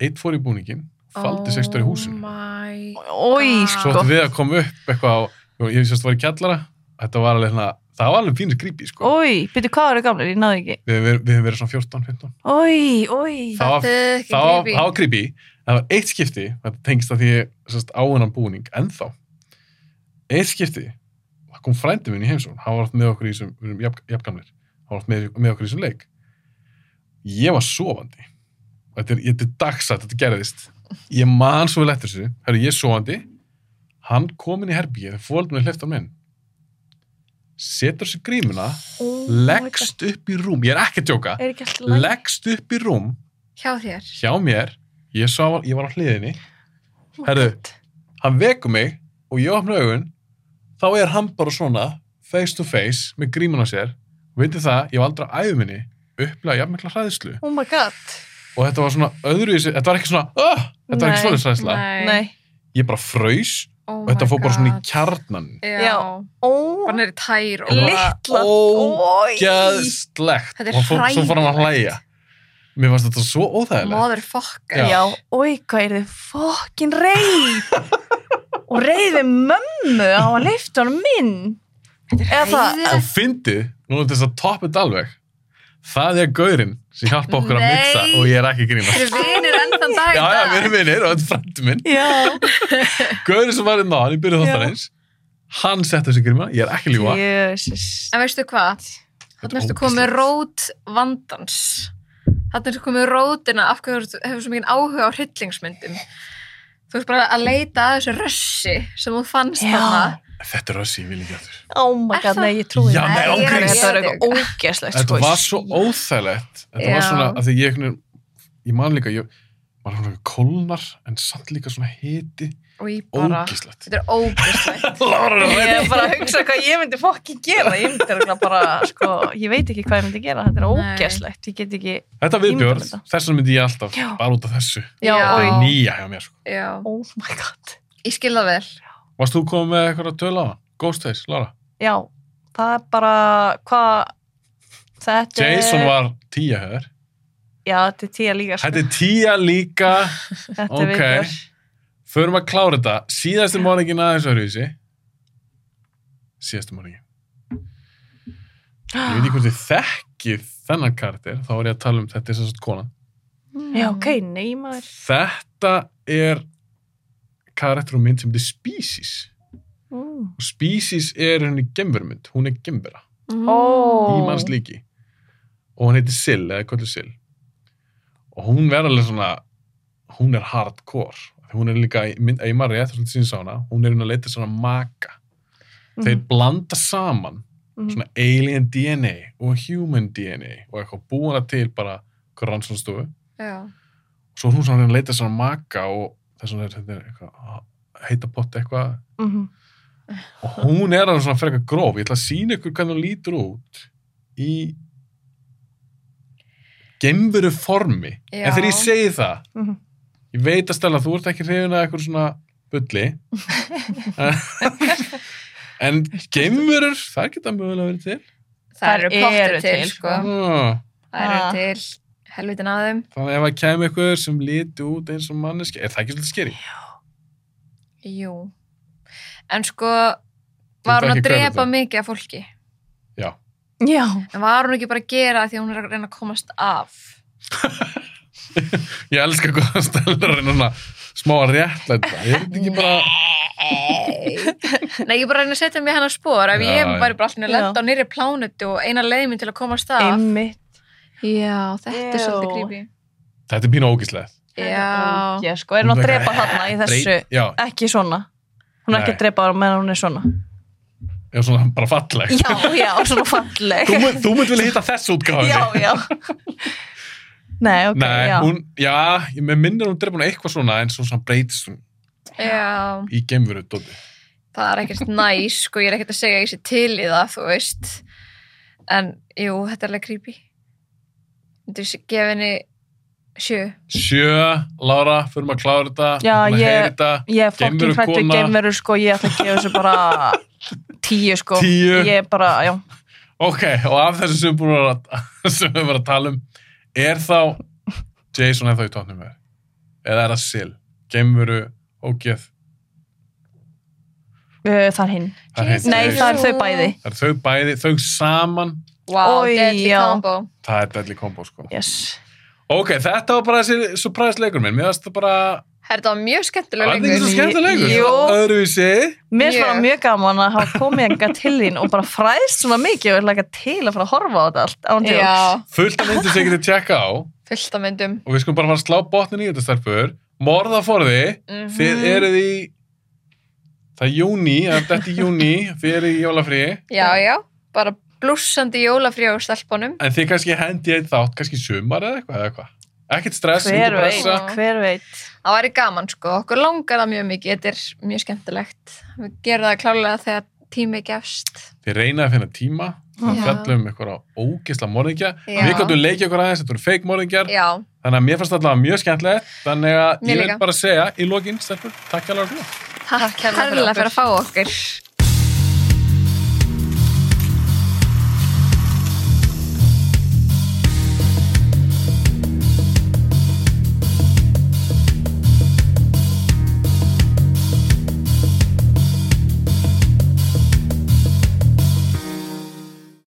S3: eitt fór í búningin, faldi oh sextur í húsinu
S4: my...
S5: Ói,
S3: svo
S5: sko,
S3: ætti við að koma upp eitthvað á, ég sérst var í kjallara þetta var alveg, svona- það var alveg pínir grípi sko.
S5: ói, byrju, hvað eru gamlir, ég náði ekki.
S3: við, við, við hefum verið svona 14, 15
S5: Ói, ói,
S3: Það var-
S4: Þetta er ekki
S3: það var-
S4: creepy.
S3: það var creepy það var eitt skipti, þetta tengst að því ég, sérst, á hennan búning, ennþá eitt skipti það kom frændi minn í heimsókn, hann var oft með okkur í þessum, við erum jafn- jafngamlir hann var oft með, með okkur í þessum leik ég var sofandi Og þetta er, þetta er dagsat, þetta gerðist ég man svo vel eftir þessu, herru ég er sofandi hann kom inn í herbygið þegar fóldum er hlifta minn setur sér grímuna
S5: Oh my
S3: leggst upp í rúm, ég er ekki að djóka
S5: God, er ekki alltaf læg.
S3: leggst upp í rúm
S4: hjá þér
S3: hjá mér, ég, sá, ég var á hliðinni herðu. hann veku mig og ég opna augun þá er hann bara svona face to face með gríman á sér og veitir það, ég var aldrei á æfuminni upplega jafnmikla hræðislu
S5: Oh my god,
S3: og þetta var svona öðru þetta var ekki svona, oh! þetta var
S5: Nei,
S3: ekki svona hræðisla
S5: nei,
S3: ég bara fraus
S4: oh
S3: og þetta
S4: my
S3: fór bara svona í
S4: God.
S3: kjarnan
S4: já,
S5: Já. ó,
S4: bara neyri tær og bara-
S5: litla,
S3: Ógeðslegt.
S5: ói.
S4: Þetta er
S3: og fór, svo fór hann að hlæja mér fannst þetta svo óþægilegt
S4: motherfucker
S5: Já, oi, hvað er þið fokkin reið og reið við mömmu á að leifta hann minn eða það
S4: Hræðilegt.
S3: og fyndið, núna til þess að toppa þetta alveg það er gaurinn sem hjálpa okkur að
S4: Nei.
S3: mixa og ég er ekki að grínast
S4: Þeir eru vinir enn þann dag í
S3: Já, já,
S4: dag.
S3: við erum vinnir og þetta er frændi minn.
S5: Já,
S3: Gaurið sem var inn á hann í byrju þáttarins, hann setti þessi gríma, ég er ekki að ljúa.
S5: jössis
S4: En veistu hvað? Þannig ertu komið rót vandans. Þannig ertu komið rótina af hverju þú hefur svo mikið áhuga á hryllingsmyndum. Þú ert bara að leita að þessu rössi sem þú fannst
S5: Já.
S4: þarna.
S3: Þetta er rössi, ég vil ekki aftur.
S5: Oh my
S4: Er
S5: god,
S4: það-
S5: nei, ég trúi
S3: Já,
S5: því.
S3: nei, Nei, ég er ókei. að
S5: Þetta var
S4: gera
S5: eitthvað sko. ógeslegt
S3: Þetta var svo óþægilegt. Þetta var
S4: Já.
S3: svona, að því ég einhvern veginn, ég man líka, ég var svona kólnar, en samt líka svona hiti,
S4: Og ég bara,
S3: ógíslegt.
S4: þetta er ógæslegt.
S3: Lára, þú
S5: Ég
S3: veit-
S5: er bara að hugsa hvað ég myndi fokkin gera ég myndi örugglega bara, sko, ég veit ekki hvað ég myndi gera þetta er
S4: Nei.
S5: ógeslegt, ég get ekki
S3: Þetta
S5: Ímynda mér
S3: viðbjörð,
S5: þetta.
S3: þess vegna myndi ég alltaf,
S5: Já.
S3: bara út af þessu.
S5: Já,
S4: Já.
S3: Þetta er
S5: oi,
S3: nýja hjá mér, sko.
S4: Já,
S5: oh my god
S4: ég skil það vel.
S3: Varst þú komið með eitthvað að töla á hann? Ghostface, Lára?
S5: Já, það er bara hvað þetta er
S3: Jason var tíja höður.
S5: Já, þetta er tíja líka sko.
S3: Þetta er tíja líka...
S5: Þetta
S3: Ok.
S5: okay. vikur.
S3: Förum að klára þetta. Síðasti máningin aðeins öðruvísi. Síðasti máningin. Ég veit ekki hvort þið þekkið þennan karakter. Þá er ég að tala um þetta er sem sagt konan.
S5: Já, ok, nei maður.
S3: Þetta er karakter og mynd sem heitir Species.
S5: Mm.
S3: Og Species er henni gemvermynd. Hún er gemvera.
S5: Mm. Ó.
S3: Í manns líki. Og hún heitir Sill, eða kvöldu Sill. Og hún verður alveg svona, hún er hardcore. Hún er líka, í mynd- ef ég maður rétt, svolítið síns á hana, hún er hún að leita svona maka. þeir blanda saman
S5: Mhm.
S3: svona alien DNA og human DNA og eitthvað búana til bara hver rannsónstofu og
S4: Já.
S3: svo er hún svona að reyna að leita svona maka og þess vegna er þetta er eitthvað heita pott eitthvað
S5: Mm -hmm.
S3: og hún er alveg svona frekar gróf ég ætla að sína ykkur hvernig hún lítur út í gemveru formi
S4: Já.
S3: en þegar ég segi það
S5: Mm -hmm.
S3: ég veit að Stella, þú ert ekki hrifin að eitthvað svona bulli en gemurur það geta mögulega verið til
S4: Það
S5: Þær
S4: eru pottir
S5: eru
S4: til,
S5: til,
S4: sko.
S3: ah,
S4: Það eru
S5: Ah.
S4: til. Helvitin að þeim.
S3: þannig ef að kemur eitthvað sem líti út eins og manneski er það ekki svolítið skeri?
S4: Jú. En sko, var hún
S3: ekki
S4: að drepa
S3: kreditið.
S4: mikið af fólki?
S3: já,
S5: Já.
S4: En var hún ekki bara að gera það því að hún er að reyna að komast af?
S3: ég elska hvað Stella er núna smá að réttlæta ég veit ekki bara
S4: Nei, ég er bara að reyna að setja mig í hennar spór ef
S3: Já,
S4: ég
S3: já.
S4: væri bara alltaf að lenda
S5: Já.
S4: á nýri plánutu og eina leið mín til að komast af
S5: Einmitt.
S4: Já, þetta er svolítið
S5: Ew.
S4: creepy
S3: þetta er pínu ógíslegt
S4: Já,
S5: Já, sko, er hún að drepa þarna í þessu?
S3: já,
S5: Ekki svona. Hún er ekki
S3: Nei.
S5: að drepa þarna meðan hún er svona.
S3: eða svona bara falleg
S5: já, já, svona falleg
S3: þú, mun- þú mynd vilja hitta þess útgáfinni
S5: já, já nei, ok,
S3: Nei,
S5: já
S3: hún, já, ég með minnir að hún drefna eitthvað svona en svona, svona breytist hún
S4: Já,
S3: í geimveru dóti.
S4: það er ekkert næs, sko, ég er ekkert að segja að ég sé til í það, þú veist. En, jú, þetta er alveg creepy. Þú veist, gef henni sjö.
S3: Sjö, Lára, förum að klára þetta
S5: Já,
S3: förum að
S5: ég-
S3: heyra þetta.
S5: ég er fokkin
S3: Geimveru
S5: hrættu
S3: kona.
S5: geimveru sko, ég ætla að gefa þessu bara tíu sko
S3: Tíu.
S5: ég er bara, já,
S3: Ok, og af þessu sem, búin að, sem við varum að tala um er þá Jason eða þá í tóknum með eða er það Sil, geimveru ógeð,
S5: uh, það er hinn
S3: það heitir
S5: nei,
S3: Jason.
S5: það er þau bæði
S3: það er þau bæði, þau saman
S4: Vá,
S5: Oj,
S4: deadly
S5: já.
S4: combo.
S3: það er deadly combo sko
S5: yes.
S3: ok, þetta var bara þessi surprise leikur minn mér varst það bara,
S4: Herra, Það var mjög skemmtileg
S3: var þetta ekki
S4: leikur.
S3: svo skemmtilega
S5: Jú.
S3: leikur öðruvísi,
S5: mér er bara
S4: Mjög.
S5: mjög gaman að hafa komið enga til þín og bara fræðst svona mikið og ég ætla ekki til að fara að horfa á þetta allt án
S4: Já,
S5: djóks
S3: fullt af myndir sem ég getið tjekka á og
S4: fullt af myndum.
S3: við skulum bara fara að slá botnin í þetta stelpur morðaforði,
S4: Mhm.
S3: þið eruð í það er júni, þetta er júni þið eruð í jólafríi
S4: Já, já, bara blússandi jólafrí á stelpunum.
S3: En þið kannski hendi einn þátt, kannski í sumar eða eitthvað, eða eitthvað. Ekkert stress,
S5: hver
S3: engin
S5: veit,
S3: pressa.
S5: hver veit
S4: Það væri gaman, sko. Okkur langar það mjög mikið. Þetta er mjög skemmtilegt. Við gerum það klálega þegar tími gefst.
S3: Þið reynaði að finna tíma, það
S4: Já.
S3: fjallum ykkur á ógisla morðingja.
S4: Já.
S3: Við gotum leikið okkur aðeins, þetta eru fake morðingjar.
S4: Já,
S3: Þannig að mér fannst allavega mjög skemmtilegt. Þannig að
S4: Mér
S3: ég vil
S4: líka.
S3: bara segja í lokin, Stelfur, takk hjá fyrir.
S4: takk
S5: kærlega fyrir
S4: herrlega fyrir
S5: okkur.
S4: að fá okkur.